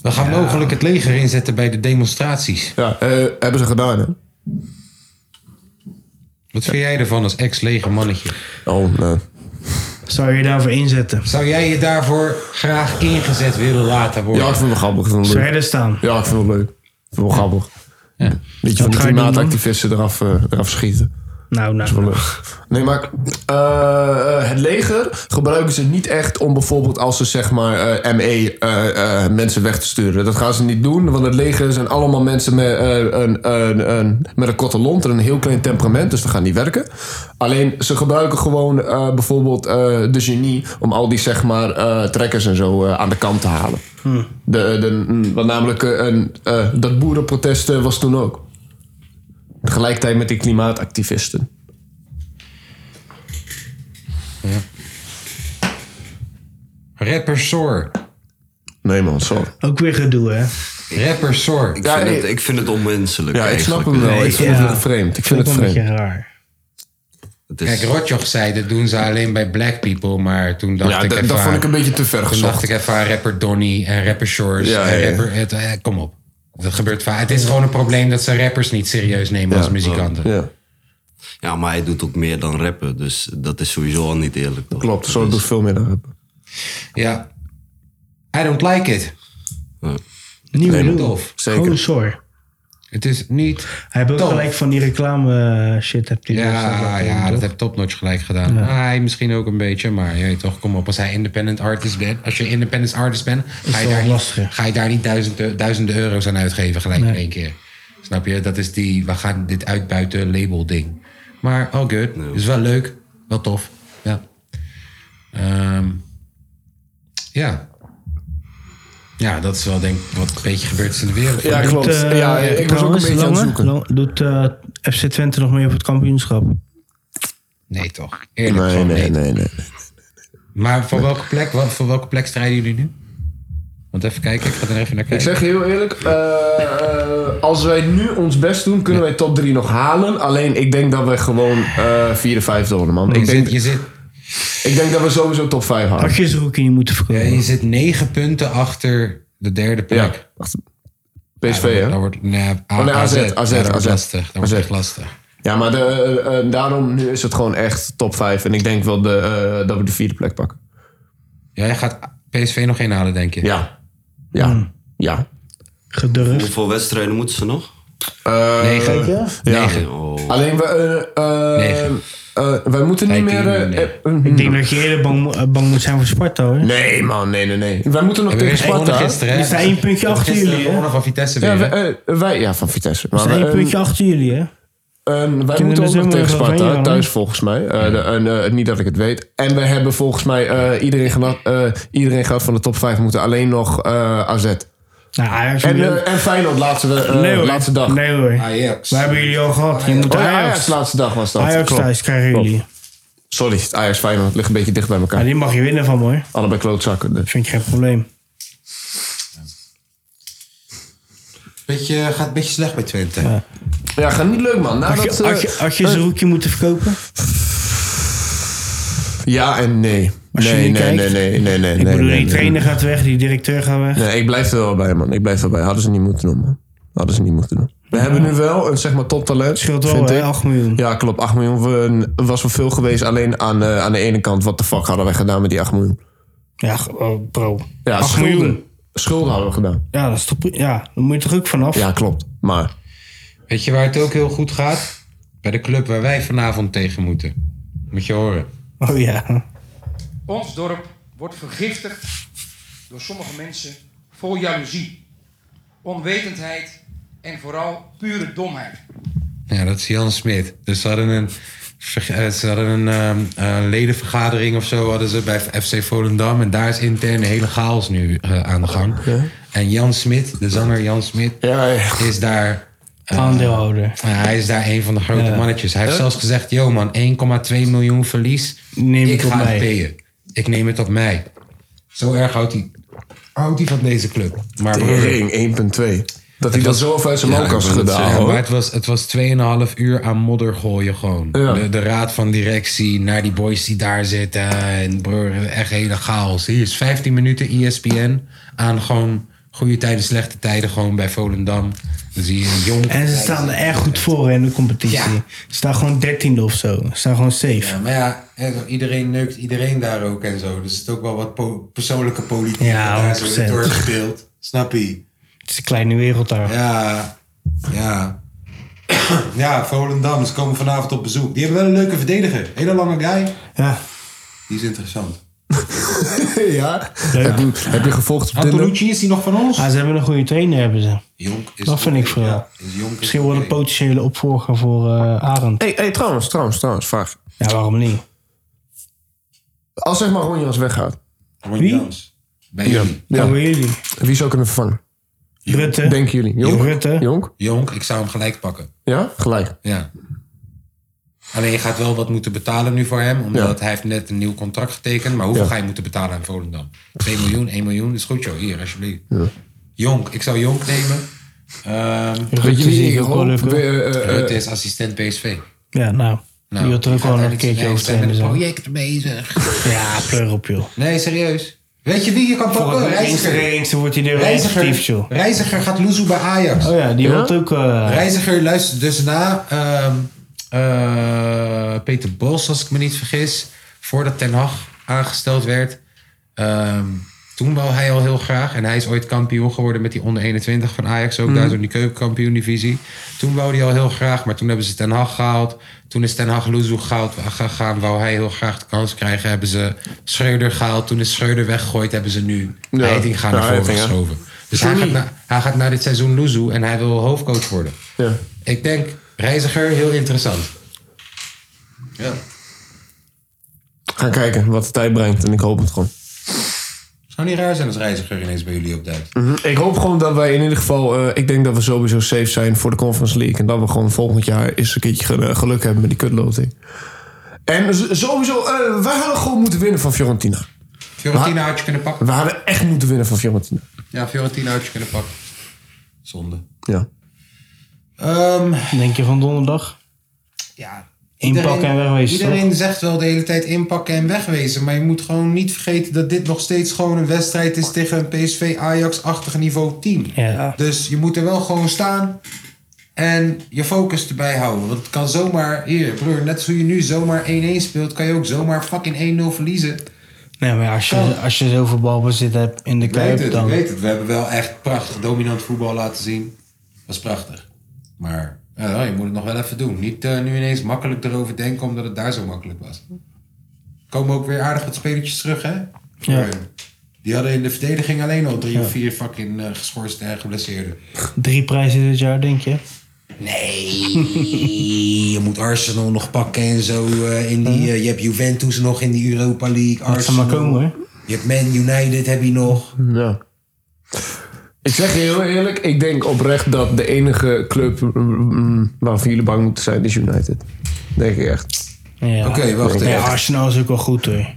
S1: We gaan mogelijk het leger inzetten bij de demonstraties.
S2: Ja, eh, hebben ze gedaan, hè?
S1: Wat vind jij ervan als ex-legermannetje?
S2: Oh, nee.
S5: Zou je daarvoor inzetten?
S1: Zou jij je daarvoor graag ingezet willen laten worden?
S2: Ja, ik vind het wel grappig. Ik vind het
S5: Zou
S2: wel
S5: jij
S2: leuk.
S5: daar staan?
S2: Ja, ik vind het wel leuk. Ik vind het wel grappig. Weet je, van
S5: Wat
S2: die
S5: ga je doen dan?
S2: klimaatactivisten eraf, eh, eraf schieten.
S5: Nou,
S2: Dat is wel
S5: nou.
S2: leuk. Nee, maar eh, eh, het leger gebruiken ze niet echt om bijvoorbeeld als ze zeg maar eh, ME eh, eh, mensen weg te sturen. Dat gaan ze niet doen, want het leger zijn allemaal mensen met, eh, een, een, een, met een korte lont en een heel klein temperament, dus dat gaan niet werken. Alleen ze gebruiken gewoon eh, bijvoorbeeld eh, de genie om al die zeg maar eh, trekkers en zo eh, aan de kant te halen.
S5: Hm.
S2: De, de, mm, want namelijk eh, een, eh, dat boerenprotest eh, was toen ook. Tegelijkertijd met die klimaatactivisten.
S1: Rapper Sor.
S2: Nee man, sorry.
S5: Ook weer gedoe, hè?
S1: Rapper Sor.
S6: Ik,
S2: Ja,
S6: vind
S2: nee.
S6: het, ik vind het onmenselijk
S2: Ja, ik snap
S6: eigenlijk.
S2: hem wel. Ik vind
S5: ja.
S2: het wel vreemd. Ik vind
S5: Ook
S2: het
S5: wel een beetje
S2: vreemd.
S5: raar.
S6: Het
S1: Kijk,
S6: is,
S1: Rotjoch zei, dat doen ze alleen bij black people. Maar toen dacht
S2: Ja,
S1: ik
S2: dat,
S1: even
S2: dat
S1: aan-
S2: vond ik een beetje te ver
S1: Toen dacht ik
S2: gezocht.
S1: even aan rapper Donny en rapper Shores.
S2: Ja,
S1: en
S2: ja, ja.
S1: rapper, het, eh, kom op. Dat gebeurt vaak. Het is gewoon een probleem dat ze rappers niet serieus nemen als muzikanten.
S2: Ja,
S6: ja, maar hij doet ook meer dan rappen. Dus dat is sowieso al niet eerlijk. Toch?
S2: klopt. Zo doet veel meer dan hebben.
S1: Ja. I don't like it.
S5: Nieuwe
S2: Nee,
S5: doel.
S1: Tof.
S2: Zeker.
S5: Gewoon zor.
S1: Het is niet...
S5: Hij heeft ook
S1: Tof.
S5: gelijk van die reclame eh, shit. Hebt hij dus, eh,
S1: Ja,
S5: laten
S1: ja,
S5: doen,
S1: dat
S5: toch?
S1: heeft Topnotch gelijk gedaan. Hij misschien ook een beetje, maar je weet toch, kom op. Als hij independent artist bent, als je independent artist bent, ga je,
S5: wel
S1: daar niet,
S5: lastiger.
S1: ga je daar niet duizenden, duizenden euro's aan uitgeven gelijk in één keer. Snap je? Dat is die, we gaan dit uitbuiten label ding. Maar all good. Is wel leuk. Wel tof. Ja. Ehm, ja. Ja, dat is wel denk ik wat een beetje gebeurd is in de wereld.
S2: Ja, klopt.
S5: Doet, eh,
S2: Ja, ik was ook een
S5: trouwens,
S2: beetje aan het
S5: Lange,
S2: zoeken.
S5: Lang- Doet eh, FC Twente nog mee op het kampioenschap?
S1: Nee toch? Eerlijk gewoon nee.
S2: nee. nee.
S1: Maar voor welke plek, wel- voor welke plek strijden jullie nu? Want even kijken, ik ga er even naar
S2: Ik
S1: kijken.
S2: zeg je heel eerlijk, eh, eh, als wij nu ons best doen, kunnen wij top 3 nog halen. Alleen ik denk dat wij gewoon eh vierde, vijfde worden, man.
S1: je,
S2: Ik denk,
S1: zit, je, zit,
S2: ik denk dat we sowieso top 5 halen.
S5: Had je Zerouki niet moeten
S1: ja,
S5: verkopen?
S1: je zit negen punten achter de derde plek.
S2: Wacht. PSV,
S1: Ja,
S2: hè?
S1: dat wordt- nee,
S2: Oh, nee,
S1: AZ,
S2: AZ, AZ,
S1: Ah, ja, dat wordt
S2: AZ.
S1: lastig. Dat wordt
S2: AZ.
S1: echt lastig.
S2: Ja, maar de, eh, eh, daarom nu is het gewoon echt top 5. En ik denk wel de, eh, dat we de vierde plek pakken.
S1: Jij gaat PSV nog inhalen, denk je?
S2: Ja. Ja.
S5: Hmm.
S2: Ja.
S5: Gedurfd.
S6: Hoeveel wedstrijden moeten ze nog?
S1: Eh,
S2: Negen.
S6: Ja.
S2: Negen. Alleen we, eh, eh, eh, wij moeten niet meer. eh, eh,
S5: Ik denk dat je eerder bang, eh, bang moet zijn voor Sparta, hoor.
S2: nee, man, nee, nee, nee. Wij moeten
S5: Hebben
S2: nog
S5: we
S2: tegen
S5: weer
S2: Sparta.
S5: gewonnen gisteren, hè? We staan één puntje
S2: We hebben
S5: achter
S2: gisteren
S5: jullie, hè?
S1: Gewonnen van Vitesse
S2: Ja,
S1: weer,
S2: wij,
S1: hè?
S2: eh, wij, ja, van Vitesse.
S5: We zijn één
S2: eh,
S5: puntje achter jullie, hè?
S2: En wij
S5: Kunnen
S2: moeten
S5: we
S2: ook
S5: zo
S2: nog
S5: maar
S2: tegen
S5: even overheen
S2: Sparta,
S5: gaan,
S2: thuis
S5: hoor.
S2: volgens mij. Eh, de- en, eh, niet dat ik het weet. En we hebben volgens mij eh, iedereen, gehad, eh, iedereen gehad van de top 5 moeten. Alleen nog eh, AZ.
S5: Nou, Ajax
S2: en,
S5: Milan.
S2: eh, en Feyenoord laatste, we- eh,
S5: nee, hoor.
S2: laatste dag.
S5: Nee hoor.
S1: Ah,
S2: Ajax.
S5: We hebben jullie al gehad. Je moet
S2: Oh ja,
S5: Ajax.
S2: Ajax laatste dag was dat.
S5: Ajax
S2: Klopt.
S5: thuis krijgen
S2: Klopt.
S5: jullie.
S2: Sorry, het Ajax Feyenoord ligt een beetje dicht bij elkaar.
S5: Maar die mag je winnen van, hoor.
S2: Allebei klootzakken. dus.
S5: Vind je geen probleem.
S1: Beetje, gaat een beetje slecht bij Twente. Ja,
S2: Ja, gaat niet leuk man.
S5: Had
S2: Nadat,
S5: je,
S2: eh,
S5: had je, had je
S2: eh,
S5: Zeroekje moeten verkopen?
S2: ja en nee.
S5: Als je
S2: Nee,
S5: nu
S2: nee, nee,
S5: kijkt.
S2: nee, nee, nee.
S5: Ik bedoel, die
S2: nee,
S5: trainer gaat weg, die directeur gaat weg.
S2: Nee, ik blijf er wel bij, man. Ik blijf er wel bij. Hadden ze niet moeten doen, man. Hadden ze niet moeten doen. We hebben nu wel een zeg maar, toptalent.
S5: Scheelt wel, hè? 8 miljoen.
S2: Ja, klopt. 8 miljoen we- was wel veel geweest. Alleen aan, eh, aan de ene kant, wat de fuck hadden wij gedaan met die 8 miljoen?
S5: Ja, ge- oh, bro.
S2: Ja,
S5: 8
S2: schulden.
S5: miljoen.
S2: Schulden hadden we gedaan.
S5: Ja, dat is toch... pri- Ja, daar moet je toch ook vanaf?
S2: Ja, klopt. Maar
S1: Weet je waar het ook heel goed gaat? Bij de club waar wij vanavond tegen moeten. Moet je horen.
S5: Oh ja.
S10: Ons dorp wordt vergiftigd door sommige mensen vol jaloezie, onwetendheid en vooral pure domheid.
S1: Ja, dat is Jan Smit. Dus ze hadden een, ver- eh, ze hadden een ehm, eh, ledenvergadering of zo hadden ze bij FC Volendam. En daar is intern een hele chaos nu eh, aan de gang. En Jan Smit, de zanger Jan Smit, is daar... eh,
S5: Aandeelhouder.
S1: ja, hij is daar een van de grote
S5: Ja.
S1: mannetjes. Hij heeft
S5: Huh?
S1: zelfs gezegd, yo man, 1,2 miljoen verlies.
S5: Neem
S1: ik
S5: het op
S1: ga
S5: mij."
S1: het payen. Ik neem het op mij. Zo erg houdt hij, houdt hij van deze club. Maar broer,
S2: Tering, 1.2. Dat hij
S1: het
S2: dat
S1: was-
S2: zo ver zijn mouw
S1: ik
S2: kan
S1: wou net
S2: schudden.
S1: zeggen,
S2: ouwe.
S1: Maar het was, het was 2,5 uur aan modder gooien gewoon. De, de raad van directie naar die boys die daar zitten. En broer, echt hele chaos. Hier is 15 minuten E ESPN aan gewoon goede tijden, slechte tijden. Gewoon bij Volendam. Dan zie je een jong...
S5: En ze staan er erg goed voor hè, in de competitie. Ze staan gewoon dertiende of zo. Ze staan gewoon safe.
S1: Ja, maar ja, hè, iedereen neukt iedereen daar ook en zo. Dus er zit ook wel wat po- persoonlijke politiek
S5: Ja,
S1: daar zo
S5: 100%.
S1: doorgespeeld. Snap je?
S5: Het is een kleine wereld daar.
S1: Ja, ja. ja, Volendam, ze komen vanavond op bezoek. Die hebben wel een leuke verdediger. Hele lange guy.
S5: Ja.
S1: Die is interessant.
S2: ja. Heb, je, heb je gevolgd op Tinder?
S1: Antonucci, is die nog van ons?
S5: Ah, ze hebben een goede trainer, hebben ze.
S1: Jonk is
S5: dat vind ik vooral. Misschien wordt een potentiële opvolger voor eh Arend.
S2: Hey, hey, trouwens, trouwens, trouwens, vraag.
S5: Ja, waarom niet?
S2: Als zeg maar Ronjans weggaat.
S5: Wie? Oh,
S1: Bij jullie.
S2: Ja.
S5: Bij jullie.
S2: Wie zou kunnen vervangen?
S5: Rutte.
S2: Denken jullie? Jonk?
S5: Rutte.
S2: Jonk?
S1: Jonk, ik zou hem gelijk pakken.
S2: Ja? Gelijk.
S1: Ja. Alleen je gaat wel wat moeten betalen nu voor hem. Omdat hij heeft net een nieuw contract getekend. Maar hoeveel
S2: Ja.
S1: ga je moeten betalen aan Volendam? 2 miljoen, 1 miljoen? Is goed joh, hier alsjeblieft. Jonk, ik zou Jonk nemen. Ehm
S2: Weet je wie
S5: zie
S2: ik
S5: ik ook
S2: hoop?
S5: wel even.
S2: Eh, eh, eh,
S1: Rutte is assistent PSV.
S5: Ja, nou.
S1: Nou,
S5: je had er ook
S1: die
S5: wel
S1: gaat
S5: een
S1: eigenlijk
S5: keertje
S1: zijn eigen
S5: over trainen.
S1: zijn
S5: zo.
S1: met projecten bezig.
S5: Ja, pleur op joh.
S1: Nee, serieus. Weet je wie je kan
S5: Voor
S1: pakken?
S5: het
S1: Reiziger.
S5: eens wordt hij er actief
S1: Reiziger,
S5: joh.
S1: Reiziger gaat loezoe bij Ajax.
S5: Oh ja, die
S1: Ja?
S5: wordt ook... eh,
S1: Reiziger luistert dus na ehm, eh, Peter Bos, als ik me niet vergis. Voordat Ten Hag aangesteld werd. Ehm, toen wou hij al heel graag. En hij is ooit kampioen geworden met die onder 21 van Ajax. Ook
S5: Mhm.
S1: daar zo in die keukenkampioen divisie. Toen wou hij al heel graag. Maar toen hebben ze Ten Hag gehaald. Toen is Ten Hag Loezoe gehaald, gegaan. Wou hij heel graag de kans krijgen. Hebben ze Schreuder gehaald. Toen is Schreuder weggegooid. Hebben ze nu
S2: Ja.
S1: Heiting gaan
S2: Ja,
S1: naar voren
S2: Heitinga.
S1: geschoven. Dus hij
S2: Sorry.
S1: gaat, na, hij gaat na dit seizoen Loezoe. En hij wil hoofdcoach worden.
S2: ja.
S1: Ik denk reiziger heel interessant. Ja.
S2: Gaan kijken wat de tijd brengt. En ik hoop het gewoon.
S1: Zou niet raar zijn als reiziger ineens bij jullie opduikt.
S2: Mhm. Ik hoop gewoon dat wij in ieder geval... eh, ik denk dat we sowieso safe zijn voor de Conference League. En dat we gewoon volgend jaar eens een keertje gel- eh, geluk hebben met die kutloting. En z- sowieso, eh, wij hadden gewoon moeten winnen van Fiorentina.
S1: Fiorentina had je kunnen pakken.
S2: We hadden echt moeten winnen van Fiorentina.
S1: Ja, Fiorentina had je kunnen pakken. Zonde.
S2: Ja.
S1: Ehm,
S5: Denk je van donderdag?
S1: ja,
S5: Inpakken en wegwezen,
S1: Iedereen zegt wel de hele tijd inpakken en wegwezen. Maar je moet gewoon niet vergeten dat dit nog steeds gewoon een wedstrijd is tegen een PSV Ajax-achtig niveau team.
S5: Ja.
S1: Dus je moet er wel gewoon staan en je focus erbij houden. Want het kan zomaar, hier broer, net zoals je nu zomaar 1-1 speelt, kan je ook zomaar fucking 1-0 verliezen.
S5: Nee, maar als je, als je zoveel balbezit hebt in de
S1: Ik weet
S5: Kuip,
S1: het, ik
S5: dan...
S1: weet het. We hebben wel echt prachtig dominant voetbal laten zien. was prachtig. Maar ja, je moet het nog wel even doen. Niet eh, nu ineens makkelijk erover denken omdat het daar zo makkelijk was. Komen ook weer aardig wat spelertjes terug, hè?
S5: Ja.
S1: Die hadden in de verdediging alleen al drie
S5: Ja.
S1: of vier fucking eh geschorst en geblesseerden.
S5: Drie prijzen dit jaar, denk je?
S1: Nee, je moet Arsenal nog pakken en zo. eh, in die, eh, je hebt Juventus nog in die Europa League.
S5: Dat zou maar komen, hoor.
S1: Je hebt Man United, heb je nog.
S2: Ja. Ik zeg je heel eerlijk, ik denk oprecht dat de enige club mm, waarvan jullie bang moeten zijn is United. Denk ik echt.
S5: Ja.
S2: Oké, wacht
S5: Nee,
S2: even.
S5: Arsenal is ook wel goed hoor.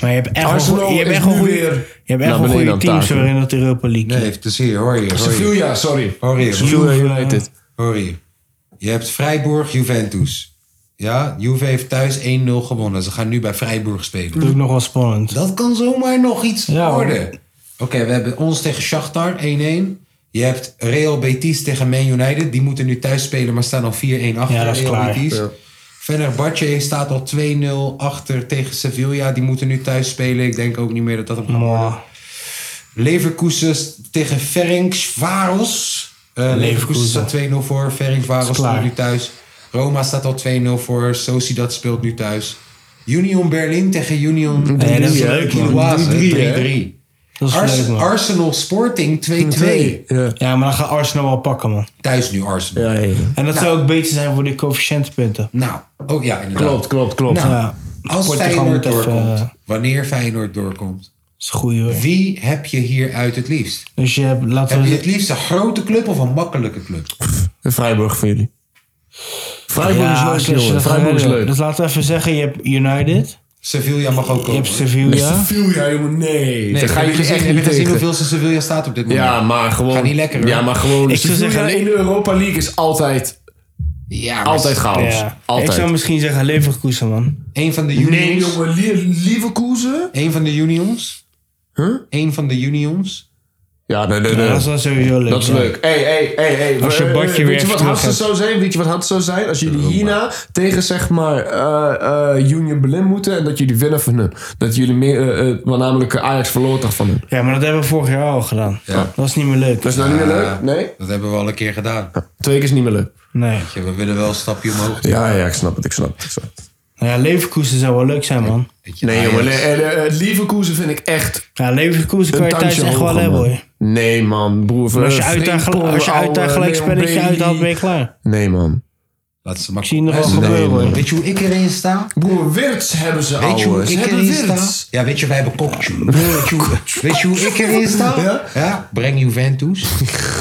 S5: Maar je hebt echt
S2: Arsenal
S5: wel, goe- je hebt
S2: is
S5: echt wel
S2: nu
S5: goede,
S2: weer
S5: je hebt echt
S2: naar
S5: wel
S2: beneden
S5: goede
S2: aan
S5: teams
S2: taken.
S5: waarin dat Europa League.
S1: Nee, het is hier, hoor je. hoor je.
S2: Sevilla, sorry.
S1: Hoor je.
S2: Sevilla United.
S1: Hoor je. Je hebt Freiburg, Juventus. Ja, Juve heeft thuis 1-0 gewonnen. Ze gaan nu bij Freiburg spelen.
S5: Dat is ook nog wel spannend.
S1: Dat kan zomaar nog iets
S5: hoor.
S1: worden. Oké, we hebben ons tegen Shakhtar 1-1. Je hebt Real Betis tegen Man United. Die moeten nu thuis spelen, maar staan al 4-1 achter
S5: Ja, dat is
S1: Real
S5: klaar.
S1: Betis.
S5: Ja.
S1: Fenerbahce staat al 2-0 achter tegen Sevilla. Die moeten nu thuis spelen. Ik denk ook niet meer dat dat hem gaat worden. Leverkusen s- tegen Ferencvaros. Eh Leverkusen
S5: Leverkusen.
S1: staat 2-0 voor. Ferencvaros
S5: Is klaar.
S1: staat nu thuis. Roma staat al 2-0 voor. Sociedad speelt nu thuis. Union Berlin tegen Union
S5: Nee, Eh, dat is leuk, man.
S1: Kiloase,
S5: 3-3,
S1: 3-3.
S5: Dat is
S1: Ars-
S5: leuk, man.
S1: Arsenal Sporting 2-2.
S2: Ja.
S5: maar dan gaat Arsenal wel pakken, man.
S1: Thuis nu Arsenal.
S5: En dat zou ook beter zijn voor de coëfficiëntpunten.
S1: Nou, ook ja, inderdaad.
S5: Klopt, klopt, klopt.
S1: Nou,
S5: Ja.
S1: Als
S5: Portugal
S1: Feyenoord
S5: moet even,
S1: doorkomt,
S5: eh,
S1: wanneer Feyenoord doorkomt,
S5: is goed, hoor.
S1: wie heb je hieruit het liefst?
S5: Dus je hebt, laten
S1: Heb
S5: we
S1: je het liefst een grote club of een makkelijke club?
S2: Vrijburg voor jullie. Freiburg
S5: Ja,
S2: is leuk,
S5: als je
S2: jongen.
S5: dat gaat
S2: Freiburg is
S5: redden.
S2: leuk.
S5: Dus laten we even zeggen, je hebt United.
S1: Sevilla mag ook komen.
S5: Je hebt Sevilla.
S2: Sevilla, jongen, nee.
S1: Nee,
S2: Daar ga je
S1: heb je
S2: echt
S1: gezien,
S2: niet
S1: heb je gezien
S2: tegen.
S1: hoeveel ze Sevilla staat op dit moment?
S2: Ja, maar gewoon.
S1: Gaat niet lekker, hoor.
S2: Ja, maar gewoon.
S1: Ik zou
S2: Sevilla
S1: zeggen-
S2: in de Europa League is altijd.
S1: Ja, maar-
S2: altijd chaos.
S5: Ja.
S2: Altijd.
S5: Ik zou misschien zeggen Leverkusen, man.
S1: Eén van de
S2: Nee,
S1: unions.
S2: jongen, Lie- Leverkusen?
S1: Eén van de unions. Huh? Eén van de unions.
S2: Ja, nee, nee, nee.
S5: Ja, Nou, dat is dan sowieso leuk.
S2: Dat is
S5: ja.
S2: leuk. Hey, hey, hey, hey.
S5: Als je
S2: Eh, eh,
S5: badje weer
S2: weet je
S5: even
S2: wat
S5: terug
S2: hard het
S5: hebt.
S2: zou zijn? Weet je wat hard zou zijn? Als jullie hierna tegen zeg maar eh, eh, Union Berlin moeten en dat jullie winnen van hun. Dat jullie meer, eh, eh, want namelijk Ajax verloor toch van hun.
S5: Ja, maar dat hebben we vorig jaar al gedaan. Dat is niet meer leuk.
S2: Dat is nou niet meer leuk? Nee?
S1: Eh, Dat hebben we al een keer gedaan.
S2: Twee keer is niet meer leuk.
S5: Nee.
S1: Weet je, We willen wel een stapje omhoog.
S2: Ja, Ah, ja, ik snap het, ik snap het. Ik snap het.
S5: Nou ja, Leverkusen zou wel leuk zijn, man.
S2: Nee,
S1: Ajax.
S2: jongen, nee, eh, eh, Leverkusen vind ik echt
S5: Ja, Leverkusen kan
S2: een
S5: je thuis
S2: tandje
S5: echt
S2: hoger,
S5: wel hebben,
S2: man.
S5: hoor.
S2: Nee, man, broer.
S5: Maar Als je
S2: eh,
S5: uit daar, gel-
S2: Frimpong,
S5: als je uit daar
S2: ouwe
S5: gelijk
S2: Leon
S5: spelletje
S2: Bailey.
S5: uit had, ben je klaar.
S2: Nee, man.
S1: Laat ze maar
S5: Ik zie nog wel
S1: Luister,
S5: gebeuren,
S1: nee,
S5: hoor.
S1: Weet je hoe ik erin sta?
S2: Broer, Wirtz hebben ze,
S1: Weet je hoe
S2: ouwe. Ze
S1: ik
S2: hebben
S1: erin sta?
S2: Wirtz.
S1: Ja, weet je, wij hebben Kokju. Weet je hoe ik erin sta?
S2: Ja?
S1: Breng Juventus.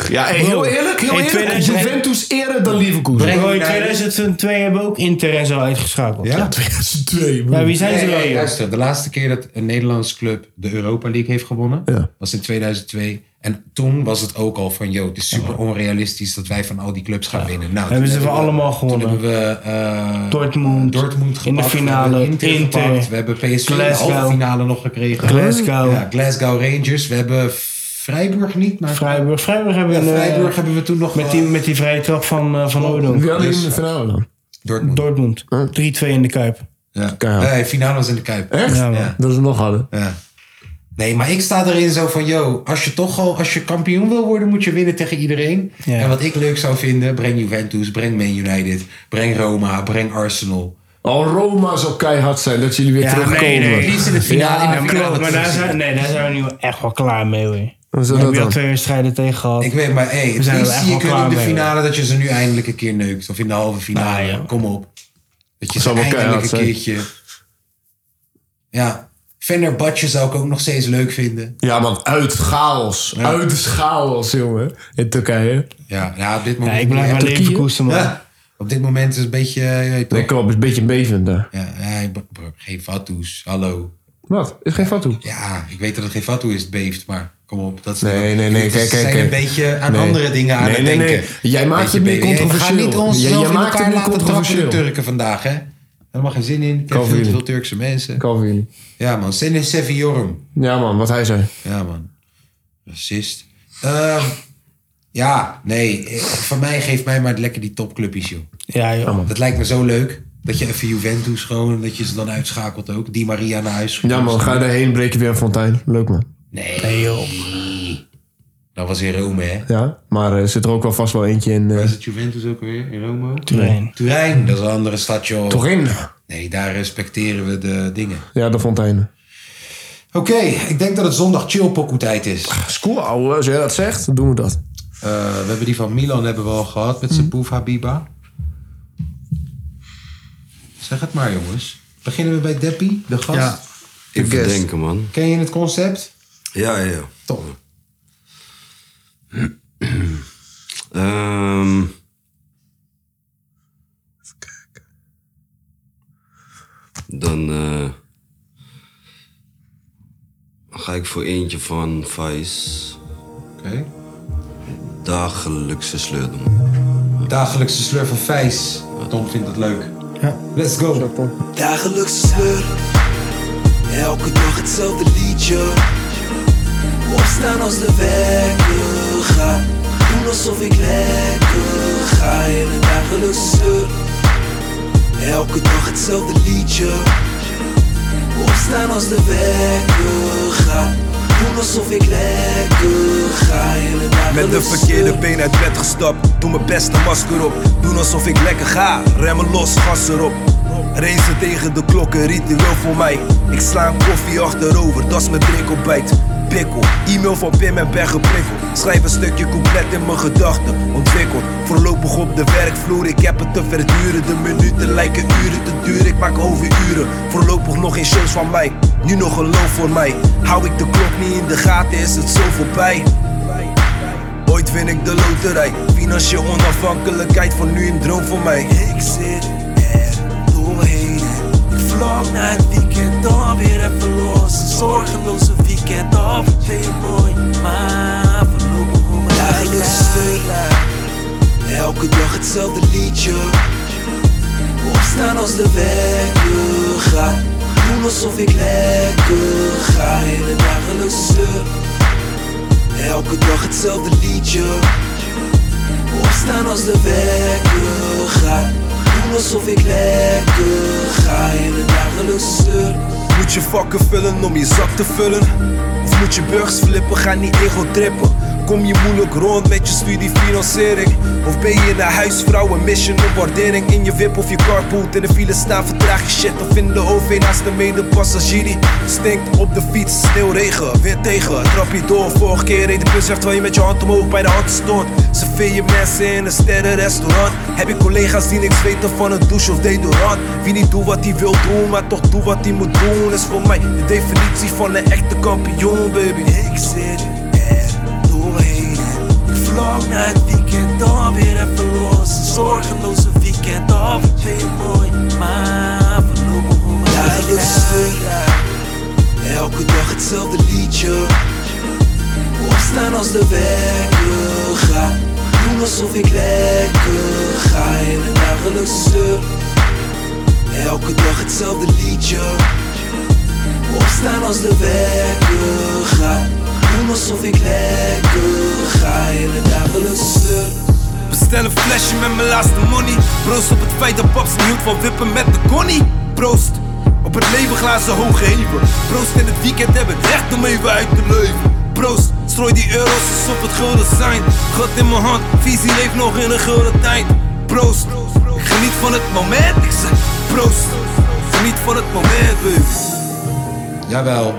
S2: Ja, hey, heel eerlijk, heel
S5: in
S2: eerlijk.
S5: 2000
S2: Juventus eerder dan Leverkusen.
S5: Bro, in
S1: United.
S5: 2002 hebben we ook Inter zo uitgeschakeld.
S1: Ja?
S2: 2002, broer.
S5: Maar wie zijn ze
S1: Nee,
S5: dan?
S1: nee,
S5: joh?
S1: luister, de laatste keer dat een Nederlandse club de Europa League heeft gewonnen
S2: Ja.
S1: was in 2002. En toen was het ook al van, joh, het is super onrealistisch dat wij van al die clubs gaan winnen. Nou,
S5: Hebben
S1: toen
S5: ze van
S1: we-
S5: allemaal gewonnen.
S1: Toen hebben we eh,
S5: Dortmund.
S1: Dortmund
S5: In de
S1: gepakt, we
S5: finale,
S1: hebben Inter,
S5: Inter.
S1: gepakt, we hebben PSV in de
S5: Glasgow.
S1: halve finale nog gekregen.
S5: Glasgow.
S1: Ja, Glasgow Rangers. We hebben Freiburg niet, maar
S5: Freiburg. Freiburg hebben
S1: Ja,
S5: we... eh,
S1: Freiburg hebben we toen nog Oh. Dus-
S5: met, die, met die vrije trap van, eh, van Oudon.
S2: Wie hadden in de finale dan?
S1: Dortmund.
S5: Dortmund. 3-2 in de Kuip.
S1: Ja.
S2: Keihard.
S1: Nee, finale was in de Kuip.
S2: Echt?
S5: Ja, man.
S1: Ja.
S2: Dat ze nog hadden.
S1: Ja. Nee, maar ik sta erin zo van, yo, als je toch al, als je kampioen wil worden, moet je winnen tegen iedereen.
S5: Ja.
S1: En wat ik leuk zou vinden, breng Juventus, breng Man United, breng Roma, breng Arsenal.
S2: Al Roma zou keihard zijn dat jullie weer
S5: Ja,
S2: terugkomen.
S5: nee, nee.
S1: Liefst in het finale.
S2: Ja,
S1: in de finale
S5: Klopt, maar daar
S1: terug.
S5: zijn, nee, daar zijn we nu wel echt wel klaar mee, hoor.
S2: Hoe
S5: We
S2: zou
S5: hebben
S2: dat
S5: je al
S2: dan?
S5: twee wedstrijden tegen gehad.
S1: Ik weet maar, hey,
S5: We
S1: het
S5: zijn er
S1: liefst
S5: echt
S1: zie
S5: wel
S1: ik hun
S5: klaar
S1: in de
S5: mee,
S1: finale dat je ze nu eindelijk een keer neukt. Of in de halve finale.
S5: Nou, ja.
S1: Kom op. Dat je
S2: Dat
S1: ze
S2: zou wel
S1: eindelijk een
S2: keihard zijn.
S1: keertje... Ja, Fenerbahce zou ik ook nog steeds leuk vinden.
S2: Ja, man, uit chaos. Uit chaos, jongen. In Turkije.
S1: Ja, ja op dit
S5: Ja,
S1: moment...
S5: ik blijf
S1: Ja,
S5: bij
S1: Turkije.
S5: Leverkusen, man.
S1: Ja, op dit moment is het een beetje... eh, je weet toch.
S2: Nee, klopt. Is een beetje een bevend daar.
S1: Ja, ja, bro- bro, geen fatsoes. Hallo.
S2: Wat? Is geen fout toe.
S1: Ja, ik weet dat het geen fatsoe is, het beeft, maar... Kom op, dat is
S2: Nee, nee, nee.
S1: Ze
S2: Kijk, kijk.
S1: zijn
S2: kijk.
S1: een beetje aan
S2: Nee.
S1: andere dingen aan
S2: Nee,
S1: het
S2: nee,
S1: denken.
S2: nee. Jij maakt
S1: Beetje
S2: het niet
S1: be- Hey,
S2: controversieel.
S1: We gaan niet
S2: Jij-
S1: onszelf
S2: jij
S1: in
S2: maakt het
S1: elkaar
S2: niet
S1: laten trappen, de
S2: controversieel.
S1: Turken vandaag, hè? Daar mag geen zin in. Ik ken
S2: Kan
S1: veel te
S2: jullie.
S1: veel Turkse mensen.
S2: Calvin.
S1: Ja, man. Sene Seviorum.
S2: Ja, man. Wat hij zei.
S1: Ja, man. Racist. Ehm, ja, nee. eh, Van mij geeft mij maar lekker die topclubjes, joh.
S5: Ja, joh.
S1: Dat lijkt me zo leuk. Dat je even Juventus gewoon, dat je ze dan uitschakelt ook. Die Maria naar huis.
S2: Ja, man. Ga daarheen, breek je weer een fontein. Leuk, man.
S1: Nee. joh. Dat was in Rome, hè?
S2: Ja, maar er zit er ook wel vast wel eentje in. eh,
S1: Waar is het Juventus ook weer? In Rome?
S2: Turijn.
S1: Turijn, dat is een andere stad, joh.
S2: Turijn.
S1: Nee, daar respecteren we de dingen.
S2: ja, de fonteinen.
S1: Oké, ik denk dat het zondag chillpokoe tijd is.
S2: School, Ah, ouwe. Als jij dat zegt, dan doen we dat. Mhm.
S1: Eh, we hebben die van Milan hebben we al gehad met zijn poef Habiba. Zeg het maar, jongens. Beginnen we bij Deppie, de gast.
S6: Ja.
S1: De guest.
S6: Even denken, man.
S1: Ken je het concept?
S6: Ja, ja, ja.
S1: Top.
S6: Ehm. even kijken. Dan eh, ga ik voor eentje van Vice.
S1: Oké.
S6: Dagelijkse sleur doen.
S1: Dagelijkse slurf van Vijs. Tom vindt het leuk. Let's go.
S8: Dagelijkse sleur. Elke dag hetzelfde liedje. Opstaan als de wekker gaat. Doen alsof ik lekker ga in een dagelijkse sleur. Elke dag hetzelfde liedje. Opstaan als de wekker gaat. Doen alsof ik lekker ga in een
S11: Met de
S8: dagelijkse sleur.
S11: verkeerde been uit bed gestapt. Doe mijn beste masker op. Doen alsof ik lekker ga. Remmen los, gas erop. Racen tegen de klokken, ritueel voor mij. Ik sla een koffie achterover, dat is mijn drinkopbijt. Pikkel, e-mail van Pim en ben geprikkeld. Schrijf een stukje compleet in mijn gedachten. Ontwikkeld, voorlopig op de werkvloer. Ik heb het te verduren, de minuten lijken uren te duren. Ik maak overuren, voorlopig nog geen shows van mij. Nu nog een loon voor mij. Hou ik de klok niet in de gaten, is het zo voorbij. Ooit win ik de loterij. Financieel onafhankelijkheid van nu een droom voor mij.
S8: Ik zit er doorheen. Ik vlog naar het weekend dan weer even los. Een zorgeloze weekend af. Heel mooi, maar voorlopig hoe mijn dagelijks stuk. Elke dag hetzelfde liedje. Opstaan als de wekker gaat. Doen alsof ik lekker ga in het dagelijks stuk. Elke dag hetzelfde liedje. Opstaan als de wekker gaat. Doen alsof ik lekker ga in het dagelijks zeur.
S11: Moet je vakken vullen om je zak te vullen? Of moet je burgers flippen, ga niet ego trippen? Kom je moeilijk rond met je studiefinanciering? Of ben je naar huisvrouw en mis je een waardering? In je wip of je carpoolt in de file staan, vertraag je shit Of in de OV naast de medepassagier die stinkt op de fiets Sneeuw, regen, weer tegen, trap je door Vorige keer reed de bus weg terwijl je met je hand omhoog bij de hand stond Serveer je mensen in een sterrenrestaurant Heb je collega's die niks weten van een douche of deodorant Wie niet doet wat hij wil doen, maar toch doet wat hij moet doen Is voor mij de definitie van een echte kampioen, baby Ik zit
S8: Doorheen. Ik vlog naar het weekend dan weer even los. Een zorgeloze weekend af. Heel mooi, maar voorlopig hoe mijn dagelijks Elke dag hetzelfde liedje. Opstaan als de wekker gaat. Doen alsof ik lekker ga in het dagelijks stuk. Elke dag hetzelfde liedje. Opstaan als de wekker gaat. Doen alsof ik lekker ga in het dagelijks stuk.
S11: Bestel een flesje met mijn laatste money. Proost op het feit dat paps niet hield van wippen met de connie. Proost op het leven glazen hoog geven. Proost in het weekend hebben we recht om even uit te leven. Proost, strooi die euro's alsof het gulden zijn. God in mijn hand, visie leeft nog in een gulden tijd. Proost, ik geniet van het moment. Ik zeg proost, geniet van het moment, baby.
S1: Jawel.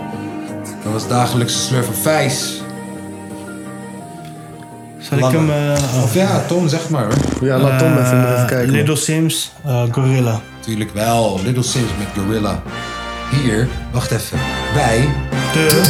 S1: Dat was dagelijkse slurf van Vijs.
S5: Zal ik hem... eh,
S1: Of ja, Tom, zeg maar. hoor.
S5: eh, Little Sims, eh, Gorilla.
S1: Natuurlijk wel. Little Sims met Gorilla. Hier, wacht even. Bij... De...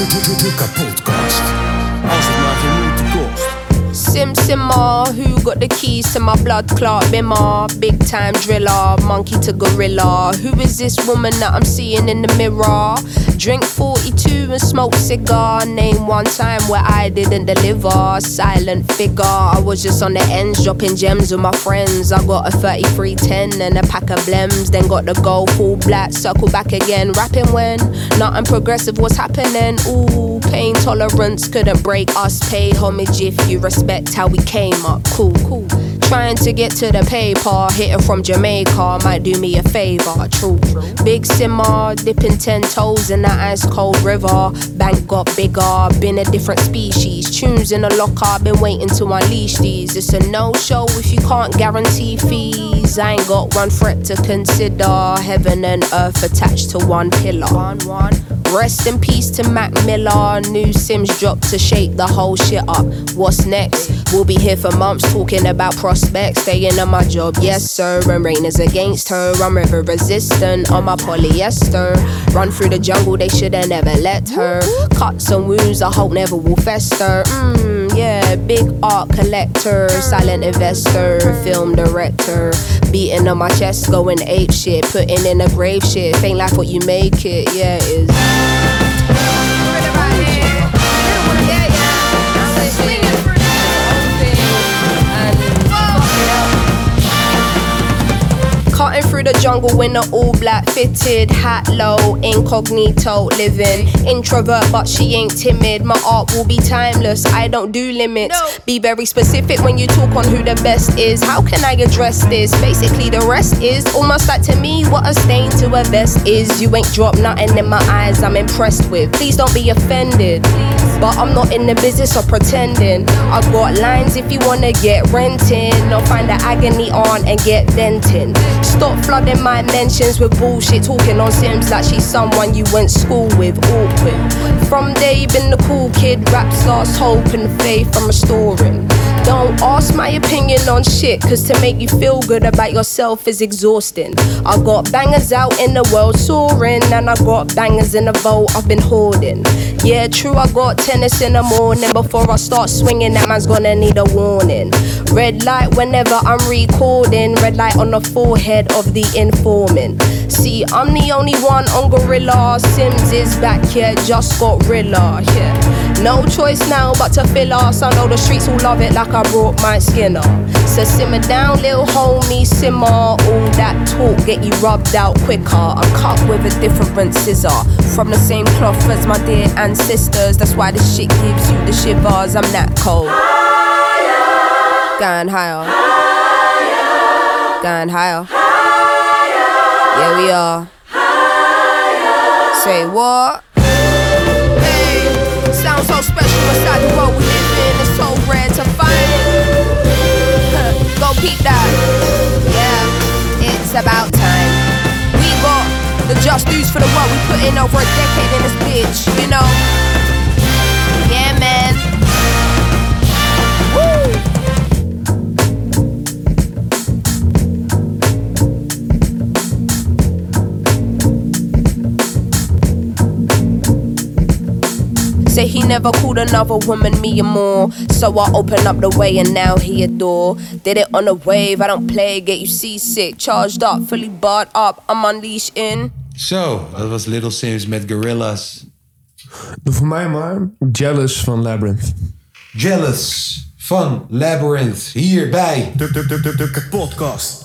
S12: Sims simmer. Who got the keys to my blood clot bimmer? Big time driller, monkey to gorilla. Who is this woman that I'm seeing in the mirror? Drink 42 and smoke cigar. Name one time where I didn't deliver. Silent figure. I was just on the ends, dropping gems with my friends. I got a 3310 and a pack of blems. Then got the goal full black, circle back again. Rapping when nothing progressive was happening. Ooh, pain tolerance couldn't break us. Pay homage if you respect how we came up. Cool, cool. Trying to get to the paper, hitting from Jamaica might do me a favor. True. Big simmer, dipping ten toes in that ice cold river. Bank got bigger, been a different species. Tunes in a locker, been waiting to unleash these. It's a no show if you can't guarantee fees. I ain't got one threat to consider. Heaven and earth attached to one pillar. One, one. Rest in peace to Mac Miller. New Sims dropped to shake the whole shit up. What's next? We'll be here for months talking about prospects. Staying on my job, yes sir. And rain is against her. I'm river resistant on my polyester. Run through the jungle, they should have never let her. Cuts and wounds, I hope never will fester. Mmm, yeah. Big art collector, silent investor, film director. Beating on my chest, going ape shit. Putting in a grave shit. Ain't life what you make it, yeah, it is. Cutting through the jungle in an all black fitted hat, low incognito living. Introvert, but she ain't timid. My art will be timeless. I don't do limits. Be very specific when you talk on who the best is. How can I address this? Basically, the rest is almost like to me what a stain to a vest is. You ain't dropped nothing in my eyes. I'm impressed with. Please don't be offended. But I'm not in the business of pretending. I've got lines if you wanna get renting. Or find the agony on and get venting. Stop flooding my mentions with bullshit. Talking on Sims like she's someone you went school with. Awkward. From day been the cool kid. Raps lost hope and faith I'm restoring. Don't ask my opinion on shit, cause to make you feel good about yourself is exhausting. I got bangers out in the world soaring, and I got bangers in the vault I've been hoarding. Yeah, true, I got tennis in the morning. Before I start swinging, that man's gonna need a warning. Red light whenever I'm recording, red light on the forehead of the informant. See, I'm the only one on Gorilla. Sims is back here, just got Rilla. Yeah, no choice now but to fill us. I know the streets will love it like I brought my skin up. So simmer down, little homie, simmer. All that talk get you rubbed out quicker. I'm cut with a different scissor from the same cloth as my dear ancestors. That's why this shit gives you the shivers. I'm that cold. Going higher. Going higher. Yeah, we are. Say what? Hey, sounds so special inside the world we live in. It's so rare to find it. Go peep that. Yeah, it's about time. We got the just dues for the work we put in over a decade in this bitch, you know? Yeah, man. Woo! Say he never called another woman me and more. So I open up the way and now he adore. Did it on a wave, I don't play, get you seasick. Charged up, fully barred up, I'm unleashed in.
S1: Zo, dat was Little Sims met Gorillas.
S2: Doe voor mij maar Jealous van Labyrinth.
S1: Jealous van Labyrinth, hierbij. De, de, de, de, de podcast.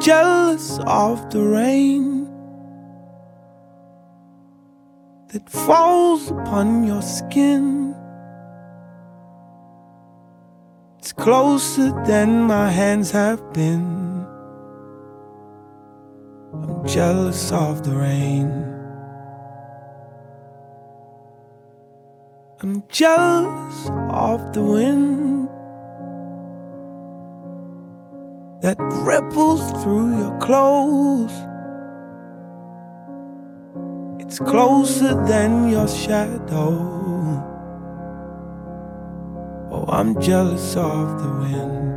S13: jealous of the rain that falls upon your skin. It's closer than my hands have been. I'm jealous of the rain. I'm jealous of the wind. that ripples through your clothes. It's closer than your shadow. Oh, now I'm jealous of the wind.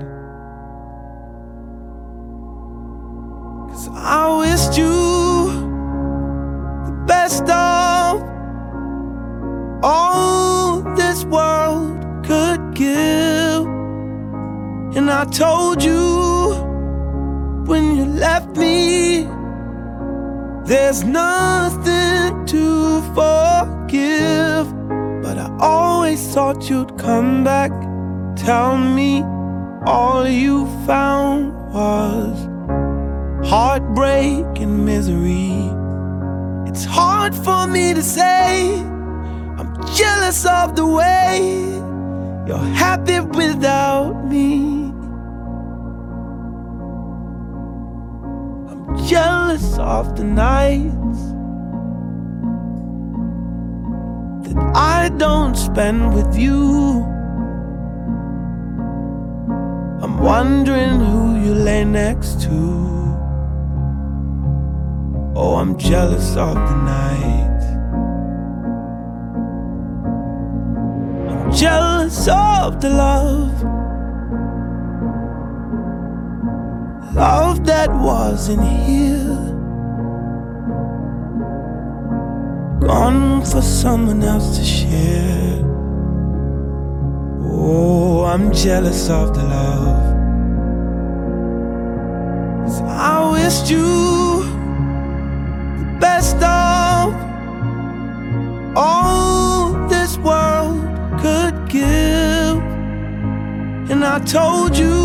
S13: Cause I wished you the best of all this world could give. And I told you when you left me, there's nothing to forgive. But I always thought you'd come back. Tell me all you found was heartbreak and misery. It's hard for me to say, I'm jealous of the way you're happy without me. I'm jealous of the nights that I don't spend with you. I'm wondering who you lay next to. Oh, I'm jealous of the night. I'm jealous of the love. Love that wasn't here. Gone for someone else to share. Oh, I'm jealous of the love. 'Cause I wished you best of all this world could give. And I told you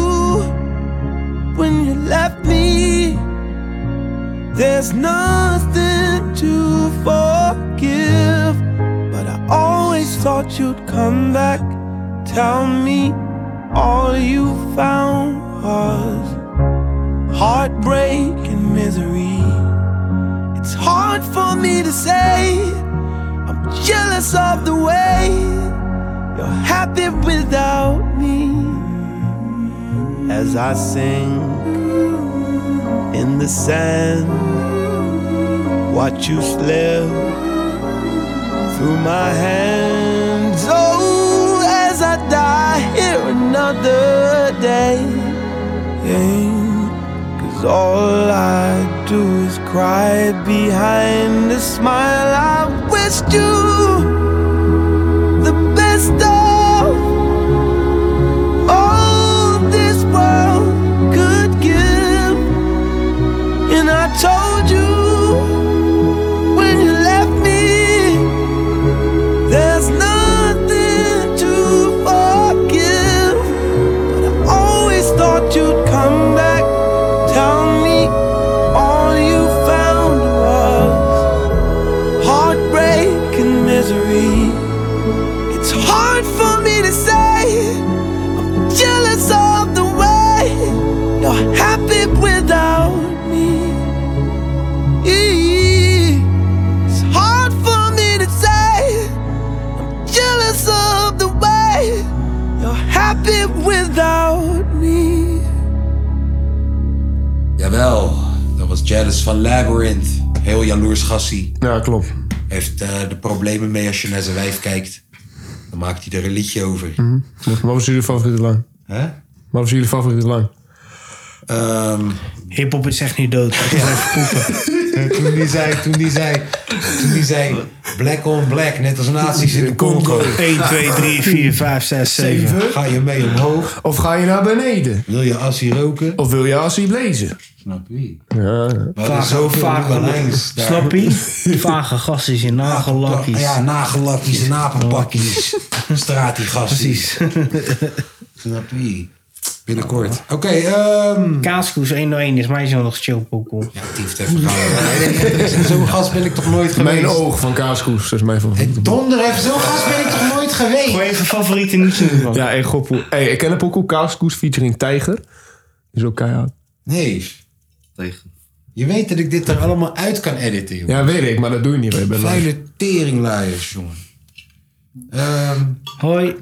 S13: when you left me, there's nothing to forgive. But I always thought you'd come back. Tell me all you found was heartbreak and misery. It's hard for me to say. I'm jealous of the way you're happy without me. As I sing in the sand, watch you slip through my hands. Oh, as I die here another day. Cause all I do is cry behind the smile. I wished you the best of all this world could give. And I told you when you left me, there's nothing to forgive. But I always thought you'd come back. Tell me all you found was heartbreak and misery. It's hard for me to say. I'm jealous of the way you're happy without me. It's hard for me to say. I'm jealous of the way you're happy without me.
S1: Jawel, dat was Jealous van Labyrinth. Heel jaloers gassie.
S2: Ja, klopt.
S1: Heeft eh er problemen mee als je naar zijn wijf kijkt. Dan maakt hij er een liedje over.
S2: Mhm. Wat was jullie favoriete lijn?
S1: Hè?
S2: Wat was jullie favoriete lijn?
S1: Ehm,
S5: Hip-hop is echt niet dood. Ik ga even poepen.
S1: toen die zei, toen die zei, toen die zei, black on black, net als nazi's in de Congo.
S5: 1, 2, 3, 4, 5, 6, 7.
S1: Ga je mee omhoog?
S2: Of ga je naar beneden?
S1: Wil je assie roken?
S2: Of wil je assie blazen?
S1: Snap je?
S2: Ja.
S1: Maar er is zoveel lines daar.
S5: eh, Snap je? Vage gastjes in nagellakjes.
S1: Ja, nagellakjes, napenpakjes. Straat die gasties. Snap je? Binnenkort. Oké, ehm.
S5: Kaaskoes 1 door 1 is mij zo nog chill pokoe.
S1: Ja, tief Zo'n gast ben ik toch nooit geweest?
S2: Mijn oog van kaaskoes, dat is mijn favoriete.
S1: Donder even, zo'n gast ben ik toch nooit geweest?
S5: Gooi even favoriete niets in man.
S2: Ja, hey, Goppoe. Hey, ik ken een pokoe kaaskoes featuring Tijger. Is ook keihard.
S1: Nee.
S6: Tegen.
S1: Je weet dat ik dit er allemaal uit kan editen, joh.
S2: Ja, weet ik, maar dat doe je niet meer. bij live.
S1: Vuile teringlaaiers, jongen. Ehm,
S2: Eh,
S5: Hoi.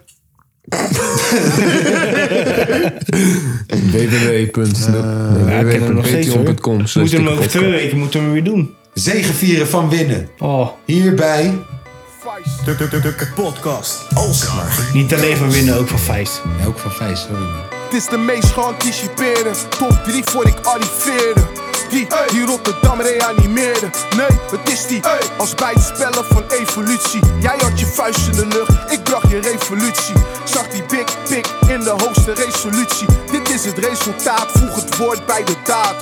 S2: www.
S1: Eh,
S5: ik heb hem nog steeds hoor.
S2: www.patreon.com.
S5: Moeten we hem over twee weken moeten we hem weer doen.
S1: Zegevieren van winnen.
S5: Oh.
S1: Hierbij
S11: Tuk tuk tuk tuk podcast. Alsmaar.
S5: Niet alleen van winnen, ook van Vijs.
S1: ook van Vijs, sorry man.
S14: Het is de meest geanticipeerde. Top 3 voor ik arriveerde. Die die Rotterdam reanimeerde. Nee, het is die. Als bij het spellen van evolutie. Jij had je vuist in de lucht, ik bracht je revolutie. Zag die big pick in de hoogste resolutie. Dit is het resultaat, voeg het woord bij de daad.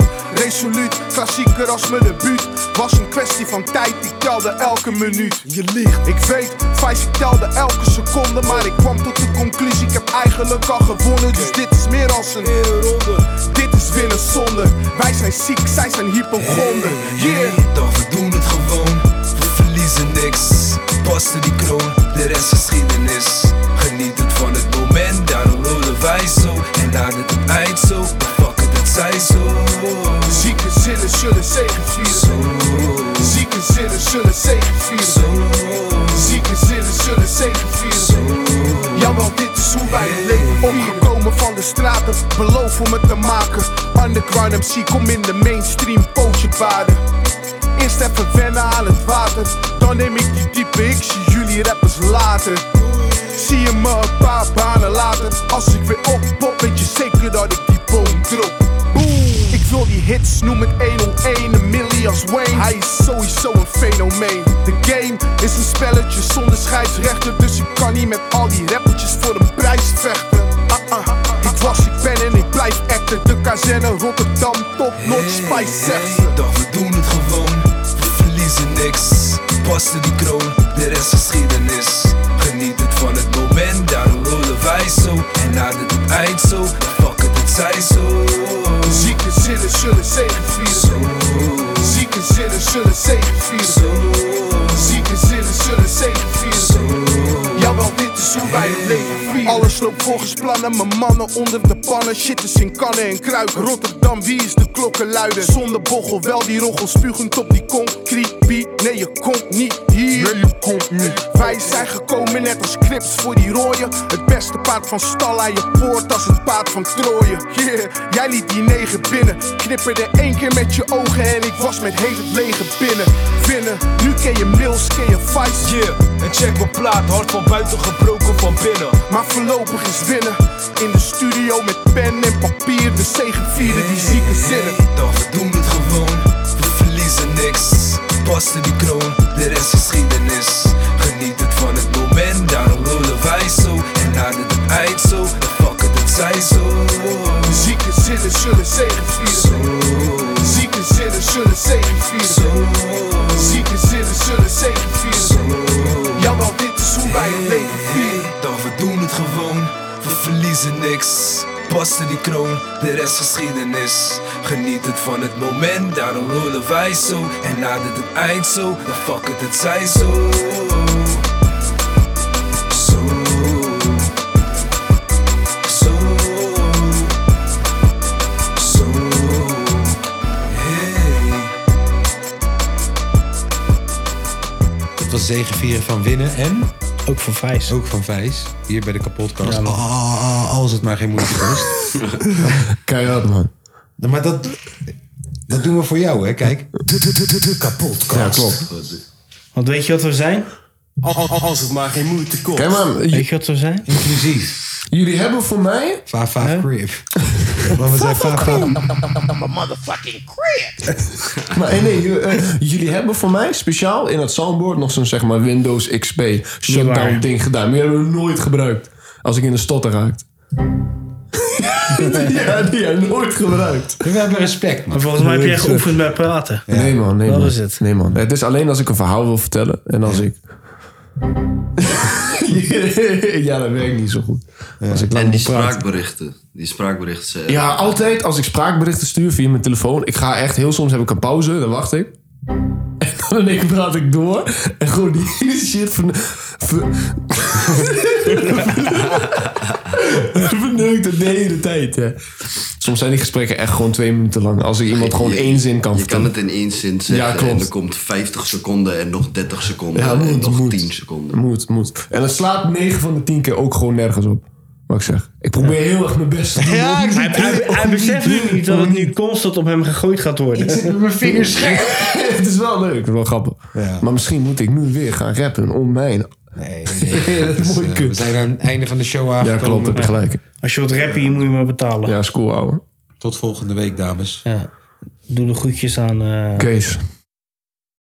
S14: Resoluut, klassieker als mijn debuut. Was een kwestie van tijd, ik telde elke minuut. Je liegt. Ik weet, Vijs, ik telde elke seconde. Maar ik kwam tot de conclusie, ik heb eigenlijk al gewonnen. Dus dit is meer als een ronde. Dit is winnen zonder. Wij zijn ziek, zij zijn hypochonder. Yeah.
S8: Toch, we doen het gewoon. We verliezen niks. Paste die kroon, de rest geschiedenis. Geniet het van het moment, daarom rollen wij zo. En laat het op eind zo, we pakken het zij zo.
S14: Zieke zinnen zullen zegevieren. Zieke zinnen zullen zegevieren. Zieke zinnen zullen zegevieren. Jawel, dit is hoe wij het leven Opgekomen van de straten, beloof om het te maken. Underground MC, kom in de mainstream, pootje paarden. Eerst even wennen aan het water. Dan neem ik die diepe, ik zie jullie rappers later. Zie je me een paar banen later Als ik weer oppop weet je zeker dat ik die boom drop Boom. Ik wil die hits, noem het 101 Een millie als Wayne Hij is sowieso een fenomeen De game is een spelletje zonder scheidsrechter Dus ik kan niet met al die rappertjes voor een prijs vechten Ah, ah. Dit was ik ben en ik blijf acten De kazerne Rotterdam, top notch, spice zegt ze.
S8: Dag, we doen het gewoon. We verliezen niks. Paste die kroon, de rest geschiedenis. Geniet het van het moment, daarom rollen wij zo. En laat het op eind zo, we pakken het zij zo.
S14: Zieke zinnen zullen zegevieren. Zieke zinnen zullen zegevieren. Zieke zinnen zullen zegevieren. Jawel, dit is hoe wij het leven vieren. Alles loopt volgens plannen, mijn mannen onder de pannen. Shit is in kannen en kruiken. Rotterdam, wie is de klokkenluider? Zonder bochel, wel die roggel spuugend op die concrete beat. Nee, je komt niet hier. Nee, je komt niet. Wij zijn gekomen net als crips voor die rooien. Het beste paard van stal aan je poort als het paard van Troje. Yeah, jij liet die negen binnen. Knipperde één keer met je ogen en ik was met heel het leger binnen. Winnen, nu ken je Mills, ken je Vice.
S15: Yeah, en check mijn plaat, hard van buiten gebroken van binnen.
S14: Maar voorlopig is winnen. In de studio met pen en papier, de zegenvieren die zieke zinnen.
S8: Dag, we doen het gewoon, we verliezen niks. Paste die kroon, de rest geschiedenis. Geniet het van het moment, daarom rollen wij zo. En laat het op eind zo, we pakken het zij zo.
S14: Zieke zinnen zullen zegenvieren. Zieke zinnen zullen zegenvieren. Zieke zinnen zullen zegenvieren. Jawel, dit is hoe wij het leven vieren.
S8: Dag, we doen het gewoon, we verliezen niks. Paste die kroon, de rest geschiedenis. Geniet het van het moment, daarom rollen wij zo. En laat het het eind zo, dan fuck het, het zij zo. Zo. Zo. Zo. Hey.
S1: Dat was zegevieren van winnen en?
S5: Ook van Vijs.
S1: Ook van Vijs. Hier bij de kapotkast. Ah, als het maar geen moeite kost.
S2: Keihard, man.
S1: Maar dat, dat doen we voor jou, hè? Kijk. Kapotkast.
S2: Ja, klopt.
S5: Want weet je wat we zijn?
S7: Als het maar geen moeite kost.
S2: Kijk maar, je-
S5: Weet je wat we zijn?
S1: Inclusief.
S2: Jullie hebben voor mij...
S1: Vaaf Vaaf Crib. Want we zijn Vaaf Vaaf.
S7: Motherfucking crap.
S2: Maar eh, nee, jullie, eh, jullie hebben voor mij speciaal in het soundboard nog zo'n zeg maar Windows XP shutdown
S5: waar.
S2: ding gedaan. Maar die hebben we nooit gebruikt. Als ik in de stotter raakt. ja, die heb ik nooit gebruikt.
S1: We hebben respect,
S5: Maar volgens mij heb jij geoefend met praten.
S2: Nee man, nee
S5: Dat
S2: man.
S5: is het.
S2: Nee man, het is alleen als ik een verhaal wil vertellen en als ik... ja, dat werkt niet zo goed. Als ik
S6: En die
S2: praat.
S6: spraakberichten. Die spraakberichten zijn...
S2: Ja, altijd als ik spraakberichten stuur via mijn telefoon. Ik ga echt heel soms heb ik een pauze, dan wacht ik. En dan in één keer praat ik door. En gewoon die hele shit van. van verneukt het de hele tijd. Ja. Soms zijn die gesprekken echt gewoon twee minuten lang. Als ik iemand gewoon
S6: Je-
S2: één zin kan
S6: Je kan
S2: vertellen.
S6: het in één zin zeggen
S2: Ja, klopt.
S6: en er komt 50 seconden en nog 30 seconden
S2: Ja,
S6: en
S2: moet,
S6: nog
S2: moet.
S6: 10 seconden.
S2: Moet, moet. En dat slaat 9 van de 10 keer ook gewoon nergens op. Wat ik zeg. Ik probeer heel erg mijn best te doen.
S5: Ja,
S2: Ook niet
S5: hij, hij,
S2: doen, ook
S5: hij beseft nu
S2: doen,
S5: niet dat
S2: ook
S5: het nu constant op hem gegooid gaat worden.
S2: Ik zit met mijn vingers scherp. het is wel leuk. Het is wel grappig. Maar misschien moet ik nu weer gaan rappen om mijn...
S1: Nee,
S2: dat is moeilijk.
S1: we zijn aan het einde van de show aangekomen.
S2: Ja, klopt. Heb je gelijk.
S5: Als je wat rappen, moet je maar betalen.
S2: Ja, school houden.
S1: Tot volgende week, dames.
S5: Doe de groetjes aan... eh,
S2: Kees.